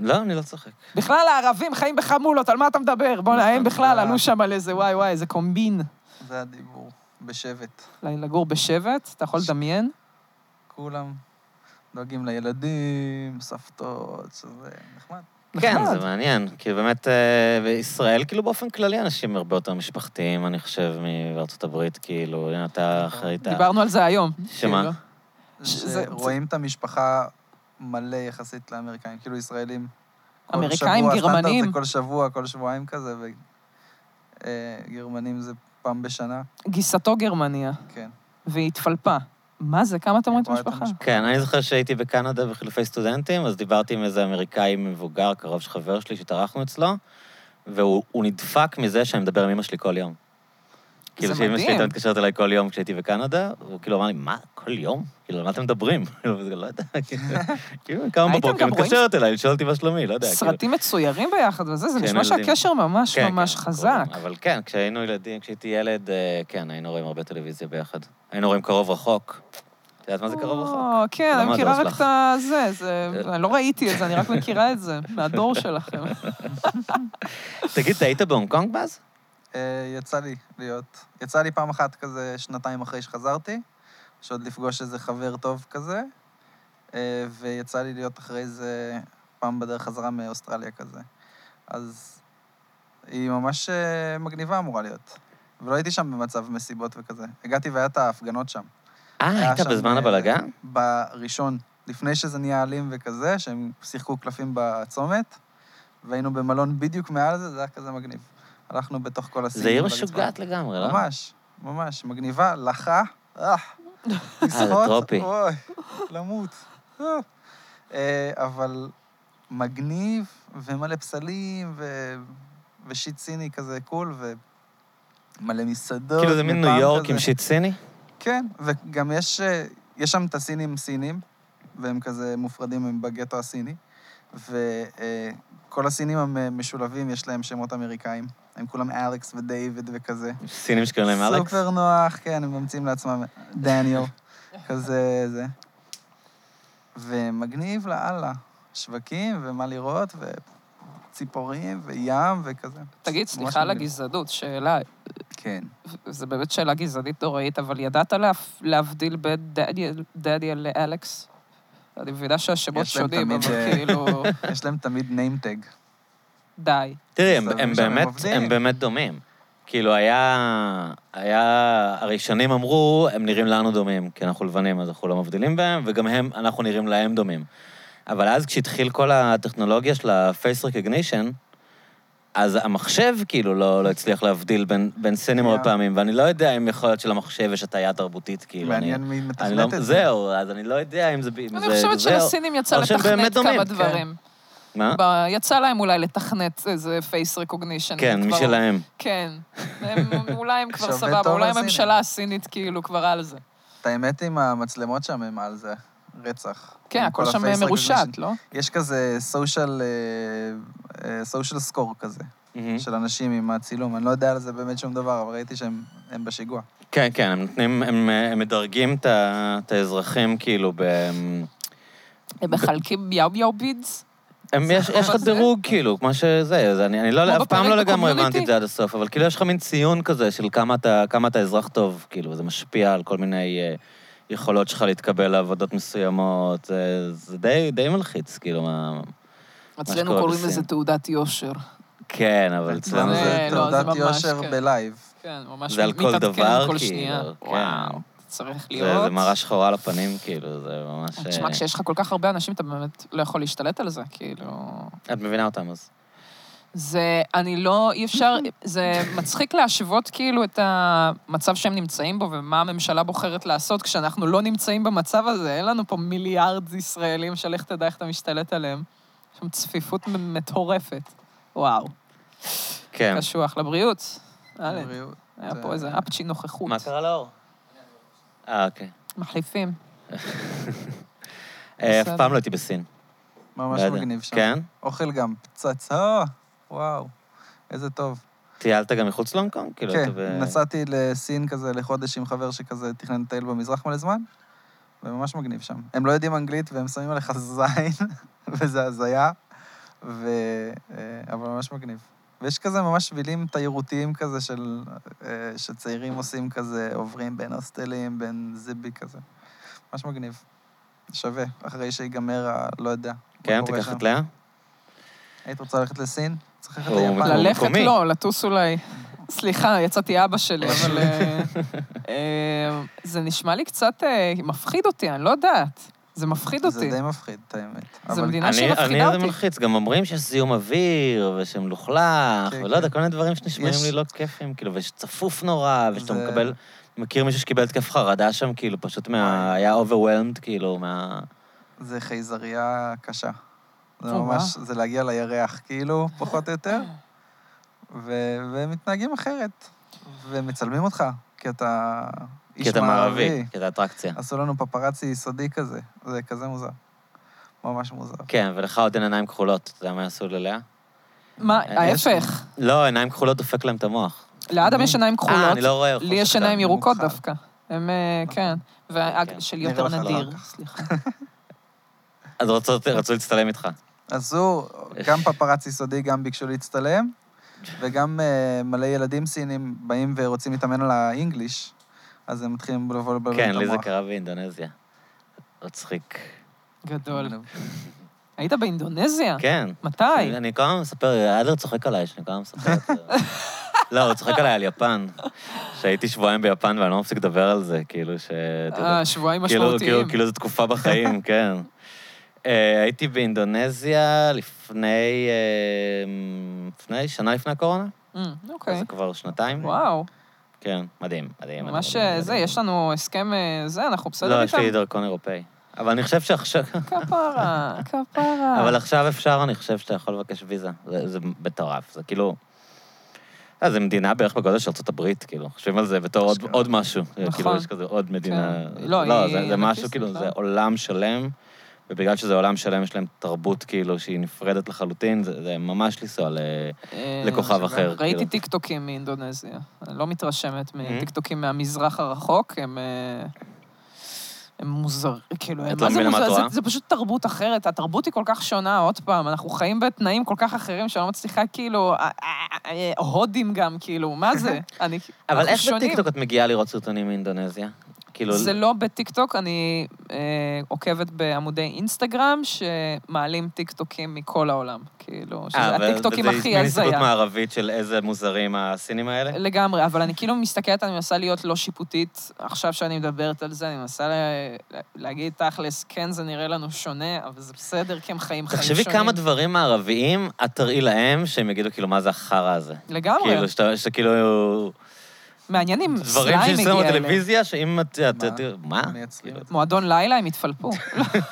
C: לא, אני לא צוחק.
B: בכלל, הערבים חיים בחמולות, על מה אתה מדבר? בוא'נה, הם בכלל
A: אה.
B: עלו שם על איזה וואי וואי, איזה קומבין.
A: זה הדיבור. בשבט.
B: לגור בשבט, אתה יכול לדמיין?
A: כולם דואגים לילדים, סבתות, שזה נחמד.
C: כן,
B: נחמד.
C: זה מעניין, כי באמת, אה, בישראל, כאילו באופן כללי, אנשים הרבה יותר משפחתיים, אני חושב, מבארצות הברית, כאילו, הנה, אתה אחראית...
B: דיברנו על זה היום.
C: שמה?
B: כאילו. ש- זה-
A: שרואים את המשפחה מלא יחסית לאמריקאים, כאילו ישראלים. כל
B: אמריקאים,
A: שבוע, הסטנדרט
B: גרמנים.
A: זה כל שבוע, כל שבועיים כזה, וגרמנים זה פעם בשנה,
B: גיסתו גרמניה,
A: כן.
B: והיא התפלפה. מה זה? כמה אתם רואים את
A: רואה את
B: המשפחה?
A: המשפחה.
C: כן, אני זוכר שהייתי בקנדה בחילופי סטודנטים, אז דיברתי עם איזה אמריקאי מבוגר, קרוב של חבר שלי, שהתארחנו אצלו, והוא הוא נדפק מזה שאני מדבר עם אמא שלי כל יום. כאילו שאמא שלי
B: מדהים.
C: הייתה מתקשרת אליי כל יום כשהייתי בקנדה, הוא כאילו אמר לי, מה, כל יום? כאילו, על מה אתם מדברים? כאילו, וזה לא יודע, כאילו, כאילו, כמה
B: הייתם
C: בבוקר
B: גם רואים-
C: מתקשרת אליי, לשאול אותי מה שלומי, לא יודע. כאילו.
B: סרטים מצוירים ביחד וזה, זה
C: כן,
B: נשמע
C: ילדים.
B: שהקשר ממש
C: כן,
B: ממש
C: כן,
B: חזק.
C: קוראים. אבל כן, כשהיינו ילדים, כשהייתי ילד, אה, כן, היינו רואים הרבה טלוויזיה ביחד. היינו רואים קרוב רחוק. את יודעת מה זה קרוב רחוק?
B: או, כן,
C: למה
B: אני
C: זה
B: מכירה
C: אה,
B: רק
C: אוזלך?
B: את הזה, זה... אני לא ראיתי את זה, אני רק מכירה את זה, מהדור שלכם.
C: תגיד, אתה היית בהונג קונג באז?
A: אה, יצא לי להיות, יצא לי פעם אחת כזה שנתיים אחרי שחזרתי, שעוד לפגוש איזה חבר טוב כזה. אה, אה, ויצא לי להיות אחרי זה פעם בדרך חזרה מאוסטרליה כזה. אז היא ממש אה, מגניבה אמורה להיות. ולא הייתי שם במצב מסיבות וכזה. הגעתי והיה את ההפגנות שם.
C: אה,
A: היה
C: היית
A: שם,
C: בזמן
A: אה,
C: הבלגן?
A: בראשון, לפני שזה נהיה אלים וכזה, שהם שיחקו קלפים בצומת, והיינו במלון בדיוק מעל זה, זה היה כזה מגניב. הלכנו בתוך כל הסינים.
C: זה עיר
A: ברצפה.
C: משוגעת לגמרי, לא?
A: ממש, ממש. מגניבה, לחה, אה,
C: זה טרופי.
A: אוי, למות. אה. אה, אבל מגניב, ומלא פסלים, ו... ושיט סיני כזה קול, ומלא מסעדות.
C: כאילו זה מין ניו
A: מפעם
C: יורק עם
A: לא, כזה.
C: שיט סיני?
A: כן, וגם יש, אה, יש שם את הסינים סינים, והם כזה מופרדים, הם בגטו הסיני, וכל הסינים המשולבים, יש להם שמות אמריקאים. הם כולם אלכס ודייוויד וכזה.
C: סינים שקוראים להם אלכס?
A: סופר נוח, כן, הם ממציאים לעצמם דניאל, כזה זה. ומגניב לאללה, שווקים ומה לראות, וציפורים וים וכזה.
B: תגיד,
A: ממש
B: סליחה על
A: מגניב.
B: הגזענות, שאלה,
A: כן.
B: זו באמת שאלה גזענית נוראית, אבל ידעת להפ- להבדיל בין דניאל- דניאל לאלכס? אני מבינה שהשמות
A: יש להם
B: שונים,
A: תמיד,
B: אבל
A: אה,
B: כאילו,
A: יש להם תמיד ניים-טג.
B: די.
C: תראי, הם,
A: מסתבר שהם
C: הם, באמת,
A: עובדים.
C: הם באמת דומים. כאילו, היה... היה... הרי שנים אמרו, הם נראים לנו דומים, כי אנחנו לבנים, אז אנחנו לא מבדילים בהם, וגם הם, אנחנו נראים להם דומים. אבל אז כשהתחיל כל הטכנולוגיה של ה-face recognition, אז המחשב כאילו לא, לא הצליח להבדיל בין, בין סינים הרבה
A: Yeah.
C: פעמים, ואני לא יודע אם יכול להיות שלמחשב יש הטיה תרבותית, כאילו.
A: מעניין מי
C: אני, אני לא,
A: מתכנת את זה.
C: זהו, אז אני לא יודע אם זה... ב- אם
B: אני
C: זה-
B: חושבת
C: זהו.
B: שלסינים יצא
C: אבל שהם באמת
B: לתכנת
C: דומים,
B: כמה
C: כן.
B: דברים.
C: מה?
B: ב- יצא להם אולי לתכנת איזה face recognition.
C: כן,
B: כבר-
C: משלהם.
B: כן. הם- אולי הם כבר
A: שעובד
B: סבבה,
A: טוב
B: אולי
A: לסינים.
B: הממשלה הסינית כאילו כבר על זה.
A: את האמת עם המצלמות שם הם על זה, רצח.
B: כן,
A: עם
B: הכל
A: כל
B: שם
A: ה-face
B: מרושת,
A: recognition.
B: לא?
A: יש כזה אה, סושיאל, סושיאל סקור כזה,
C: מהמם.
A: של אנשים עם הצילום. אני לא יודע על זה באמת שום דבר, אבל ראיתי שהם הם בשיגוע.
C: כן, כן, הם נותנים, הם, אה, הם מדרגים את ה- את האזרחים, כאילו, ב...
B: הם מחלקים יאו יאו בידס?
C: הם, יש, יש לך
B: זה?
C: דירוג, כאילו, כמו שזה, אז אני, אני לא,
B: כמו
C: אף פעם לא
B: בפרק
C: לגמרי
B: בקומיוניטי.
C: הבנתי את זה עד הסוף, אבל כאילו יש לך מין ציון כזה של כמה אתה, כמה אתה אזרח טוב, כאילו, זה משפיע על כל מיני אה, יכולות שלך להתקבל לעבודות מסוימות, זה, זה די, די מלחיץ, כאילו, מה...
B: אצלנו
C: שקורה
B: קוראים
C: בסין.
B: לזה תעודת יושר.
C: כן, אבל
A: אצלנו
C: אצלנו
B: זה-
C: זה...
A: זה
B: לא, זה
A: תעודת
B: ממש,
A: יושר
B: כן.
A: בלייב.
B: כן, ממש
C: זה על כל
B: מתעדכן
C: דבר,
B: כל
C: כאילו,
B: שנייה.
C: כן.
B: וואו, צריך
C: זה,
B: לראות.
C: זה מראה שחורה על הפנים, כאילו, זה ממש...
B: תשמע,
C: אה,
B: כשיש לך כל כך הרבה אנשים, אתה באמת לא יכול להשתלט על זה, כאילו...
C: את מבינה אותם, אז...
B: זה, אני לא, אי אפשר, זה מצחיק להשוות כאילו את המצב שהם נמצאים בו ומה הממשלה בוחרת לעשות כשאנחנו לא נמצאים במצב הזה. אין לנו פה מיליארד ישראלים שלך תדע איך אתה משתלט עליהם. יש שם צפיפות מ- מטורפת. וואו,
C: כן.
B: קשוח לבריאות. אלן,
A: בריאות.
B: היה
A: זה-
B: פה איזה אפצ'י נוכחות.
C: מה קרה לאור? אה, אוקיי.
B: מחליפים.
C: אה, אף
B: בסדר.
C: פעם לא הייתי בסין.
A: ממש
C: לא יודע.
A: מגניב שם.
C: כן?
A: אוכל גם פצצה, אה, וואו, איזה טוב.
C: טיילת גם מחוץ להונג קונג? כאילו, אתה ב-
A: כן, נסעתי לסין כזה לחודש עם חבר שכזה תכנן לטייל במזרח מלא זמן, וממש מגניב שם. הם לא יודעים אנגלית והם שמים עליך זין, וזה הזיה, ו... אה, אבל ממש מגניב. ויש כזה ממש שבילים תיירותיים כזה של... אה, שצעירים עושים כזה, עוברים בין הוסטלים, בין זיבי כזה. ממש מגניב. שווה, אחרי שיגמר ה... לא יודע. מה
C: כן,
A: קורה
C: תיקח
A: שם.
C: את לאה?
A: היית רוצה ללכת לסין? צריך ללכת
C: הוא
A: ליפן.
C: מקום
B: ללכת
C: מקומי.
B: לא, לטוס אולי. סליחה, יצאתי אבא שלי, אבל... אה, אה, זה נשמע לי קצת אה, מפחיד אותי, אני לא יודעת. זה מפחיד
A: זה
B: אותי.
A: די מפחיד, את האמת.
B: זה
A: אבל-
B: מדינה
C: אני,
B: שמפחידה
C: אני זה
B: אותי.
C: מלחיץ, גם אומרים שיש זיהום אוויר, ושמלוכלך,
A: כן,
C: ולא יודע,
A: כן.
C: כל מיני דברים שנשמעים
A: יש-
C: לי לא כיפים, כאילו, ושצפוף נורא, ושאתה
A: זה-
C: מקבל... מכיר מישהו שקיבל התקף חרדה שם, כאילו, פשוט מה...
A: וואי.
C: היה overwhelmed, כאילו, מה...
A: זה חייזריה קשה. זה
B: או,
A: ממש, זה להגיע לירח, כאילו, פחות או יותר, ו- ומתנהגים אחרת. ומצלמים אותך, כי אתה איש
C: כי אתה מערבי, כי אתה אטרקציה.
A: עשו לנו פפרצי יסודי כזה, זה כזה מוזר. ממש מוזר.
C: כן, ולך עוד אין עיניים כחולות, אתה יודע מה יעשו ללאה?
B: מה,
C: יש-
B: ההפך.
C: לא, עיניים כחולות דופק להם את המוח.
B: לאדם יש
A: אה,
B: עיניים
C: אה,
B: כחולות,
C: אני לא רואה. יכול
B: לי יש
C: שכתב.
B: עיניים ירוקות
A: מאוחר.
B: דווקא. הם, אה,
A: נכון. כן.
B: כן.
C: כן.
B: והשלי
A: נראה
B: יותר
A: לך אחר
B: נדיר.
A: כך.
B: סליחה.
C: אז רצו- רצו להצטלם איתך.
A: עשו גם פפרצי סודי, גם ביקשו להצטלם, וגם אה, מלא ילדים סינים באים ורוצים להתאמן על האינגליש, אז הם מתחילים לבוא לבלבל את
C: כן,
A: המוח.
C: לי זה קרה באינדונזיה. מצחיק.
B: גדול. היית באינדונזיה?
C: כן.
B: מתי?
C: אני אני כל הזמן מספר, אדלר צוחק עליי, שאני כל הזמן מספר את זה. לא, הוא צוחק עליי על יפן. שהייתי שבועיים ביפן ואני לא מפסיק לדבר על זה, כאילו ש... אתה יודע,
B: אה, שבועיים
C: כאילו-
B: משמעותיים.
C: כאילו, כאילו זו תקופה בחיים, כן. אה, הייתי באינדונזיה לפני... אה, לפני שנה לפני הקורונה.
B: אה, אוקיי.
C: זה כבר שנתיים.
B: וואו,
C: כן, מדהים, מדהים.
B: ממש
C: מדהים,
B: אה, זה,
C: מדהים.
B: יש לנו הסכם אה, זה, אנחנו בסדר
C: לא, יש
B: איתם.
C: לי דרכון אירופאי. אבל אני חושב שעכשיו...
B: כפרה, כפרה.
C: אבל עכשיו אפשר, אני חושב שאתה יכול לבקש ויזה. זה זה מטורף, זה כאילו... אה, זה מדינה בערך בגודל של ארה"ב, כאילו, חושבים על זה בתור עוד-
A: אשכרה.
C: עוד משהו. כאילו,
B: נכון.
C: יש כזה עוד מדינה.
B: כן. לא, היא
C: זה- זה
B: ענקית,
C: משהו, כאילו,
B: נכון.
C: זה עולם שלם, ובגלל שזה עולם שלם, יש להם תרבות, כאילו, שהיא נפרדת לחלוטין, זה זה ממש לנסוע ל-
B: אה,
C: לכוכב אחר.
B: ראיתי
C: כאילו.
B: טיקטוקים מאינדונזיה. אני לא מתרשמת
C: אה?
B: מטיקטוקים מהמזרח הרחוק, הם... אה, הם מוזר, כאילו,
C: את
B: הם-
C: לא
B: מה זה
C: מבינה מה את
B: מוזר?
C: רואה?
B: זה- זה פשוט תרבות אחרת, התרבות היא כל כך שונה, עוד פעם, אנחנו חיים בתנאים כל כך אחרים שאני לא מצליחה, כאילו, אה, אה, אה, הודים גם, כאילו, מה זה? אני,
C: אבל
B: אנחנו
C: איך
B: שונים.
C: בטיקטוק את מגיעה לראות סרטונים מאינדונזיה? כאילו,
B: זה לא בטיקטוק, אני אה, עוקבת בעמודי אינסטגרם שמעלים טיקטוקים מכל העולם. כאילו, שזה
C: אה, אבל-
B: הטיקטוקים
C: וזה
B: הכי
C: מין הסתכלות
B: הזיה.
C: מערבית של איזה מוזרים הסינים האלה?
B: לגמרי, אבל אני כאילו מסתכלת, אני מנסה להיות לא שיפוטית. עכשיו שאני מדברת על זה, אני מנסה לה- להגיד תכלס, כן, זה נראה לנו שונה, אבל זה בסדר, כי הם חיים חיים שונים.
C: תחשבי כמה דברים מערביים את תראי להם, שהם יגידו, כאילו, מה זה החרא הזה?
B: לגמרי.
C: כאילו, שאתה שאתה כאילו...
B: מעניינים,
C: דברים
B: סליים
C: ששמו
B: הגיע אליהם.
C: בטלוויזיה, שאם את... את-
A: מה?
C: את- מה?
A: מייצרים
C: כאילו,
A: את
B: מועדון לילה, הם יתפלפו.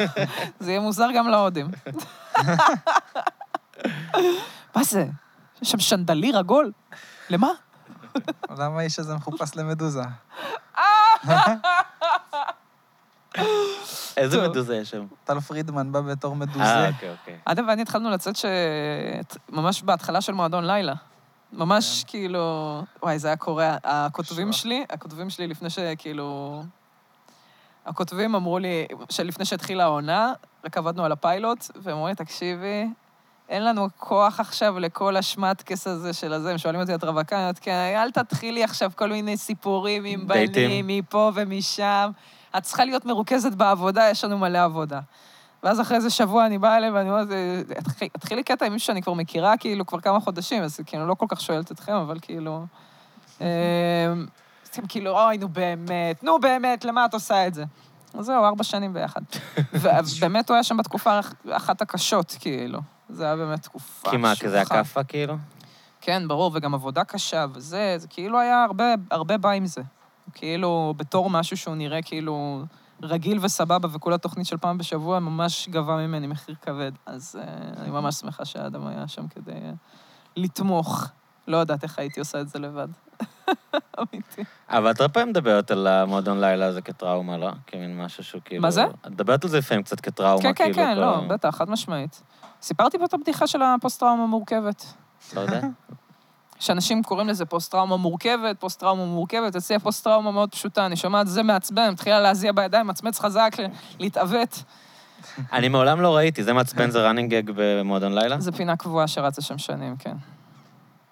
B: זה יהיה מוזר גם להודים. מה זה? יש שם שנדליר עגול? למה?
A: למה האיש הזה מחופש למדוזה?
C: איזה
B: טוב.
C: מדוזה יש שם?
A: טל פרידמן בא בתור
C: אה,
A: מדוזה.
C: אוקיי, אוקיי.
B: עדה ואני התחלנו לצאת ש... ממש בהתחלה של מועדון לילה. ממש כאילו... וואי, זה היה קורה. הכותבים
A: שואה.
B: שלי, הכותבים שלי לפני שכאילו... הכותבים אמרו לי, שלפני שהתחילה העונה, רק עבדנו על הפיילוט, והם אמרו לי, תקשיבי, אין לנו כוח עכשיו לכל השמטקס הזה של הזה. הם שואלים אותי, את רווקה? אני אומרת, כן, אל תתחילי עכשיו כל מיני סיפורים עם בנים,
C: דייטים.
B: מפה ומשם. את צריכה להיות מרוכזת בעבודה, יש לנו מלא עבודה. ואז אחרי איזה שבוע אני באה אליהם ואני אומרת, "אה, התחיל- התחיל לי קטע עם מישהו שאני כבר מכירה, כאילו, כבר כמה חודשים, אז כאילו, לא כל כך שואלת אתכם, אבל כאילו... אמ, אז אתם כאילו, אוי, נו באמת, נו באמת, למה את עושה את זה? אז זהו, ארבע שנים ביחד. ובאמת הוא היה שם בתקופה אחת הקשות, כאילו. זה היה באמת תקופה...
C: כי מה, כי זה
B: שוחה.
C: הכאפה, כאילו?
B: כן, ברור, וגם עבודה קשה וזה, זה כאילו היה הרבה, הרבה בא עם זה. כאילו, בתור משהו שהוא נראה כאילו רגיל וסבבה, וכל התוכנית של פעם בשבוע ממש גבה ממני מחיר כבד. אז uh, אני ממש שמחה שאדם היה שם כדי אה, לתמוך. לא יודעת איך הייתי עושה את זה לבד. אמיתי.
C: אבל את אה, הרבה פעמים מדברת על המועדון לילה הזה כטראומה, לא? כמין משהו שהוא כאילו...
B: מה זה?
C: את מדברת על זה לפעמים קצת כטראומה,
B: כן, כן,
C: כאילו.
B: כן, לא,
C: כבר-
B: בטח, חד משמעית. סיפרתי פה את הבדיחה של הפוסט-טראומה המורכבת.
C: לא יודע.
B: שאנשים קוראים לזה פוסט-טראומה מורכבת, פוסט-טראומה מורכבת, אצלי הפוסט-טראומה מאוד פשוטה, אני שומעת זה מעצבן, מתחילה להזיע בידיים, מצמץ חזק, ל- להתעוות.
C: אני מעולם לא ראיתי, זה מעצבן, זה running gag במועדון לילה?
B: זו פינה קבועה שרצה שם שנים, כן.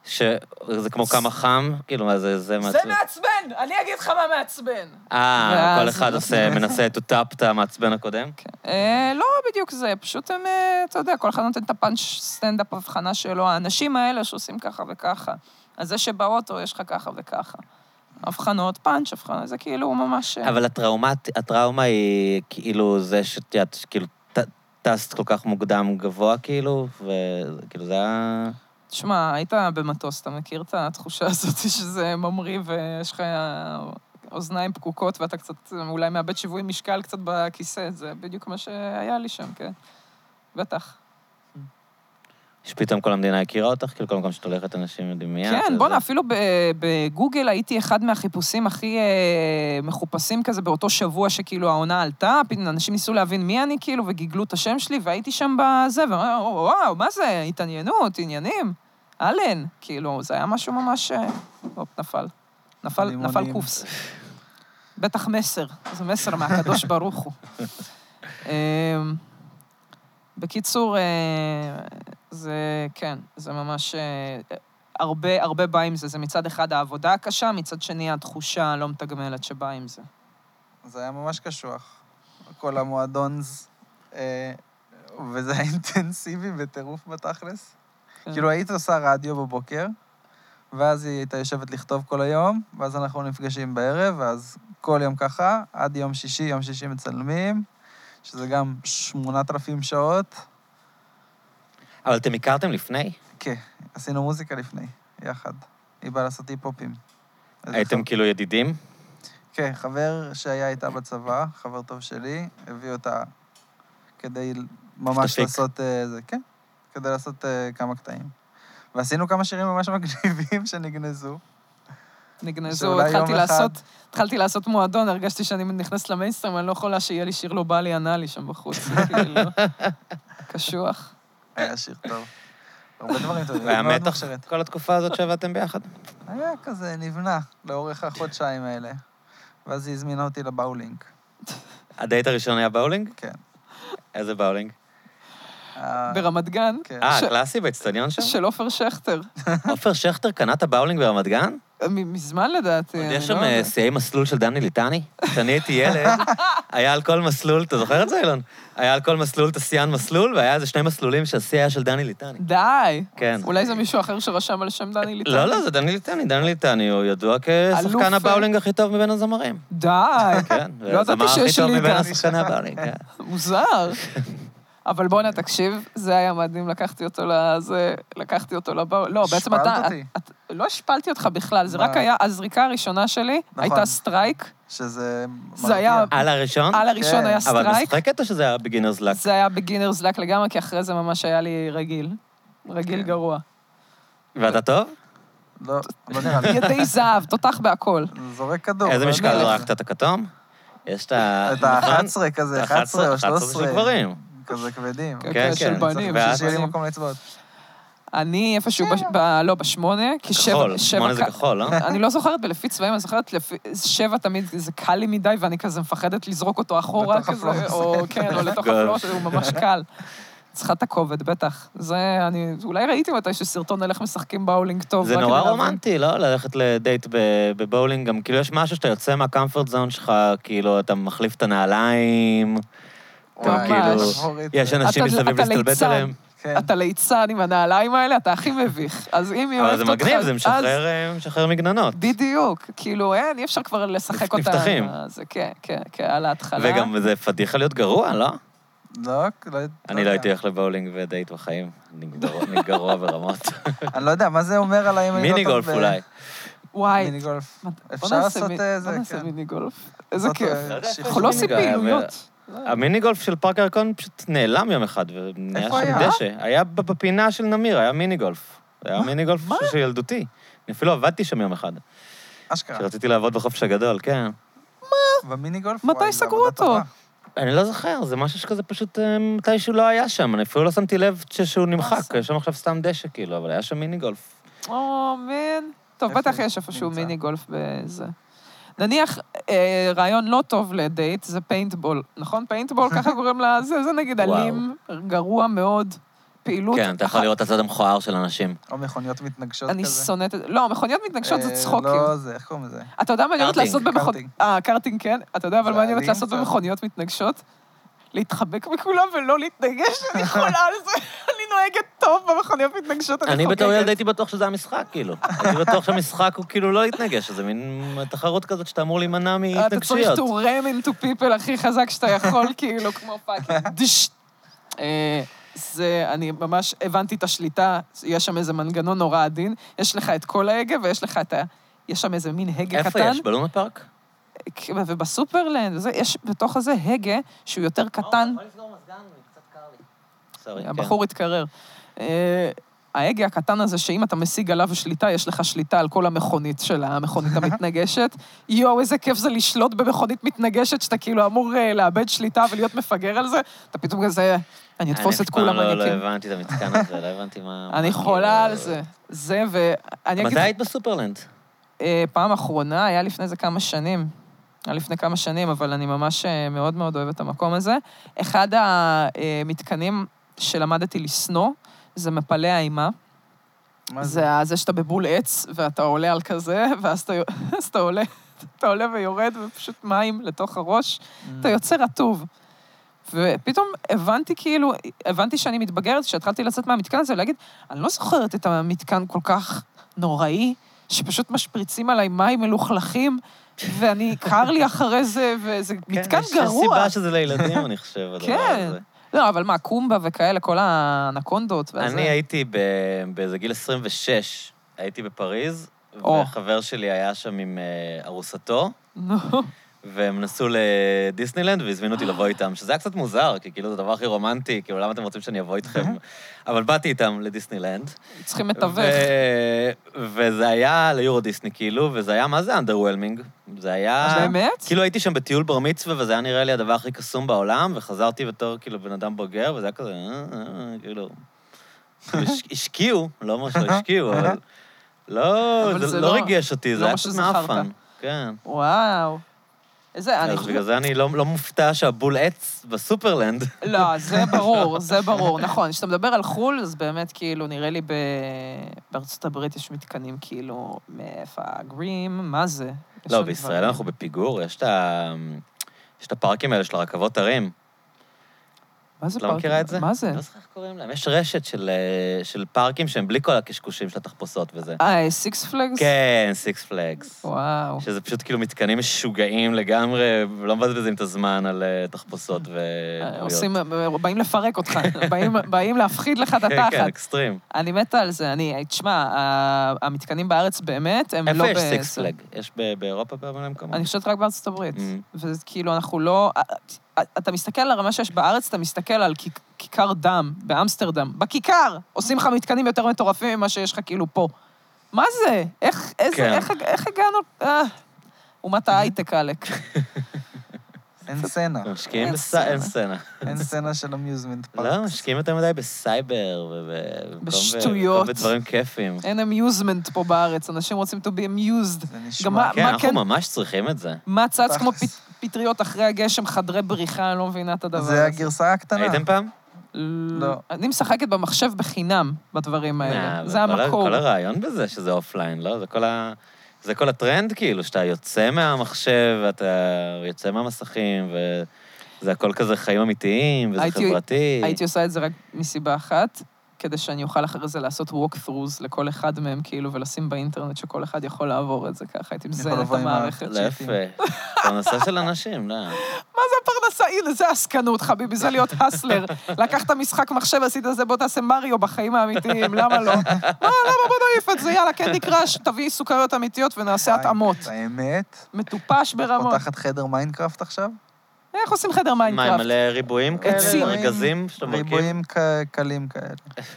C: שזה כמו כמה חם, כאילו, מה זה, זה
B: זה
C: מעצבן.
B: מעצבן! אני אגיד לך מה מעצבן!
C: אה,
B: ואז-
C: כל אחד עושה, מנסה to tap את המעצבן הקודם?
B: כן. אה, לא בדיוק זה, פשוט הם, אה, אתה יודע, כל אחד נותן את הפאנץ' סטנדאפ הבחנה שלו, האנשים האלה שעושים ככה וככה. אז זה שבאוטו יש לך ככה וככה. הבחנות, פאנץ', הבחנה, זה כאילו ממש... אה,
C: אבל הטראומה, הטראומה היא כאילו זה שאת יודעת, כאילו ט- טסת כל כך מוקדם גבוה, כאילו, וכאילו זה היה...
B: תשמע, היית במטוס, אתה מכיר את התחושה הזאת שזה ממריא ויש לך אוזניים פקוקות ואתה קצת אולי מאבד שיווי משקל קצת בכיסא, זה בדיוק מה שהיה לי שם, כן. בטח.
C: שפתאום כל המדינה הכירה אותך, כאילו כל מקום שאת הולכת אנשים יודעים מי את.
B: כן,
C: זה-
B: בואנה,
C: זה-
B: אפילו ב- בגוגל הייתי אחד מהחיפושים הכי אה, מחופשים כזה באותו שבוע שכאילו העונה עלתה, פתאום אנשים ניסו להבין מי אני כאילו וגיגלו את השם שלי והייתי שם בזה, ואמרו, וואו, מה זה, התעניינות, עניינים, אלן, כאילו, זה היה משהו ממש... אה, הופ, נפל. נפל,
A: לימונים.
B: נפל קופס. בטח מסר, זה מסר מהקדוש ברוך הוא. אמ, בקיצור, אה, זה, כן, זה ממש... אה, הרבה, הרבה בא עם זה. זה מצד אחד העבודה הקשה, מצד שני התחושה הלא מתגמלת שבאה עם זה.
A: זה היה ממש קשוח. כל המועדון, אה, וזה היה אינטנסיבי בטירוף בתכלס.
C: כן.
A: כאילו, היית עושה רדיו בבוקר, ואז היא הייתה יושבת לכתוב כל היום, ואז אנחנו נפגשים בערב, ואז כל יום ככה, עד יום שישי, יום שישי מצלמים, שזה גם 8,000 שעות.
C: אבל אתם הכרתם לפני?
B: נכון.
A: כן, עשינו מוזיקה לפני, יחד. היא באה לעשות היפ-הופים. אז
C: הייתם
A: חב-
C: כאילו ידידים?
A: כן, חבר שהיה איתה בצבא, חבר טוב שלי, הביא אותה כדי ממש
C: תפיק.
A: לעשות אה, זה, כן, כדי לעשות אה, כמה קטעים. ועשינו כמה שירים ממש מגניבים שנגנזו.
B: נגנזו,
A: שאולי
B: התחלתי
A: יום אחד-
B: לעשות, התחלתי לעשות מועדון, הרגשתי שאני נכנסת למיינסטרים, אני לא יכולה שיהיה לי שיר לא בא לי ענה לי שם בחוץ, זה כאילו, קשוח.
A: היה שיר טוב. הרבה דברים טובים,
C: והיה
A: מאוד
C: מתח
A: מוכשרת.
C: כל התקופה הזאת שעבדתם ביחד?
A: היה כזה, נבנה, לאורך החודשיים האלה. ואז היא הזמינה אותי לבאולינג.
C: הדייט הראשון היה באולינג?
A: כן.
C: איזה באולינג?
A: אה,
B: ברמת גן,
A: כן.
C: אה,
B: ש-
C: קלאסי, באצטדיון שם?
B: של עופר שכטר.
C: עופר שכטר קנה את הבאולינג ברמת גן?
B: מ- מזמן לדעתי,
C: עוד
B: אני
C: יש שם
B: כן, לא
C: אה,
B: יודעת.
C: שיאי מסלול של דני ליטני? כשאני הייתי ילד, היה על כל מסלול, אתה זוכר את זה, אילון? היה על כל מסלול את השיאן מסלול, והיה איזה שני מסלולים שהשיא היה של דני ליטני.
B: די.
C: כן.
B: אולי זה מישהו אחר שרשם על שם דני ליטני.
C: לא, לא, זה דני ליטני. דני ליטני הוא ידוע כשחקן
B: אלוף,
C: הבאולינג הכי טוב מבין הזמרים.
B: די.
C: כן,
B: לא ידעתי
C: והזמר הכי
B: שיש
C: טוב
B: לי
C: מבין
B: ליטני.
C: השחקני הבאולינג, כן.
B: מוזר. אבל בואנה, תקשיב, זה היה מדהים, לקחתי אותו לזה, לקחתי אותו לבא... לא, בעצם
A: השפלת
B: אתה...
A: אותי.
B: את- את- לא השפלתי אותך בכלל, זה
A: מה?
B: רק היה, הזריקה הראשונה שלי
A: נכון.
B: הייתה סטרייק,
A: שזה...
B: זה היה-
A: מרגיע.
C: על הראשון?
B: על הראשון
A: כן.
B: היה
C: אבל
B: סטרייק,
C: משחקת או שזה היה בגינרס לק?
B: זה היה בגינרס לק לגמרי, כי אחרי זה ממש היה לי רגיל. רגיל
A: כן.
B: גרוע.
C: ואתה טוב?
A: לא, לא נראה לי.
B: ידי זהב, תותח בהכל.
A: זורק כדור.
C: איזה
A: לא
C: משקל
A: יודע.
C: זרקת? את הכתום? יש את ה... נכון?
A: את ה-11 כזה, 11 או
C: 11
A: 13.
C: של גברים.
A: כזה כבדים.
B: כן,
C: כן,
B: של
C: כן.
B: בנים,
C: ואת?
B: של
A: שיהיה לי
B: בנים.
A: מקום לאצבעות.
B: אני איפשהו, בש- ב- לא, בשמונה, כי שבע...
C: כחול,
B: שבע
C: שמונה זה
B: ק-
C: כחול, לא?
B: אני לא זוכרת בלפי צבעים, אני זוכרת לפי... שבע תמיד, זה קל לי מדי, ואני כזה מפחדת לזרוק אותו אחורה,
A: לתוך
B: כזה,
A: הפלוס.
B: או כן, או לתוך
C: גל.
B: הפלוס, הוא ממש קל. צריכה את הכובד, בטח. זה, אני... אולי ראיתי מתישהו סרטון על איך משחקים באולינג טוב.
C: זה
B: רק
C: נורא
B: כדי להבין.
C: רומנטי, לא? ללכת לדייט ב- בבולינג, גם כאילו יש משהו שאתה יוצא מהקמפרט זון שלך, כאילו אתה מחליף את הנעליים,
A: וואי,
C: כאילו,
A: שחורית.
C: יש אנשים
B: אתה-
C: מסביב
B: אתה
C: להסתלבט
B: ליצן.
C: עליהם.
A: כן.
B: אתה ליצן עם הנעליים האלה, אתה הכי מביך. אז אם היא
C: אבל
B: אוהבת
C: זה
B: אותך...
C: מגניב, זה
B: אז-
C: משחרר אה, משחרר מגננות.
B: בדיוק, כאילו, אין, אי אפשר כבר לשחק
C: נפ-
B: אותה.
C: נפתחים.
B: זה כן, כן, כן, על ההתחלה.
C: וגם זה פדיחה להיות גרוע, לא?
A: לא, לא
C: אני לא הייתי
A: יודע.
C: הולך לבולינג ודייט בחיים. אני גרוע- אני גרוע ברמות.
A: אני לא יודע, מה זה אומר על האם אני לא
C: מיני
A: טוב
C: גולף
A: ב-
C: אולי.
B: וואי,
A: מיני גולף.
B: מה-
A: אפשר
B: בוא נעשה
A: לעשות,
B: מי-
A: אה, זה,
B: בוא נעשה
A: כן.
B: מיני גולף. איזה
A: זאת,
B: כיף.
A: אה,
C: לא יודע איפה
A: שיר.
B: אנחנו לא
C: מיני
B: עושים
C: גולף,
B: פעילויות.
C: המיני גולף של פארק הירקון פשוט נעלם יום אחד, ונהיה
A: איפה
C: שם
A: היה?
C: דשא. היה ב- בפינה של נמיר, היה מיני גולף. זה היה מיני גולף
B: מה? אה.
C: של ילדותי. אני אפילו עבדתי שם יום אחד,
A: אשכרה.
C: כשרציתי לעבוד בחופש הגדול, כן.
A: במיני גולף,
B: מתי
A: וואי, זה
B: סגרו
A: עבודה
B: אותו?
A: טובה.
C: אני לא זוכר, זה משהו שכזה פשוט אה, מתישהו לא היה שם, אני אפילו לא שמתי לב ש- שהוא נמחק,
B: אסם.
C: יש שם עכשיו סתם דשא כאילו, אבל היה שם מיני גולף.
B: או, אה, מן. טוב,
A: איפה
B: בטח
A: הוא
B: יש איפשהו
A: נמצא?
B: מיני גולף בזה. נניח אה, רעיון לא טוב לדייט זה פיינטבול, נכון? פיינטבול, ככה קוראים לזה, זה נגיד
C: וואו.
B: אלים, גרוע מאוד, פעילות.
C: כן, אתה יכול
B: אחת-
C: לראות את הצד המכוער של אנשים.
A: או מכוניות מתנגשות כזה.
B: אני שונאת את זה. לא, מכוניות מתנגשות זה
A: אה,
B: צחוקים.
A: לא, זה, איך קוראים לזה?
B: אתה יודע מה אני אוהבת
C: קארטינג,
B: לעשות במכוניות...
A: קארטינג.
B: אה, קארטינג, כן. אתה יודע אבל
A: זה
B: מה אני אוהבת
A: אלים
B: לעשות
A: קצת.
B: במכוניות מתנגשות? להתחבק מכולם ולא להתנגש, אני יכולה על זה. אני נוהגת טוב במכוניות מתנגשות, אני
C: אני
B: חוגגת.
C: בתור ילד הייתי בטוח שזה המשחק, כאילו. הייתי בטוח שהמשחק הוא כאילו לא להתנגש, זה מין תחרות כזאת שאתה אמור להימנע
B: אה, אתה צריך
C: מהתנגשויות.
B: to ram into people הכי חזק שאתה יכול, כאילו, כמו פאקינג דש. אה, זה, אני ממש הבנתי את השליטה, יש שם איזה מנגנון נורא עדין, יש לך את כל ההגה ויש לך את ה... יש שם איזה מין הגה
C: איפה
B: קטן.
C: יש? בלונה פארק?
B: ובסופרלנד, וזה, יש בתוך הזה הגה שהוא יותר קטן.
C: סורי, כן.
B: הבחור התקרר. אה, ההגה הקטן הזה, שאם אתה משיג עליו שליטה, יש לך שליטה על כל המכונית של המכונית המתנגשת. יואו, איזה כיף זה לשלוט במכונית מתנגשת, שאתה כאילו אמור אה, לאבד שליטה ולהיות מפגר על זה, אתה פתאום כזה, אני אתפוס את כולם,
C: אני אף פעם
B: אני
C: לא- לא
B: כאילו...
C: הבנתי את המתקן הזה, לא הבנתי מה... מה,
B: אני חולה
C: כאילו-
B: על זה. זה, ואני אגיד...
C: מתי היית בסופרלנד?
B: אה, פעם אחרונה, היה לפני איזה כמה שנים. היה לפני כמה שנים, אבל אני ממש אה, מאוד מאוד אוהבת את המקום הזה. אחד המתקנים שלמדתי לשנוא, זה מפלי האימה.
A: מה זה?
B: זה ה- זה שאתה בבול עץ, ואתה עולה על כזה, ואז אתה, אז אתה
C: Mm.
B: עולה, אתה עולה ויורד, ופשוט מים לתוך הראש. אתה יוצא רטוב. ופתאום הבנתי כאילו, הבנתי שאני מתבגרת, כשהתחלתי לצאת מהמתקן הזה, ולהגיד, אני לא זוכרת את המתקן כל כך נוראי, שפשוט משפריצים עליי מים מלוכלכים, ואני, קר לי אחרי זה, וזה מתקן
C: כן, יש
B: גרוע.
C: סיבה שזה לילדים, אני חושב, הדבר
B: כן.
C: הזה.
B: לא, אבל מה, קומבה וכאלה, כל האנקונדות, ואז...
C: אני הייתי ב- באיזה גיל 26, הייתי בפריז,
B: או.
C: וחבר שלי היה שם עם אה, ארוסתו,
B: נו,
C: והם נסעו לדיסנילנד והזמינו אותי לבוא איתם, שזה היה קצת מוזר, כי כאילו זה הדבר הכי רומנטי, כאילו למה אתם רוצים שאני אבוא איתכם? אבל באתי איתם לדיסנילנד.
B: צריכים לתווך.
C: ו- וזה היה ליורו דיסני כאילו, וזה היה, מה זה underwhelming? זה היה...
B: אה, באמת?
C: כאילו הייתי שם בטיול בר מצווה, וזה היה נראה לי הדבר הכי קסום בעולם, וחזרתי בתור כאילו בן אדם בוגר, וזה היה כזה, "אה, אה, כאילו... כאילו, הש- השקיעו, לא אומר שלא השקיעו, אבל... לא,
B: אבל
C: זה
B: זה
C: לא
B: לא-
C: ריגש אותי,
B: לא
C: זה היה
B: מה
C: קצת
B: שזכרת.
C: מאפן. כן.
B: וואו. איזה, אני
C: אז
B: חושבת...
C: בגלל זה אני לא לא מופתע שהבול עץ בסופרלנד.
B: לא, זה ברור, זה ברור. נכון, כשאתה מדבר על חו"ל, אז באמת, כאילו, נראה לי ב... בארצות הברית יש מתקנים, כאילו, מפגרים, מה זה? יש
C: לא,
B: שם
C: בישראל
B: דברים.
C: אנחנו בפיגור, יש את ה... יש את הפארקים האלה של הרכבות הרים.
B: מה זה
C: את לא
B: פארק?
C: מכירה את זה?
B: מה זה?
C: לא זוכר איך קוראים להם. יש רשת של, אה, של פארקים שהם בלי כל הקשקושים של התחפושות וזה.
B: אה, סיקס פלגס?
C: כן, סיקס פלגס.
B: וואו.
C: שזה פשוט כאילו מתקנים משוגעים לגמרי, ולא מבזבזים את הזמן על אה, תחפושות ו...
B: אה, עושים, באים לפרק אותך, באים, באים להפחיד לך את
C: כן, כן,
B: התחת.
C: אקסטרים.
B: אני מתה על זה, אני, תשמע, ה- המתקנים בארץ באמת, הם לא...
C: איפה יש
B: ב-
C: סיקס
B: זה-
C: פלג? יש ב- באירופה בהרבה מקומות?
B: אני חושבת רק בארצות הברית.
C: Mm.
B: וזה כאילו, אנחנו לא... אתה מסתכל על הרמה שיש בארץ, אתה מסתכל על כיק- כיכר דם באמסטרדם. בכיכר! עושים לך מתקנים יותר מטורפים ממה שיש לך כאילו פה. מה זה? איך, איזה,
C: כן.
B: איך, איך הגענו... אה, אומת ההייטק, עלק.
A: אין סצנה.
C: הם משקיעים
B: אין
C: בס...
B: סצנה. אה,
C: אין סצנה.
A: אין סצנה של המיוזמנט פארק.
C: לא, משקיעים יותר מדי בסייבר ובמקום...
B: בשטויות. אה,
C: בדברים כיפיים.
B: אין אמיוזמנט פה בארץ, אנשים רוצים to be amused.
A: זה נשמע.
B: גם מה-
C: כן, אנחנו
B: כן?
C: ממש צריכים את זה.
B: מה צץ כמו
A: תכלס.
B: פט- פטריות אחרי הגשם, חדרי בריחה, אני לא מבינה את הדבר הזה.
A: זה הגרסה הקטנה.
C: הייתם פעם?
A: לא.
B: אני משחקת במחשב בחינם בדברים האלה.
C: אה,
B: זה
C: וכל ה-
B: המקור.
C: כל הרעיון בזה שזה אופליין, לא? זה כל ה... זה כל הטרנד, כאילו, שאתה יוצא מהמחשב, אתה יוצא מהמסכים, וזה הכל כזה חיים אמיתיים, וזה
B: הייתי-
C: חברתי.
B: הייתי עושה את זה רק מסיבה אחת, כדי שאני אוכל אחרי זה לעשות walkthroughs לכל אחד מהם, כאילו, ולשים באינטרנט שכל אחד יכול לעבור את זה ככה, הייתי
A: יכול
B: מזיינת את
A: לבוא עם ה-
B: המערכת.
C: לא יפה. פרנסה של אנשים, לא.
B: מה זה הפרנסה? הנה, זה עסקנות, חביבי, זה להיות הסלר. לקחת משחק מחשב, עשית את זה, בוא תעשה מריו בחיים האמיתיים, למה לא? מה, למה בוא נעיף את זה? יאללה, קנדי קראש, תביאי סוכריות אמיתיות ונעשה התאמות.
A: האמת?
B: מטופש ברמות.
A: פותחת חדר מיינקראפט עכשיו?
B: איך עושים חדר
C: מה,
B: מיינקראפט?
C: מלא ריבועים כאלה?
B: עצים.
C: ארגזים שאתה מרכיב?
A: ריבועים ק- קלים כאלה.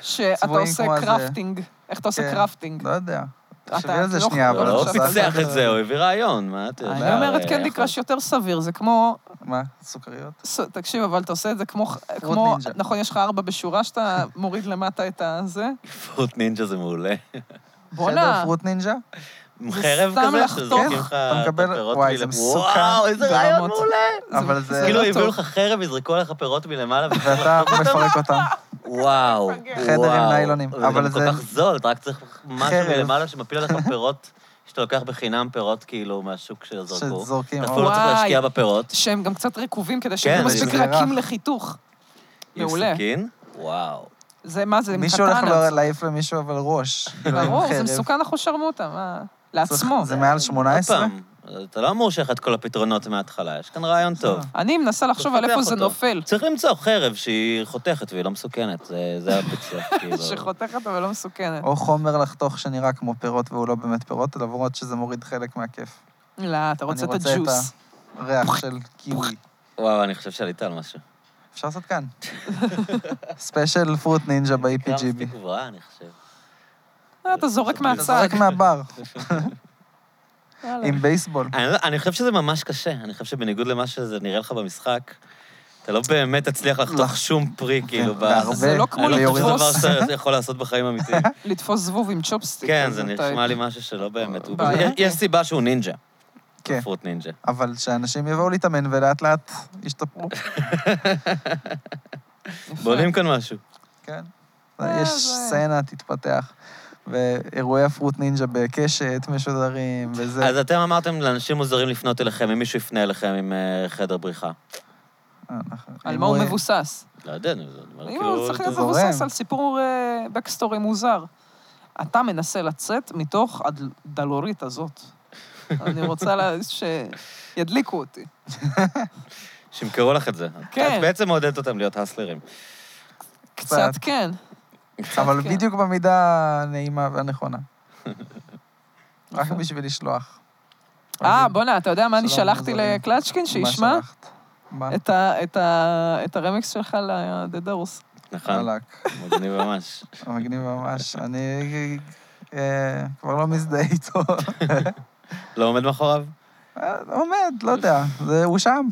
B: שאתה
A: צבועים
B: עושה
A: כמו הזה.
B: קרפטינג. איך אתה עושה
A: כן.
B: קרפטינג?
A: לא יודע.
B: אתה-
A: תחשבי על זה
B: לא
A: שנייה,
B: חושב.
A: אבל...
C: לא, הוא
A: את עושה
C: פיצח
A: סדר.
C: את זה, הוא הביא רעיון, מה אתה יודע?
B: אני אומרת כן,
C: אה,
B: קנדי
C: יכול-
B: קראש יותר סביר, זה כמו...
A: מה? סוכריות?
B: ס- תקשיב, אבל אתה עושה את זה כמו... כמו
A: נינג'ה.
B: נכון, יש לך ארבע בשורה שאתה מוריד למטה את הזה.
C: פרוט נינג'ה זה מעולה.
A: חדר
B: בואנה,
A: פרוט נינג'ה?
C: עם
B: זה
C: חרב
B: סתם
C: כזה,
B: לחתוך.
C: שזורקים לך
A: אתה
C: את
A: מקבל-
C: הפירות
A: וואי,
C: מלמעלה.
A: זה מסוכן
C: וואו, איזה רעיון
B: ברמות.
C: מעולה.
B: זה-
A: אבל זה-
B: זה
C: כאילו,
B: לא
C: הביאו
B: טוב.
C: לך חרב, יזרקו עליך פירות מלמעלה,
A: ואתה מפרק אותם.
C: וואו.
A: חדר עם
C: וואו.
A: ניילונים, אבל
C: זה גם
A: זה-
C: כל כך זול, אתה רק צריך משהו
A: חרב.
C: מלמעלה שמפיל עליך פירות, שאתה לוקח בחינם פירות כאילו מהשוק שזרקו.
A: שזורקים.
C: אתה
A: או-
C: אפילו לא צריך
B: וואי.
C: להשקיע בפירות.
B: שהם גם קצת רקובים כדי שהם
C: כן,
B: יהיו מספיק
A: זה רך.
B: רכים לחיתוך. מעולה.
C: עם סכין? וואו.
B: זה מה זה, עם
A: מישהו הולך
B: קטנה.
A: לו- להעיף למישהו אבל ראש. כאילו, עם
B: ברור, זה
A: חרב.
B: מסוכן אחוז שרמוטה, מה?
A: צריך-
B: לעצמו.
A: זה מעל 18?
C: עוד פעם, אתה לא אמור שיהיה לך את כל הפתרונות מההתחלה, יש כאן רעיון טוב.
B: אני מנסה לחשוב
C: צריך
B: על איפה
C: לפתח
B: זה
C: אותו.
B: נופל.
C: צריך למצוא חרב שהיא חותכת והיא לא מסוכנת, זה- זה הפיצוח, כאילו.
B: שחותכת אבל לא מסוכנת.
A: או חומר לחתוך שנראה כמו פירות והוא לא באמת פירות, למרות שזה מוריד חלק מהכיף.
B: לא, אתה רוצה את
A: אני רוצה את
B: הג'וס.
A: ריח של קיווי.
C: וואו, אני חושב שעלית על משהו.
A: אפשר לעשות כאן. ספיישל פרוט נינג'ה
C: נקרא
A: ב-EPGB.
C: מספיק גבוהה, אני חושב.
B: אה, אתה זורק
C: אתה
B: מהצד.
A: רק מהבר,
B: יאללה.
A: עם בייסבול.
C: אני, לא- אני חושב שזה ממש קשה, אני חושב שבניגוד למה שזה נראה לך במשחק, אתה לא באמת תצליח לחתוך
A: לח-
C: שום פרי, כאילו, ב...
A: כן, והרבה-
B: לא. כן, זה לא כמו
C: אני לא חושב שזה
B: לתפוס.
C: דבר שאתה יכול לעשות בחיים אמיתיים.
B: לתפוס זבוב עם צ'ופסטיק.
C: כן,
B: אז
C: זה
B: אתה-
C: נשמע לי משהו שלא באמת... הוא-
B: בעיה.
C: יש- יש סיבה שהוא נינג'ה,
A: כן,
C: פרוט נינג'ה.
A: אבל שאנשים יבואו להתאמן ולאט לאט ישתפרו.
B: יפה.
C: בונים כאן משהו.
A: כן.
B: אה,
A: יש
B: זה-
A: סצנה, תתפתח. ואירועי הפרוט נינג'ה בקשת משודרים, וזה.
C: אז אתם אמרתם לאנשים מוזרים לפנות אליכם, אם מישהו יפנה אליכם עם אה, חדר בריחה.
A: נכון,
B: על מה הוא מבוסס.
C: לא יודע, זה
B: אם הוא
C: דבר כאילו...
B: צריך להיות
A: זורם.
B: מבוסס על סיפור אה, backstory מוזר. אתה מנסה לצאת מתוך הדלורית הזאת. אני רוצה לה- שידליקו אותי.
C: שימכרו לך את זה.
B: כן.
C: את בעצם מעודדת אותם להיות הסלרים.
B: קצת כן.
A: אבל
B: כן.
A: בדיוק במידה הנעימה והנכונה. רק
B: נכון.
A: בשביל לשלוח. אוקיי.
B: אה, בואנה, אתה יודע מה אני
A: שלום,
B: שלחתי
A: מוזרים.
B: לקלצ'קין
A: מה
B: שישמע?
A: שלחת? מה?
B: את ה- את ה- את הרמקס שלך ל-The Doors.
C: נכון,
A: וואלאק.
C: מגניב ממש.
A: מגניב ממש. אני אה, כבר לא מזדהה איתו.
C: לא עומד מאחוריו?
A: אה, עומד, לא יודע. זה- הוא שם.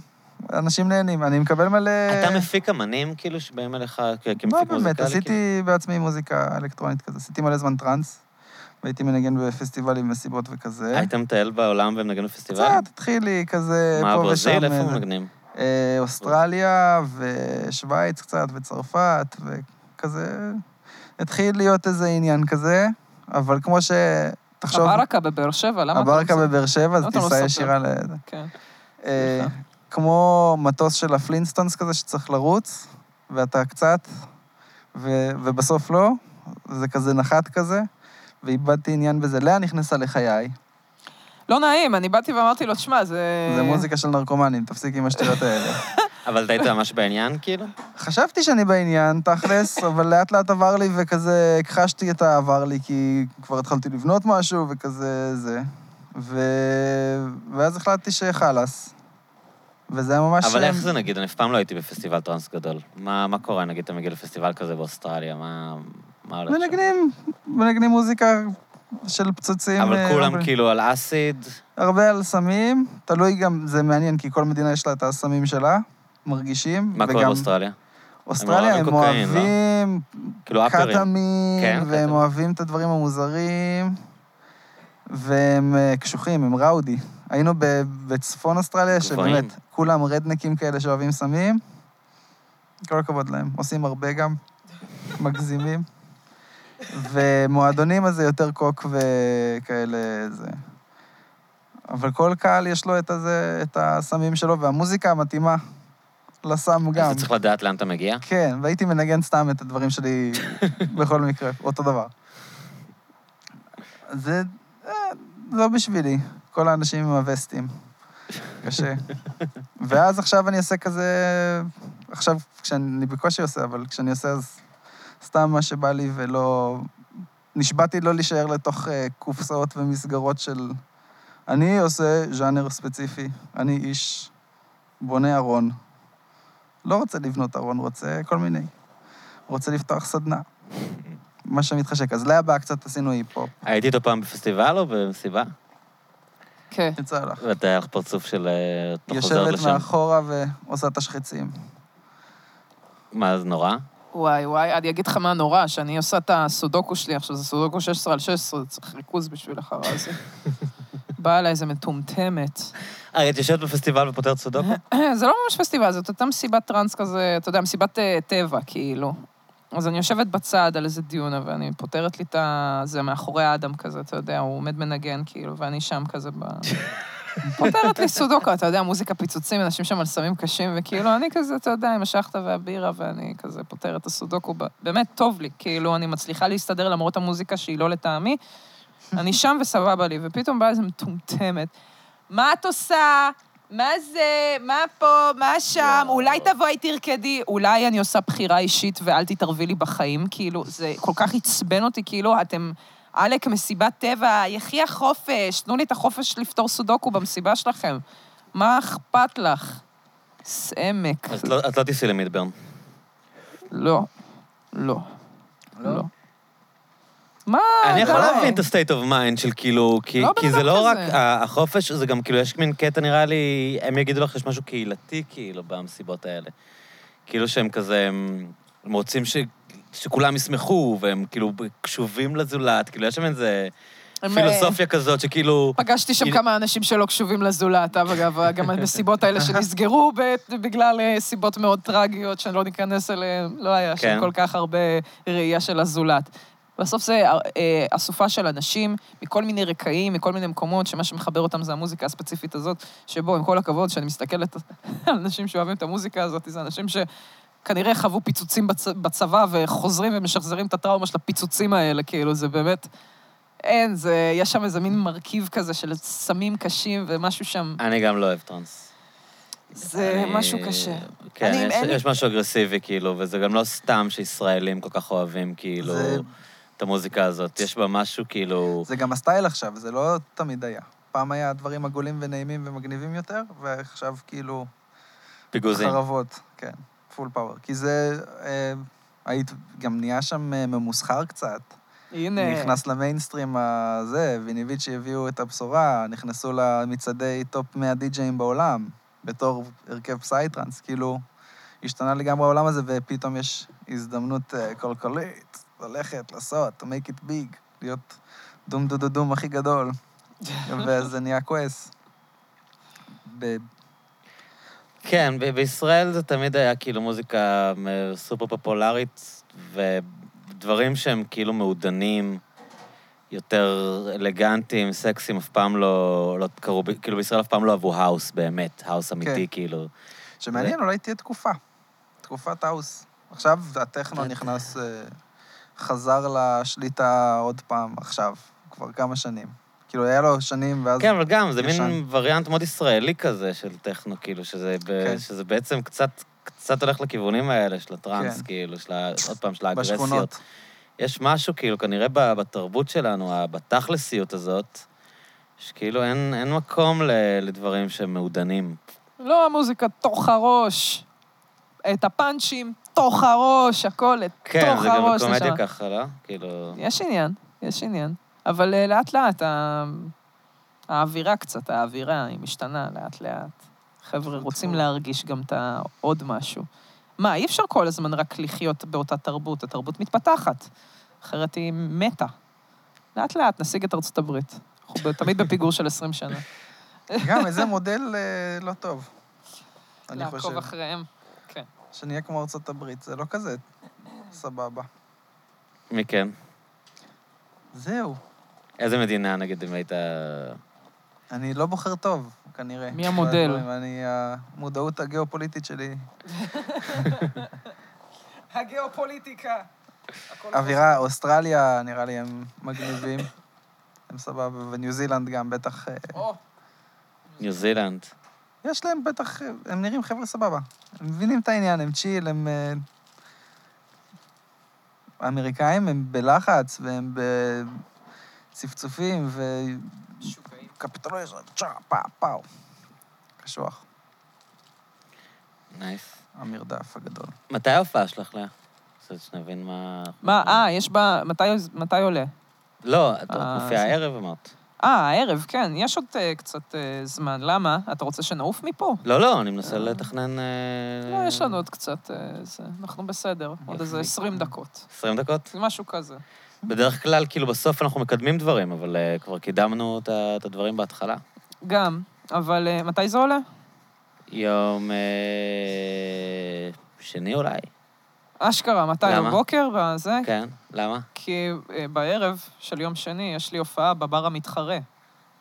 A: אנשים נהנים. אני מקבל מלא...
C: אתה מפיק אמנים, כאילו, שבאים אליך כ- כמפיק
A: אה, לא
C: מוזיקלי?
A: באמת,
C: כאילו?
A: עשיתי בעצמי מוזיקה אלקטרונית כזה. עשיתי מלא זמן טראנס, והייתי מנגן בפסטיבלים, מסיבות וכזה.
C: היית מטייל בעולם ומנגן בפסטיבל?
A: קצת, התחילי כזה
C: מה,
A: פה ושם.
C: ברזיל? איפה
A: אה,
C: הוא מנגנים?
A: אה, אוסטרליה ושווייץ קצת, וצרפת, וכזה... התחיל להיות איזה עניין כזה, אבל כמו ש... תחשוב,
B: הברקה בבאר שבע, למה אתה
A: הברקה
B: רוצה-
A: בבאר שבע, זה
B: למה אתה לא
A: טיסה
B: מספר?
A: ישירה ל... זה.
B: כן.
A: אה,
B: סליחה.
A: כמו מטוס של הפלינסטונס כזה שצריך לרוץ, ואתה קצת, ו... ובסוף לא, זה כזה נחת כזה, ואיבדתי עניין בזה. לאה נכנסה לחיי,
B: לא נעים, אני באתי ואמרתי לו, תשמע, זה...
C: אה.
A: זה מוזיקה של נרקומנים, תפסיק עם השטויות האלה.
C: אבל אתה היית ממש בעניין, כאילו?
A: חשבתי שאני בעניין, תכלס, אבל לאט לאט עבר לי, וכזה הכחשתי את העבר לי, כי כבר התחלתי לבנות משהו, וכזה זה. ו... ואז החלטתי שחלאס. וזה היה ממש... אה,
C: אבל איך זה, נגיד, אני אף פעם לא הייתי בפסטיבל טרנס גדול. מה מה קורה, נגיד, אתה מגיע לפסטיבל כזה באוסטרליה, מה מה הולך שם?
A: מנגנים, מנגנים מוזיקה של פצוצים.
C: אבל
A: אה,
C: כולם כאילו על אסיד,
A: הרבה על סמים, תלוי גם, זה מעניין, כי כל מדינה יש לה את הסמים שלה, מרגישים.
C: מה קורה
A: וגם
C: באוסטרליה?
A: אוסטרליה,
C: הם
A: הם
C: אוהבים קוקאין, לא?
A: אוהבים
C: כאילו אפרים. כן,
A: קטמין, והם
C: קטמין.
A: אוהבים את הדברים המוזרים, והם אה, קשוחים, הם ראודי. היינו ב- בצפון אוסטרליה,
C: גבוהים.
A: שבאמת, כולם רדנקים כאלה שאוהבים סמים. כל הכבוד להם, עושים הרבה גם, מגזימים. ומועדונים אז זה יותר קוק וכאלה זה. אבל כל קהל יש לו את, הזה, את הסמים שלו, והמוזיקה המתאימה לסם
C: אז
A: גם.
C: אתה צריך לדעת לאן אתה מגיע?
A: כן, והייתי מנגן סתם את הדברים שלי בכל מקרה, אותו דבר. זה אה, לא בשבילי, כל האנשים עם הווסטים. קשה. ואז עכשיו אני עושה כזה... עכשיו, כשאני בקושי עושה, אבל כשאני עושה אז סתם מה שבא לי ולא... נשבעתי לא להישאר לתוך אה, קופסאות ומסגרות של... אני עושה ז'אנר ספציפי, אני איש בונה ארון. לא רוצה לבנות ארון, רוצה כל מיני. רוצה לפתוח סדנה. מה שמתחשק. אז לאה באה קצת עשינו היפ-הופ.
C: הייתי איתו פעם בפסטיבל או במסיבה?
B: כן.
A: יצא לך.
C: ואתה היה לך פרצוף של... אה, אתה חוזר
A: יושבת
C: לשם.
A: מאחורה ועושה תשחיצים.
C: מה, זה נורא?
B: וואי, וואי, אני אגיד לך מה נורא, שאני עושה את הסודוקו שלי עכשיו, זה סודוקו 16 על 16, צריך ריכוז בשביל החרא הזה. באה אליי איזה מטומטמת.
C: אה, את יושבת בפסטיבל ופותרת סודוקו?
B: זה לא ממש פסטיבל, זאת אותה מסיבת טראנס כזה, אתה יודע, מסיבת אה, טבע, כאילו. אז אני יושבת בצד על איזה דיונה, ואני פותרת לי את ה... זה מאחורי האדם כזה, אתה יודע, הוא עומד מנגן, כאילו, ואני שם כזה ב... פותרת לי סודוקו, אתה יודע, מוזיקה פיצוצים, אנשים שם על סמים קשים, וכאילו, אני כזה, אתה יודע, עם השחטה והבירה, ואני כזה פותרת את הסודוקו, ב- באמת טוב לי, כאילו, אני מצליחה להסתדר למרות המוזיקה שהיא לא לטעמי, אני שם וסבבה לי, ופתאום באה איזה מטומטמת. מה את עושה? מה זה? מה פה? מה שם?
C: יואו.
B: אולי תבואי תרקדי. אולי אני עושה בחירה אישית ואל תתערבי לי בחיים, כאילו, זה כל כך עצבן אותי, כאילו, אתם... עלק, מסיבת טבע, יחי החופש, תנו לי את החופש לפתור סודוקו במסיבה שלכם. מה אכפת לך? סעמק.
C: אז לא- את לא תיסעי למידברן.
B: לא. לא. לא. מה?
C: אני יכול
B: די.
C: להבין את ה-state of mind של כאילו, כי,
B: אה, לא
C: כי
B: בן
C: זה
B: אדם
C: לא
B: כזה.
C: רק ה- החופש, זה גם כאילו, יש מין קטע, נראה לי, הם יגידו לך, יש משהו קהילתי כאילו במסיבות האלה. כאילו שהם כזה, הם, הם רוצים ש, שכולם ישמחו, והם כאילו קשובים לזולת, כאילו, יש שם איזה
B: הם, אה,
C: פילוסופיה כזאת שכאילו...
B: פגשתי שם
C: היא-
B: כמה אנשים שלא קשובים לזולת, אגב, גם הנסיבות האלה שנסגרו ב- בגלל אה, סיבות מאוד טרגיות שאני לא ניכנס אליהן, לא היה שם
C: כן.
B: כל כך הרבה ראייה של הזולת. בסוף זה אה, אה, אסופה של אנשים מכל מיני רקעים, מכל מיני מקומות, שמה שמחבר אותם זה המוזיקה הספציפית הזאת, שבו, עם כל הכבוד, כשאני מסתכלת על אנשים שאוהבים את המוזיקה הזאת, זה אנשים שכנראה חוו פיצוצים בצ... בצבא וחוזרים ומשחזרים את הטראומה של הפיצוצים האלה, כאילו, זה באמת... אין, זה... יש שם איזה מין מרכיב כזה של סמים קשים ומשהו שם...
C: אני גם לא אוהב טרנס.
B: זה
C: אני-
B: משהו קשה.
C: כן,
B: אני-
C: יש-
B: אין לי-
C: יש משהו אגרסיבי, כאילו, וזה גם לא סתם שישראלים כל כך אוהבים, כאילו,
A: זה-
C: את המוזיקה הזאת. יש בה משהו, כאילו...
A: זה גם הסטייל עכשיו, זה לא תמיד היה. פעם היה דברים עגולים ונעימים ומגניבים יותר, ועכשיו כאילו
C: פיגוזים.
A: חרבות, כן, פול פאוור. כי זה, אה, היית, גם נהיה שם אה, ממוסחר קצת.
B: הנה...
A: נכנס למיינסטרים הזה, ויניביצ'י הביאו את הבשורה, נכנסו למצעדי טופ 100 די-ג'אים בעולם, בתור הרכב פסייטרנס, כאילו, השתנה לגמרי העולם הזה, ופתאום יש הזדמנות אה, כלכלית, ללכת, לעשות, to make it big, להיות דום דו דו דום הכי גדול, וזה נהיה כועס. ב-
C: כן, ב- בישראל זה תמיד היה כאילו מוזיקה אה, סופר פופולרית, ודברים שהם כאילו מעודנים, יותר אלגנטיים, סקסיים, אף פעם לא, לא קראו, ב- כאילו בישראל אף פעם לא אהבו האוס באמת, האוס אמיתי,
A: כן.
C: כאילו.
A: שמעניין, אולי תהיה תקופה, תקופת האוס. עכשיו הטכנו נכנס, אה, חזר לשליטה עוד פעם עכשיו, כבר כמה שנים. כאילו, היה לו שנים, ואז...
C: כן, אבל גם, זה
A: ישן.
C: מין וריאנט מאוד ישראלי כזה של טכנו, כאילו, שזה, ב-
A: כן.
C: שזה בעצם קצת, קצת הולך לכיוונים האלה של הטראנס,
A: כן.
C: כאילו, של ה... עוד פעם, של האגרסיות.
A: בשכונות.
C: יש משהו, כאילו, כנראה ב- בתרבות שלנו, ה- בתכלסיות הזאת, שכאילו אין, אין מקום ל- לדברים שהם מעודנים.
B: לא המוזיקה תוך הראש. את הפאנצ'ים תוך הראש, הכל
C: כן,
B: תוך
C: זה גם
B: הראש.
C: בקומדיה
B: נשמה.
C: ככה, לא? כאילו...
B: יש עניין, יש עניין. אבל אה, לאט-לאט, ה- האווירה קצת, האווירה, היא משתנה לאט-לאט. חבר'ה
A: נכון.
B: רוצים להרגיש גם את העוד משהו. מה, אי אפשר כל הזמן רק לחיות באותה תרבות, התרבות מתפתחת. אחרת היא מתה. לאט-לאט נשיג את ארצות הברית. אנחנו ב- תמיד בפיגור של 20 שנה.
A: גם איזה מודל אה, לא טוב. אני חושב.
B: לעקוב אחריהם. כן.
A: שנהיה כמו ארצות הברית, זה לא כזה סבבה.
C: מי כן?
A: זהו,
C: איזה מדינה, נגיד, אם היית...
A: אני לא בוחר טוב, כנראה.
B: מי המודל?
A: בדברים. אני, המודעות הגיאופוליטית שלי,
B: הגיאופוליטיקה.
A: אווירה, אוסטרליה, נראה לי הם מגניבים. הם סבבה, וניו זילנד גם, בטח... אה,
C: ניו זילנד.
A: יש להם בטח... אה, הם נראים חבר'ה סבבה. הם מבינים את העניין, הם צ'יל, הם... אה, האמריקאים הם בלחץ, והם בצפצופים, וקפיטליזם, צ'ה, פאו, פאו. קשוח,
C: נייס.
A: המרדף הגדול.
C: מתי ההופעה שלך, לאה? קצת שנבין מה...
B: מה, אה, יש בה... מתי, מתי עולה?
C: לא, את
B: אה,
C: מופיעה
B: זה-
C: הערב אמרת.
B: אה, הערב, כן. יש עוד אה, קצת אה, זמן. למה? אתה רוצה שנעוף מפה?
C: לא, לא, אני מנסה לתכנן... אה,
B: לא, יש לנו עוד קצת... אה, זה. אנחנו בסדר. עוד איזה 20 דקות.
C: 20 דקות?
B: משהו כזה.
C: בדרך כלל, כאילו, בסוף אנחנו מקדמים דברים, אבל אה, כבר קידמנו את ה- את הדברים בהתחלה.
B: גם. אבל אה, מתי זה עולה?
C: יום אה, שני אולי,
B: אשכרה, מתי?
C: למה?
B: בבוקר? בזה?
C: כן? למה?
B: כי אה, בערב של יום שני יש לי הופעה בבר המתחרה,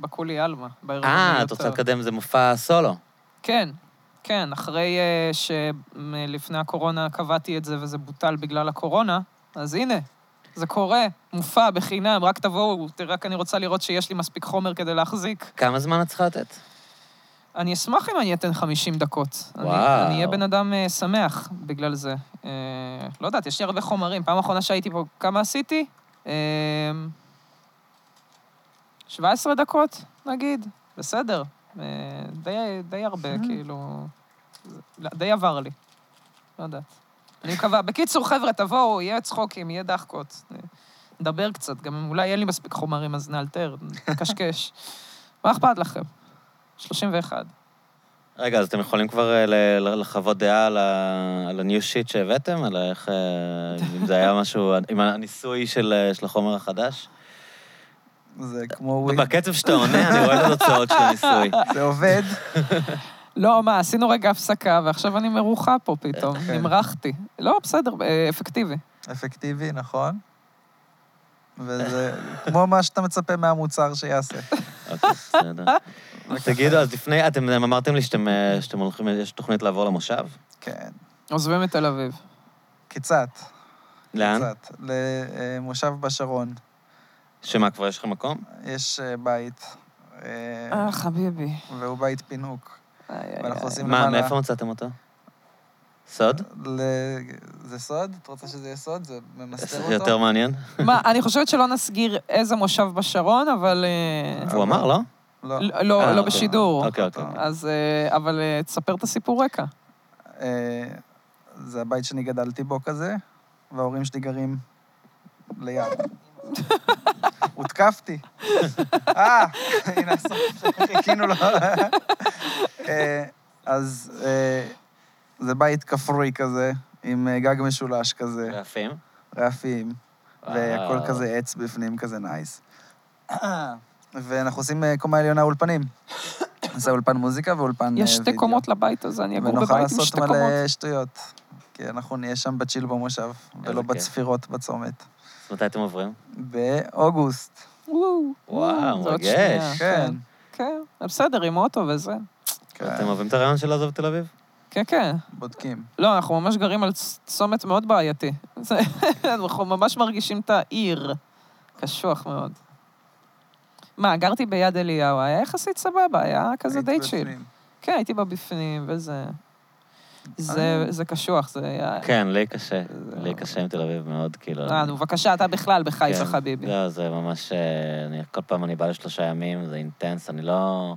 B: בקולי עלמה, בערב
C: אה,
B: המיותר.
C: את רוצה לקדם איזה מופע סולו.
B: כן, כן, אחרי אה, שלפני הקורונה קבעתי את זה וזה בוטל בגלל הקורונה, אז הנה, זה קורה, מופע בחינם, רק תבואו, ת- רק אני רוצה לראות שיש לי מספיק חומר כדי להחזיק.
C: כמה זמן את צריכה לתת?
B: אני אשמח אם אני אתן 50 דקות. אני-
C: וואו.
B: אני אהיה בן אדם אה, שמח בגלל זה. אה, לא יודעת, יש לי הרבה חומרים. פעם האחרונה שהייתי פה, כמה עשיתי? אה, 17 דקות, נגיד. בסדר. אה, די, די הרבה, כאילו... זה- לא, די עבר לי. לא יודעת. אני מקווה. בקיצור, חבר'ה, תבואו, יהיה צחוקים, יהיה דחקות. אה, נדבר קצת, גם אולי אין לי מספיק חומרים, אז נאלתר, נקשקש. מה אכפת לכם? 31.
C: רגע, אז אתם יכולים כבר אה, ל- ל- לחוות דעה על ה- על ה-new shit שהבאתם? על איך... אה, אם זה היה משהו... עם הניסוי של אה, של החומר החדש?
A: זה כמו ווין.
C: בקצב שאתה עונה, אני רואה את התוצאות של הניסוי.
A: זה עובד.
B: לא, מה, עשינו רגע הפסקה, ועכשיו אני מרוחה פה
C: אוקיי.
B: פתאום,
A: כן.
B: נמרחתי. לא, בסדר, אה, אפקטיבי.
A: אפקטיבי, נכון? וזה כמו מה שאתה מצפה מהמוצר שיעשה.
C: אוקיי, בסדר. תגידו, אז לפני, אתם אתם אמרתם לי שאתם אה, שאתם הולכים, יש תוכנית לעבור למושב?
A: כן,
B: עוזבים את תל אביב.
A: קיצת,
C: כן? לאן?
A: קיצת. למושב בשרון
C: שמה, כבר יש לכם מקום?
A: יש אה, בית, אה,
B: אה, חביבי.
A: והוא בית פינוק.
B: איי, איי,
A: ואנחנו
B: איי.
A: עושים
C: כן. מה,
A: למעלה...
C: מאיפה מצאתם אותו? סוד?
A: ל- זה סוד? את רוצה שזה יהיה סוד? זה ממסתר
C: זה
A: אותו?
C: יותר מעניין.
B: מה, אני חושבת שלא נסגיר איזה מושב בשרון, אבל... אה,
C: הוא אמר, לא?
A: לא.
B: לא- לא-
C: אה,
B: לא
C: אוקיי.
B: בשידור.
C: אוקיי, אוקיי.
B: אז... אה, אבל אה, תספר את הסיפור רקע.
A: אה, זה הבית שאני גדלתי בו כזה, וההורים שלי גרים ליד. הותקפתי. אה, הנה הסוף, חיכינו לו. אה, אז אה, זה בית כפרי כזה, עם אה, גג משולש כזה,
C: יפים.
A: רעפים, והכל
C: וואו.
A: כזה עץ בפנים, כזה נייס. ואנחנו עושים אה, קומה עליונה אולפנים. זה אולפן מוזיקה ואולפן אה, וידאו.
B: יש שתי קומות לבית הזה, אני אגור
A: ונוכל
B: בבית עם
A: לעשות
B: שתי קומות.
A: מלא שטויות. כי אנחנו נהיה שם בצ'יל במושב, ולא
C: כיף.
A: בצפירות בצומת.
C: אז מתי אתם עוברים?
A: באוגוסט,
B: וואו,
C: וואו,
B: זה עוד
C: מרגש.
B: שנייה,
A: כן.
B: כן, בסדר, עם אוטו וזה.
C: אתם
A: כן,
C: אוהבים את הרעיון של לעזוב את תל אביב?
B: כן, כן.
A: בודקים.
B: לא, אנחנו ממש גרים על צ- צומת מאוד בעייתי. זה- אנחנו ממש מרגישים את העיר. קשוח מאוד. מה, גרתי ביד אליהו, היה יחסית סבבה, היה כזה די
A: הייתי
B: צ'יל.
A: בפנים.
B: כן, הייתי בה בפנים, וזה... זה,
A: אה.
B: זה קשוח, זה היה...
C: כן, לי קשה. לי קשה עם תל אביב מאוד, כאילו.
B: אה, נו, בבקשה, אתה בכלל בחיפה,
C: כן.
B: חביבי.
C: לא, זה ממש... אה, אני- כל פעם אני בא לשלושה ימים, זה אינטנס, אני לא...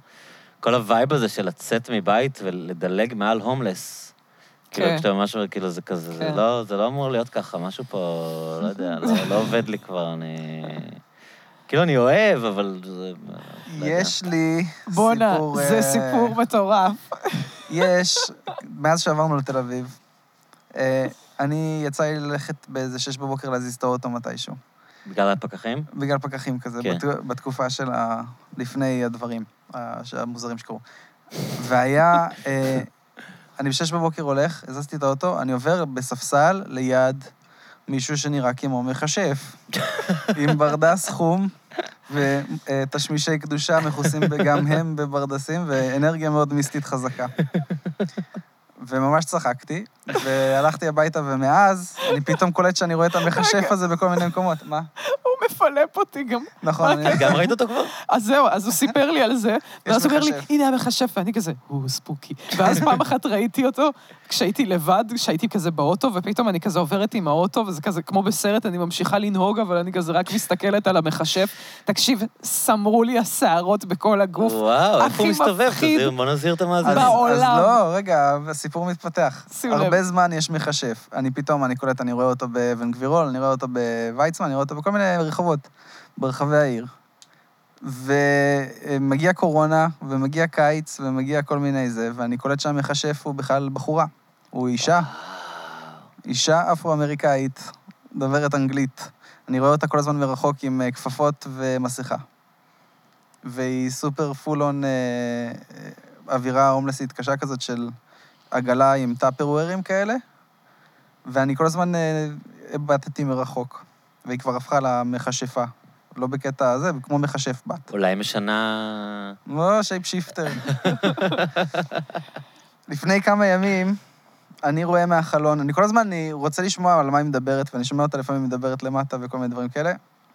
C: כל הווייב הזה של לצאת מבית ולדלג מעל הומלס. כאילו,
B: כן.
C: כשאתה ממש אומר, כאילו, זה כזה, זה
B: כן.
C: לא- זה לא אמור להיות ככה, משהו פה, לא יודע, לא- לא עובד לי כבר, אני... כאילו, אני אוהב, אבל... זה- לא יודע.
A: יש לי סיפור...
B: בואנה, זה
A: אה,
B: סיפור מטורף.
A: יש, מאז שעברנו לתל אביב, אה, אני יצא לי ללכת באיזה שש בבוקר להזיז את האוטו מתישהו.
C: בגלל הפקחים?
A: בגלל פקחים כזה,
C: כן.
A: בת- בתקופה של ה... לפני הדברים ה- המוזרים שקרו. והיה, אה, אני בשש בבוקר הולך, הזזתי את האוטו, אני עובר בספסל ליד מישהו שנראה כמו מכשף, עם ברדס חום ותשמישי קדושה מכוסים גם הם בברדסים, ואנרגיה מאוד מיסטית חזקה. וממש צחקתי, והלכתי הביתה, ומאז אני פתאום קולט שאני רואה את המכשף הזה בכל מיני מקומות. מה?
B: הוא מפלפ אותי גם.
A: נכון, אני...
C: גם ראית אותו כבר?
B: אז זהו, אז הוא סיפר לי על זה, ואז הוא אומר לי,
A: מכשף.
B: הנה המכשף, ואני כזה, הוא ספוקי. ואז פעם אחת ראיתי אותו, כשהייתי לבד, כשהייתי כזה באוטו, ופתאום אני כזה עוברת עם האוטו, וזה כזה כמו בסרט, אני ממשיכה לנהוג, אבל אני כזה רק מסתכלת על המכשף. תקשיב, סמרו לי השערות בכל הגוף.
C: וואו, איפה הוא
B: הכי
C: מסתובב?
B: מפחיד
C: תזהיר, בוא נזהיר את המאזינים.
A: אז, אז
B: בעולם.
A: לא, רגע, הסיפור מתפתח.
B: שים לב.
A: הרבה זמן יש מכשף. אני פתאום, אני קולט, אני רואה אותו באבן גבירול, אני רואה אותו בוויצמן, אני רואה אותו בכל מיני רחובות ברחבי העיר. ומגיע קורונה, ומגיע קיץ, ומגיע כל מיני זה, ואני קולט שהמכשף הוא בכלל בחורה. הוא אישה, אישה אפרו-אמריקאית, דוברת אנגלית. אני רואה אותה כל הזמן מרחוק עם אה, כפפות ומסכה. והיא סופר פול און אה, אה, אווירה הומלסית קשה כזאת של עגלה עם טאפרוולים כאלה, ואני כל הזמן אה, הבטתי מרחוק, והיא כבר הפכה למכשפה. לא בקטע הזה, כמו מכשף בת.
C: אולי משנה...
A: לא, שייפ שיפטר. לפני כמה ימים, אני רואה מהחלון, אני כל הזמן אני רוצה לשמוע על מה היא מדברת, ואני שומע אותה לפעמים מדברת למטה וכל מיני דברים כאלה.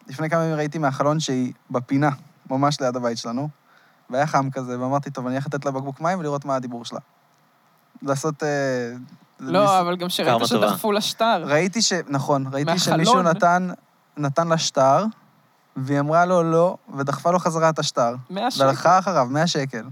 A: לפני כמה ימים ראיתי מהחלון שהיא בפינה, ממש ליד הבית שלנו, והיה חם כזה, ואמרתי, טוב, אני הולך לתת לה בקבוק מים ולראות מה הדיבור שלה. לעשות... אה,
B: לא, אבל גם שראית
C: קרמה טובה.
B: שדחפו לשטר.
A: ראיתי ש... נכון, ראיתי
B: מהחלון.
A: שמישהו נתן, נתן לה שטר, והיא אמרה לו לא, ודחפה לו חזרה את השטר.
B: מאה שקל.
A: והלכה אחריו, 100 שקל.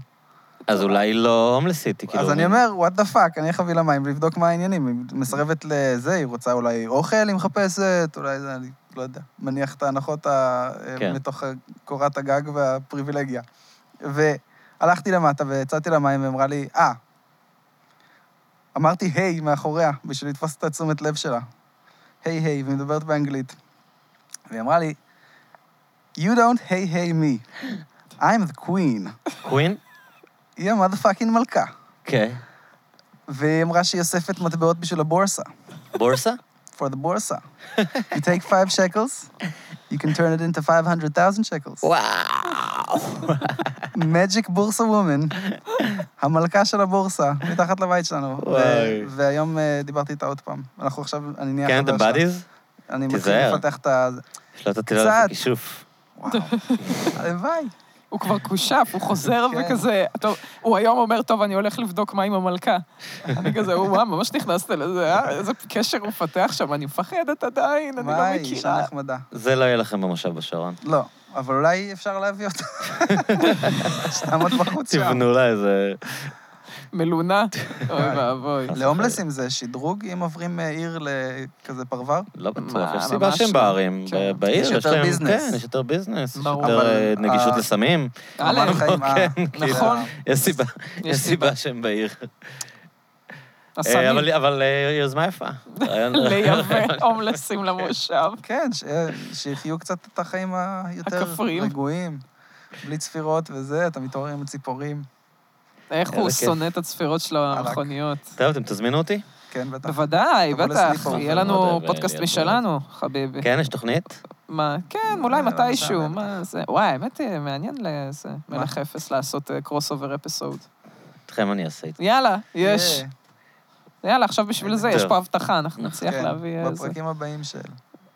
C: אז אולי היא לא הומלסית, היא כאילו...
A: אז אני אומר, what the fuck, אני חביל למים לבדוק מה העניינים. היא מסרבת לזה, היא רוצה אולי אוכל, היא מחפשת, אולי זה, אני לא יודע. מניח את ההנחות ה...
C: כן.
A: מתוך קורת הגג והפריבילגיה. והלכתי למטה והצעתי לה מים, והיא אמרה לי, אה. אמרתי היי מאחוריה, בשביל לתפוס את התשומת לב שלה. היי היי, והיא מדברת באנגלית. והיא אמרה לי, You don't hey hey me, I'm the queen.
C: קווין?
A: היא המאדפאקינג מלכה.
C: כן.
A: והיא אמרה שהיא אוספת מטבעות בשביל הבורסה.
C: בורסה?
A: for the borsa. you take five shekels, you can turn it into 500,000 shekels.
C: וואו.
A: Magic בורסה וומן, המלכה של הבורסה, מתחת לבית שלנו. ו-
C: וואי.
A: והיום אה, דיברתי איתה עוד פעם. אנחנו עכשיו, אני נהיה
C: כן,
A: חבר
C: אתם
A: שלה.
C: בדיז?
A: אני מתחיל
C: תיזהר.
A: לפתח את ה...
C: שלא תטיל עליך
A: קצת.
C: כישוף.
A: וואו, הלוואי.
B: הוא כבר כושף, הוא חוזר
A: כן.
B: וכזה, טוב, הוא היום אומר, טוב, אני הולך לבדוק מה עם המלכה. אני כזה, הוא, וואו, ממש נכנסת לזה, אה? איזה קשר הוא מפתח שם, אני מפחדת עדיין, אני
A: מה
B: לא
A: היא, אישה
B: מכירה.
A: נחמדה.
C: זה לא יהיה לכם במושב בשרון.
A: לא, אבל אולי אפשר להביא אותה. שתעמוד בחוץ שם.
C: תבנו לה איזה...
B: מלונה, אוי ואבוי.
A: להומלסים זה שדרוג אם עוברים אה, עיר לכזה פרבר?
C: לא בטוח,
B: מה,
C: יש סיבה
B: ממש
C: שהם
B: לא.
C: בערים,
B: כן.
C: ב- בעיר
A: יש
C: יש
A: יותר
C: להם...
A: ביזנס.
C: כן, יש יותר ביזנס, יש
B: ברור.
C: יותר
A: אבל,
C: אה, נגישות
A: אה,
C: לסמים.
B: א',
A: רמת חיים, אה,
C: כן,
A: כאילו,
B: נכון.
C: יש סיבה, יש סיבה
B: סיבה.
C: שהם בעיר. אה,
B: הסמים,
C: אבל- אבל אה, יוזמה יפה. רעיון-
B: לייבא הומלסים למושב.
A: כן, ש- שיחיו קצת את החיים היותר
B: הכפריים.
A: רגועים. בלי צפירות וזה, אתה מתעורר עם הציפורים.
B: איך
C: איזה
B: הוא
C: כיף.
B: שונא את הצפירות שלו על
A: עלק.
B: המכוניות.
C: טוב, אתם תזמינו אותי?
A: כן, בטח.
B: בוודאי,
A: תבוא
B: בטח,
A: לסליפור.
B: יהיה
C: מאוד
B: לנו
C: אוהב,
B: פודקאסט
C: אה,
B: משלנו, חביבי.
C: כן, יש תוכנית?
B: מה, כן,
A: אה,
B: אולי
A: מתי,
B: מתישהו,
A: בטח.
B: מה זה... וואי, האמת, אה, מעניין לזה,
A: מה?
B: מלך אפס לעשות קרוס אובר אפיסוד.
C: אתכם אני אעשה איתי.
B: יאללה, יש.
A: יהיה,
B: יאללה, עכשיו בשביל זה,
C: טוב.
B: יש פה הבטחה, אנחנו נצליח
A: כן,
B: להביא אה, איזה...
A: בפרקים הבאים של...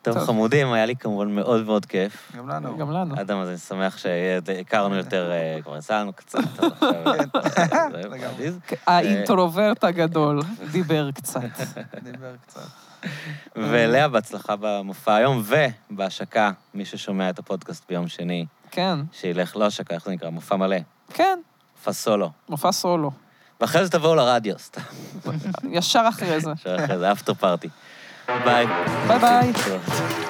C: טוב,
B: טוב.
C: חמודים, היה לי כמובן מאוד מאוד כיף.
A: גם לנו. אה,
B: גם לנו.
C: אדם, אז אני שמח שהכרנו יותר, אה, כבר יצא לנו קצת, אבל עכשיו... אה, זה
A: לגמרי.
C: פרדיז.
B: כן, האינטרוברט הגדול דיבר קצת.
A: דיבר קצת.
C: ולאה, בהצלחה במופע היום, ובהשקה, מי ששומע את הפודקאסט ביום שני,
B: כן,
C: שילך, לא השקה, איך זה נקרא? מופע מלא.
B: כן,
C: מופע סולו.
B: מופע סולו.
C: ואחרי זה תבואו לרדיו, סתם,
B: ישר אחרי זה.
C: אחרי זה אפטר פארטי. ביי.
B: ביי ביי.
C: תודה.